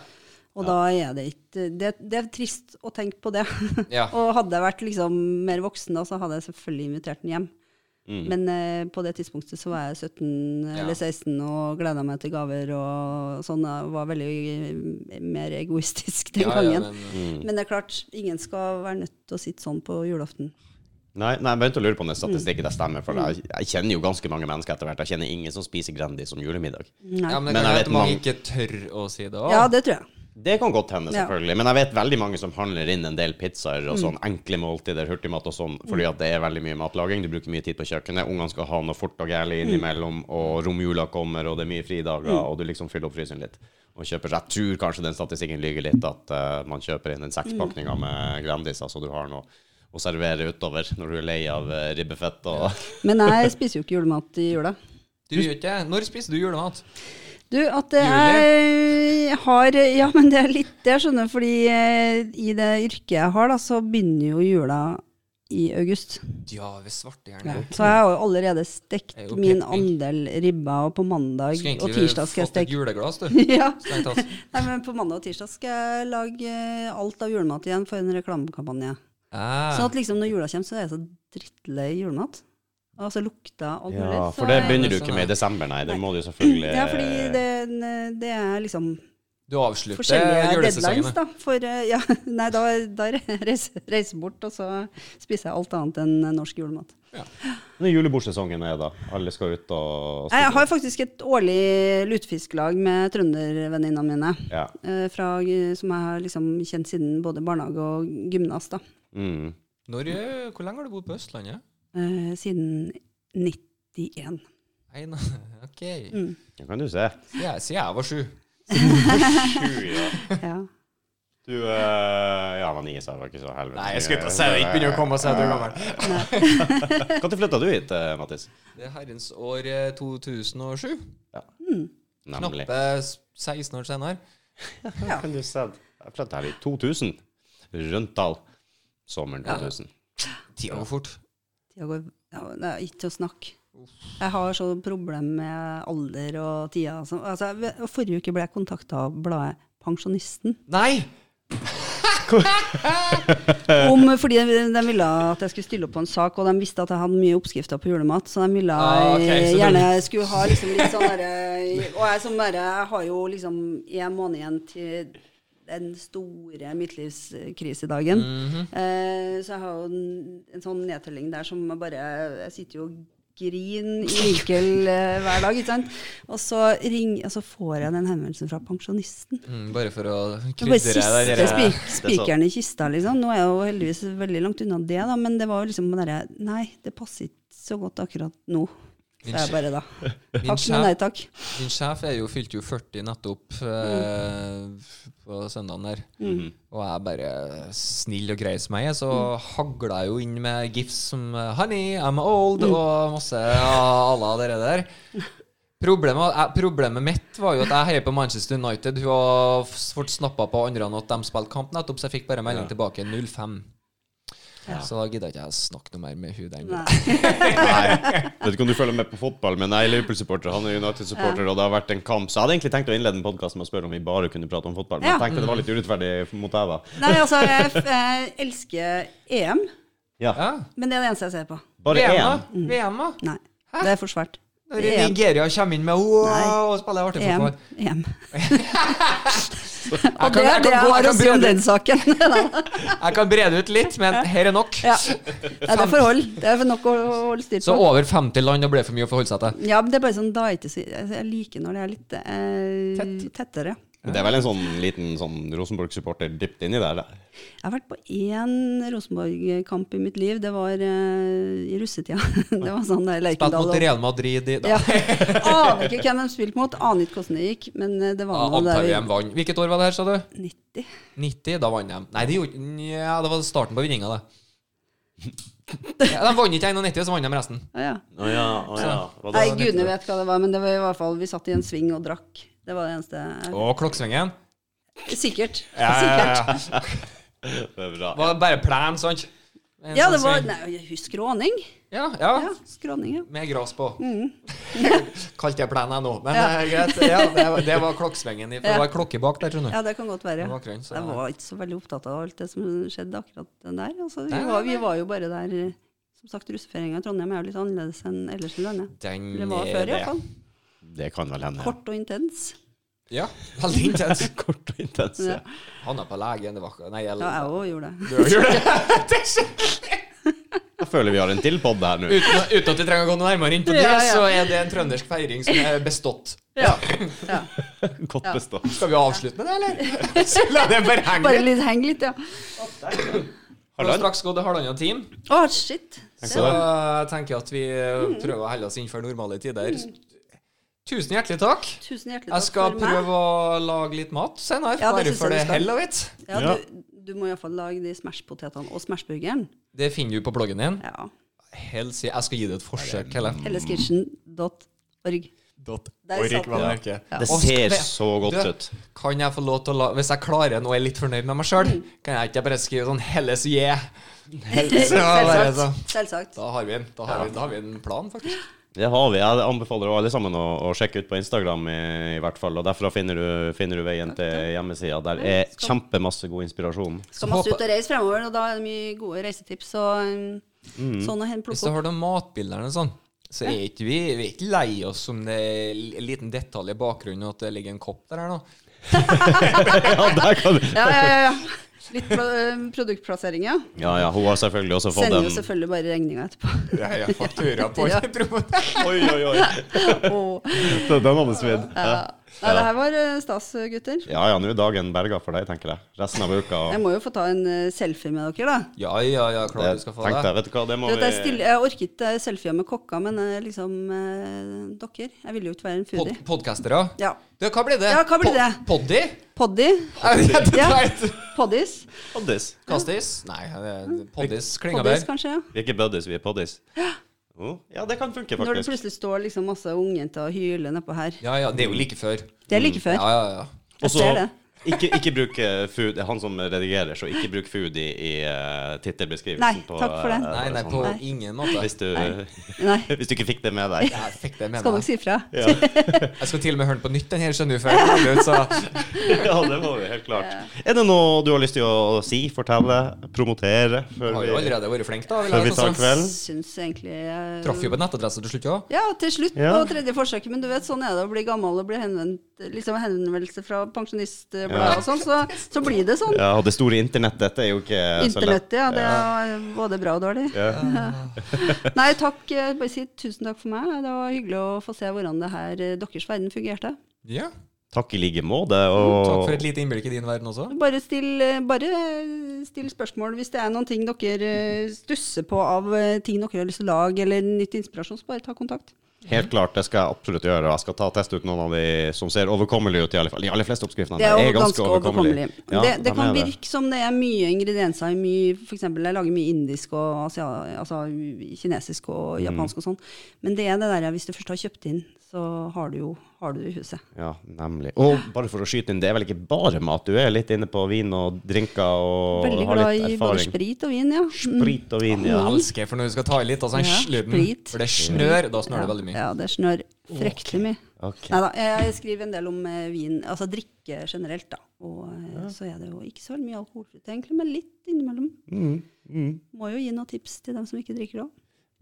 Og da er det ikke det, det er trist å tenke på det. Ja. og hadde jeg vært liksom mer voksen da, så hadde jeg selvfølgelig invitert den hjem. Men eh, på det tidspunktet så var jeg 17 Mm. Ja. eller 16 og gleda meg til gaver og sånn. Jeg var veldig eh, mer egoistisk den Ja, ja, gangen. men, men, det er klart, ingen skal være nødt til å sitte sånn på julaften. Nei, nei, jeg begynte å lure på om den Mm. statistikken der stemmer. For jeg, jeg kjenner jo ganske mange mennesker etter hvert. Jeg kjenner ingen som spiser Grandis som julemiddag. Nei. ja, Ja, Men jeg men det kan hende vet at mange mange- ikke tør å si det òg. det tror jeg. Det kan godt hende, Ja. Mm. selvfølgelig. Men jeg vet veldig mange som handler inn en del pizzaer og sånn enkle måltider, hurtigmat og sånn, fordi at det er veldig mye matlaging. Du bruker mye tid på kjøkkenet. Ungene skal ha noe fort og gærlig Mm. innimellom, og romjula kommer, og det er mye fridager, og du liksom fyller opp fryseren litt. Og kjøper seg. Jeg tror kanskje den statistikken lyver litt, at eh, man kjøper inn en Mm. sekspakninga med Grandis, altså du har noe å servere utover når du er lei av eh, ribbefett og Men jeg spiser jo ikke julemat i jula. Du gjør ikke det? Når spiser du julemat? Du, at det er, har Ja, men det er litt det, skjønner du. Fordi eh, i det yrket jeg har, da, så begynner jo jula i august. Djave svarte Ja. hjerne. Så jeg har jo allerede stekt Det er jo min pekning. andel ribba, og på mandag Skulle og egentlig tirsdag skal jeg fått et steke juleglass, du. ja. Strengt tatt. Nei, men På mandag og tirsdag skal jeg lage eh, alt av julemat igjen for en reklamekampanje. Ah. Sånn at liksom når jula kommer, så er jeg så drittlei julemat. Altså lukta alt mulig. Ja, Så for det jeg- begynner du ikke med i desember, nei. Det må du jo selvfølgelig Ja, fordi det, det er liksom Du avslutter forskjellige julesesongen. deadlines, du. da. For eh, ja, nei, da, da reiser jeg bort, og så spiser jeg alt annet enn norsk julemat. Når julebordsesongen er, da. Alle skal ut og Jeg har faktisk et årlig lutefisklag med trøndervenninnene mine. Ja. eh, Fra, som jeg har liksom kjent siden både barnehage og gymnas. da. Mm. Når, eh, hvor lenge har du bodd på Østlandet? Eh, Siden 91. Nei, nå- ok. Mm. Det kan du se. Så jeg, så jeg var sju. Sju, ja. Ja. Du eh, Ja, men Isa var ikke så helvete Nei, jeg skulle ikke si det. Ikke begynne å komme og si at du er gammel. Når flytta du hit, eh, Mattis? Det er herrens år eh, 2007. Nemlig. Knappe s- 16 år senere. Ja. Kan du se. Jeg flytta her i 2000. Røntdal. Sommeren 2000. Tida går fort. Tida går ja, Det er ikke til å snakke. Jeg har så problem med alder og tida. Altså, altså, jeg- og forrige uke ble jeg kontakta av bladet Pensjonisten. Nei! Om, fordi de, de ville at jeg skulle stille opp på en sak, og de visste at jeg hadde mye oppskrifter på julemat, så de ville Ah, ok, eh, så gjerne du- skulle ha liksom litt sånn derre Og jeg som bare Jeg har jo liksom en måned igjen til den store midtlivskrisedagen. Mhm. eh, så jeg har jo en, en sånn nedtelling der som jeg bare Jeg sitter jo og griner i vinkel eh, hver dag, ikke sant. Og så, ring, og så får jeg den henvendelsen fra pensjonisten. Mm, bare for å Det var krydre siste det der. spik spikeren i kista, liksom. Nå er jeg jo heldigvis veldig langt unna det, da, men det var jo liksom den derre Nei, det passer ikke så godt akkurat nå. Så jeg bare da Min Takk, men sjef, nei takk. din sjef er jo, fylte jo 40 nettopp Mm. eh, på søndagen der. Og jeg bare snill og grei som jeg er, så Mm. hagla jeg jo inn med gifts som eh, 'Honey, I'm old' Mm. og masse à la dere der. Problemet, eh, problemet mitt var jo at jeg heier på Manchester United. Hun har fått snappa på andre at de spilte kamp nettopp, så jeg fikk bare melding tilbake 05. Så da gidda ikke jeg å snakke noe mer med hun der. Nei. Nei. Vet ikke om du følger med på fotball, men jeg er Liverpool-supporter. Han er United-supporter, og det har vært en kamp. Så jeg hadde egentlig tenkt å innlede en podkast med å spørre om vi bare kunne prate om fotball, men Ja. jeg tenkte det var litt Mm. urettferdig mot deg, da. nei, altså, jeg, f- jeg elsker EM, Ja. Ja. men det er det eneste jeg ser på. Bare VM, da? én. VM, da? Nei. Det er for svært. Når Det er EM. Nigeria kommer inn med wow, og spiller artig EM. fotball. EM. Jeg kan- Og det jeg er kan det jeg gå- har jeg å kan si om brede den saken. ut- Jeg kan brede ut litt, men her er nok. ja. Nei, det er forhold. Det er nok å å holde styr Så på. over 50 land, da blir det for mye å forholde seg til. Ja, men det er bare sånn da er ikke så altså, Jeg liker når det er litt eh, tettere. Det er vel en sånn liten sånn Rosenborg-supporter dypt inni der. der. Jeg har vært på én Rosenborg-kamp i mitt liv. Det var eh, i russetida. det var sånn der Spilt Lerkendal mot Real Madrid i Ja. dag. Aner ikke hvem de spilte mot, aner ikke hvordan det gikk, men eh, det Ja, var nå Antar vi de der vant. Hvilket år var det her, sa du? vi 90. 90? Da vant de. Nei, det gjorde Nja, det var starten på vinninga, det. Ja, de vant ikke 91, så vant de resten. Å, ja. Å ja, å ja. Hva da? Nei, gudene vet hva det var, men det var i hvert fall vi satt i en sving og drakk. Det var det eneste Og Klokksvingen. Sikkert. Sikkert. Ja, Det er bra. Det var bare plen, sant? En Ja, sånn det var sving. Nei, jeg husker skråning. Ja, ja. Ja, Mm. skråning, ja. Med gras på. Kalte jeg plenen jeg nå, men eh, greit. Ja, det, var- det var klokksvingen. i- for Det var klokke bak der, skjønner du. Ja, det kan godt være. Det var grønn, så- Jeg var ikke så veldig opptatt av alt det som skjedde akkurat den der. Altså, vi, Nei, nei, var, vi nei. var jo bare der eh, Som sagt, russefeiringa i Trondheim er jo litt annerledes enn ellers i landet. Den Eller var er før, det. iallfall. Det kan vel hende. Kort og intens. Ja, veldig intens. Kort og intens. Ja. Han er på legen, det var ikke Nei, jeg Ja, jeg òg gjorde det. Gjør det. Jeg føler vi har en til podd her nå. Uten, uten at vi trenger å gå noe nærmere inn på det, Ja, ja. så er det en trøndersk feiring som er bestått. Ja. ja. Godt bestått. Skal vi avslutte med det, eller? Så la det bare henge Bare litt. litt heng litt, ja. Det har straks gått halvannen time, Å, shit. så jeg tenker at vi Mm. prøver å helle oss innenfor normale tider. Tusen hjertelig takk. Tusen hjertelig Jeg takk skal for meg. prøve å lage litt mat senere, Ja, det bare synes for jeg det du skal. hell og vitt. Ja, du, du må iallfall lage de Smash-potetene og Smash-burgeren. Det finner du på bloggen din. Ja. Helt si- Jeg skal gi det et forsøk, Helle. Helleskitchen.org. Der satt Ork, den. var merket. Ja. Det Og ser skre- så godt Du, ut. Kan jeg få lov til å la Hvis jeg klarer nå og er litt fornøyd med meg sjøl, kan jeg ikke bare skrive sånn 'Helles yeah'? Så bare så. Selvsagt. Selvsagt. Da har vi en, da har vi, da har vi en plan, faktisk. Det har vi. Jeg anbefaler alle sammen å, å sjekke ut på Instagram, i, i hvert fall. Og derfra finner du, finner du veien til hjemmesida. Der er kjempemasse god inspirasjon. Skal masse ut og reise fremover, og da er det mye gode reisetips og um, sånn å hente Hvis du plukke opp. har noen matbilder og sånn, så er ikke vi, vi er ikke lei oss om det er en liten detalj i bakgrunnen og at det ligger en kopp der her nå. Ja, der kan du. Ja, ja, ja. Litt pl- produktplassering, ja. ja, ja. Hun har selvfølgelig også fått Sender jo en selvfølgelig bare regninga etterpå. Ja, ja, faktura på Ja. Oi, oi, oi. Åh. Den hadde svidd. Ja. Nei, det her var eh, stas, gutter. Ja ja, nå er dagen berga for deg, tenker jeg. Resten av uka. Jeg må jo få ta en eh, selfie med dere, da. Ja, ja, ja, klart du skal få tenkte det. jeg, vet du hva, det må Du vet, jeg, vi stiller, jeg orker ikke eh, selfier med kokka, men eh, liksom eh, dere. Jeg ville jo ikke være en Pod foodie. Podcastere. Ja. Du, hva blir det? Ja, hva Po- blir det? Poddy? Poddy. Ja. Poddis. Poddis. Kastis? Nei, det- poddis klinger Poddis, bedre. kanskje. ja. Vi er ikke buddies, vi er poddis. Oh, ja, det kan funke, Når det faktisk. plutselig står liksom masse ungjenter og hyler nedpå her. Ja, ja, det er jo like før. Det er like før. Ja, ja, ja. Jeg Også- ser det. ikke, ikke bruk eh, food Det er han som redigerer, så ikke bruk food i, i eh, tittelbeskrivelsen. Nei, takk for eh, det. Nei, nei, på sånn. ingen måte. Hvis du, Nei. hvis du ikke fikk det med deg. Jeg fikk det med Skal meg. dere si fra? Ja, Jeg skal til og med høre den på nytt, den her, skjønner du, før jeg legger den ut, så ja det må vi, helt klart. Er det noe du har lyst til å si, fortelle, promotere? Før har jo vi, allerede vært flink, da. vil jeg før vi sånn tar som- kvelden? Syns egentlig eh, Traff jo på nettadresse til slutt, ja. Ja, til slutt Ja. på tredje forsøket. Men du vet, sånn er det å bli gammel og bli henvendt, liksom henvendelse fra pensjonistbladet Ja. og sånn, så, så blir det sånn. Ja, og det store internettet er jo ikke så lett. Internettet, ja. Det er både bra og dårlig. Ja. Nei, takk. eh, Bare si tusen takk for meg. Det var hyggelig å få se hvordan det her eh, deres verden fungerte. Ja. Takk i like måte. Takk Og for et lite innblikk i din verden også. Bare still, eh, bare eh, still spørsmål hvis det er noen ting dere eh, stusser på av eh, ting dere har lyst til å lage, eller nytt inspirasjon, så bare ta kontakt. helt klart, det skal jeg absolutt gjøre. Jeg skal ta og teste ut noen av de som ser overkommelige ut, i alle fall. De aller fleste oppskriftene Det er der jo ganske overkommelig. overkommelige. Ja, Det, det de kan er det. virke som det er mye ingredienser i mye For eksempel, jeg lager mye indisk og asia, altså, kinesisk og Mm. japansk og sånn. Men det er det der hvis du først har kjøpt inn, så har du jo har du det i huset. Ja, nemlig. Og bare for å skyte inn, det er vel ikke bare mat? Du er litt inne på vin og drinker og Veldig har glad litt i Mm. både erfaring. sprit og vin, ja. Mm. Sprit og vin, ja. Jeg elsker for når du skal ta i litt av sånn Ja, slurven, sprit. for det snør, da snør det veldig mye. Ja, det snør fryktelig mye. Ok. Neida, jeg jeg skriver en del om eh, vin, altså drikke generelt, da. Og eh, så er det jo ikke så veldig mye alkoholfritt, egentlig, men litt innimellom. Mm, Må jo gi noen tips til dem som ikke drikker det òg.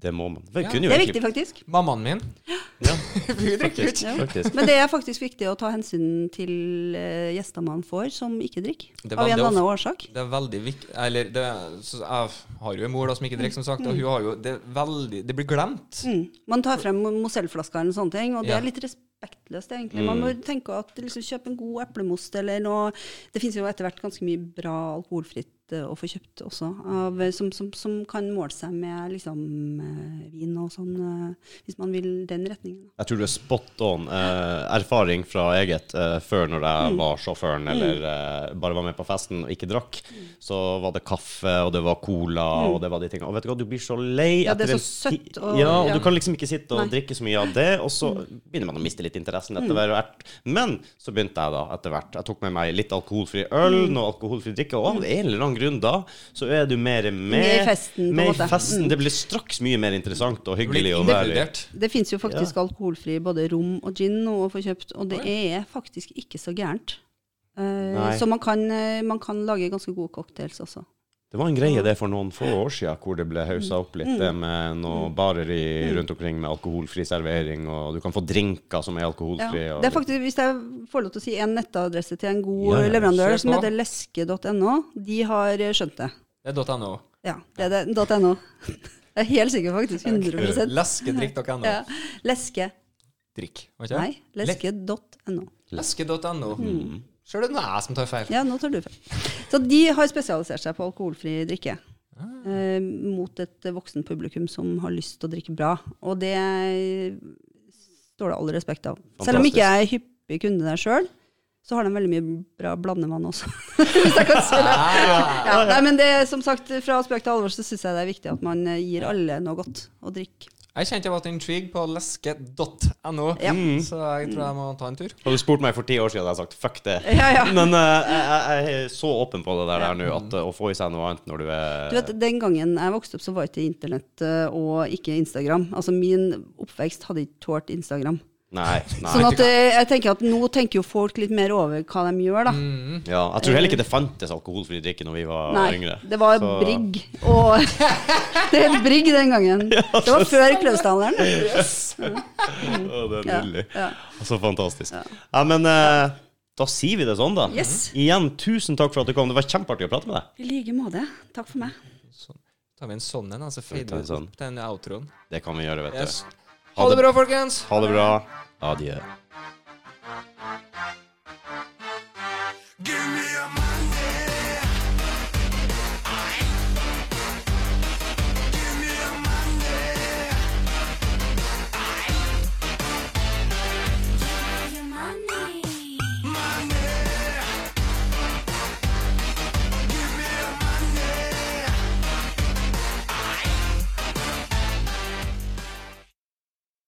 Det må man. Det, Ja. kunne Det jo er egentlig- viktig, faktisk. Mammaen min Hun drikker jo ikke. Ja. Faktisk. Men det er faktisk viktig å ta hensyn til eh, gjester man får som ikke drikker. Det Av var- en det var- eller annen årsak. Det er veldig viktig Eller det, så jeg har jo en mor da som ikke drikker, som sagt, og hun har jo Det, er veldig, det blir glemt. Mm. Man tar frem Mozell-flasker eller sånne ting, og det Ja. Mm. er litt respektløst, egentlig. Man må tenke at liksom, kjøp en god eplemost eller noe Det finnes jo etter hvert ganske mye bra alkoholfritt eh, å få kjøpt også, av, eh, som, som, som kan måle seg med liksom, eh, vin og sånn, eh, hvis man vil den retningen. Jeg tror du er spot on. eh, erfaring fra eget eh, før når Mm. jeg var sjåføren eller eh, bare var med på festen og ikke drakk, så var det kaffe, og det var cola, og det var de tingene. Og vet du hva, du blir så lei Mm. Ja, det er etter så en søtt ti- og- Ja, og ja. Mm. du kan liksom ikke sitte og drikke så mye av det, og så begynner man å miste litt interessen etter hver ert. Men så begynte jeg da etter hvert. Jeg tok med meg litt alkoholfri øl, Mm. noe alkoholfri drikke, og av en eller annen grunn da, så er du mer med. Med Mm. i festen, på en med i måte. Mm. festen. Det blir straks mye mer interessant og Det blir hyggelig å være i. individert. Det finnes jo faktisk alkoholfri både rom og gin nå å få kjøpt, og det er faktisk ikke så gærent. Eh, Nei. så man kan, eh, man kan lage ganske gode cocktails også. Det var en greie det for noen få år siden, hvor det ble haussa opp Mm. litt det med noen barer i, rundt omkring med alkoholfri servering, og du kan få drinker som er Ja. alkoholfrie. og Det er faktisk, hvis jeg får lov til å si en nettadresse til en god Ja, ja, leverandør kjør som på. heter leske.no, de har eh, skjønt det. Det er .no. Ja, det er det. .no. Jeg er helt sikker, faktisk. 100 Leskedrikk.no. ja. Leske. Drikk. var ikke det? Nei, leske.no. Leske.no. Mm. Sjøl er det nå jeg som tar feil. Ja, nå tar du feil. Så de har spesialisert seg på alkoholfri drikke. Eh, mot et voksen publikum som har lyst til å drikke bra. Og det står det all respekt av. Selv om Fantastisk. ikke jeg er hyppig kunde der sjøl, så har de veldig mye bra blandevann også. Hvis jeg kan si det. Ja, nei, men det, er som sagt, fra spøk til alvor så syns jeg det er viktig at man eh, gir alle noe godt å drikke. Jeg kjente jeg var intrigued på leske.no, Ja. Mm. så jeg tror jeg må ta en tur. Hadde liksom. du spurt meg for ti år siden, hadde jeg sagt fuck det. Ja, ja. Men eh, jeg, jeg er så åpen på det der, der nå at eh, å få i seg noe annet når du er Du vet, Den gangen jeg vokste opp, så var ikke internett eh, og ikke Instagram. Altså, Min oppvekst hadde ikke tålt Instagram. Nei. nei. Sånn at eh, jeg tenker at nå tenker jo folk litt mer over hva de gjør, da. Ja, jeg tror heller ikke det fantes alkoholfri drikke når vi var Nei, yngre. det var Så- brigg. Og det het brigg den gangen. Det var før Klausdaleren. Å, det er Ja, nydelig. ja. Så fantastisk. Ja, men eh, da sier vi det sånn, da. Yes. Igjen, tusen takk for at du kom. Det var kjempeartig å prate med deg. I like måte. Takk for meg. Sånn. tar vi en sånn en, og så tar fader en vi sånn. opp den outroen. Det kan vi gjøre, vet Yes. du. Ha det bra, folkens! Ha det bra. Adjø.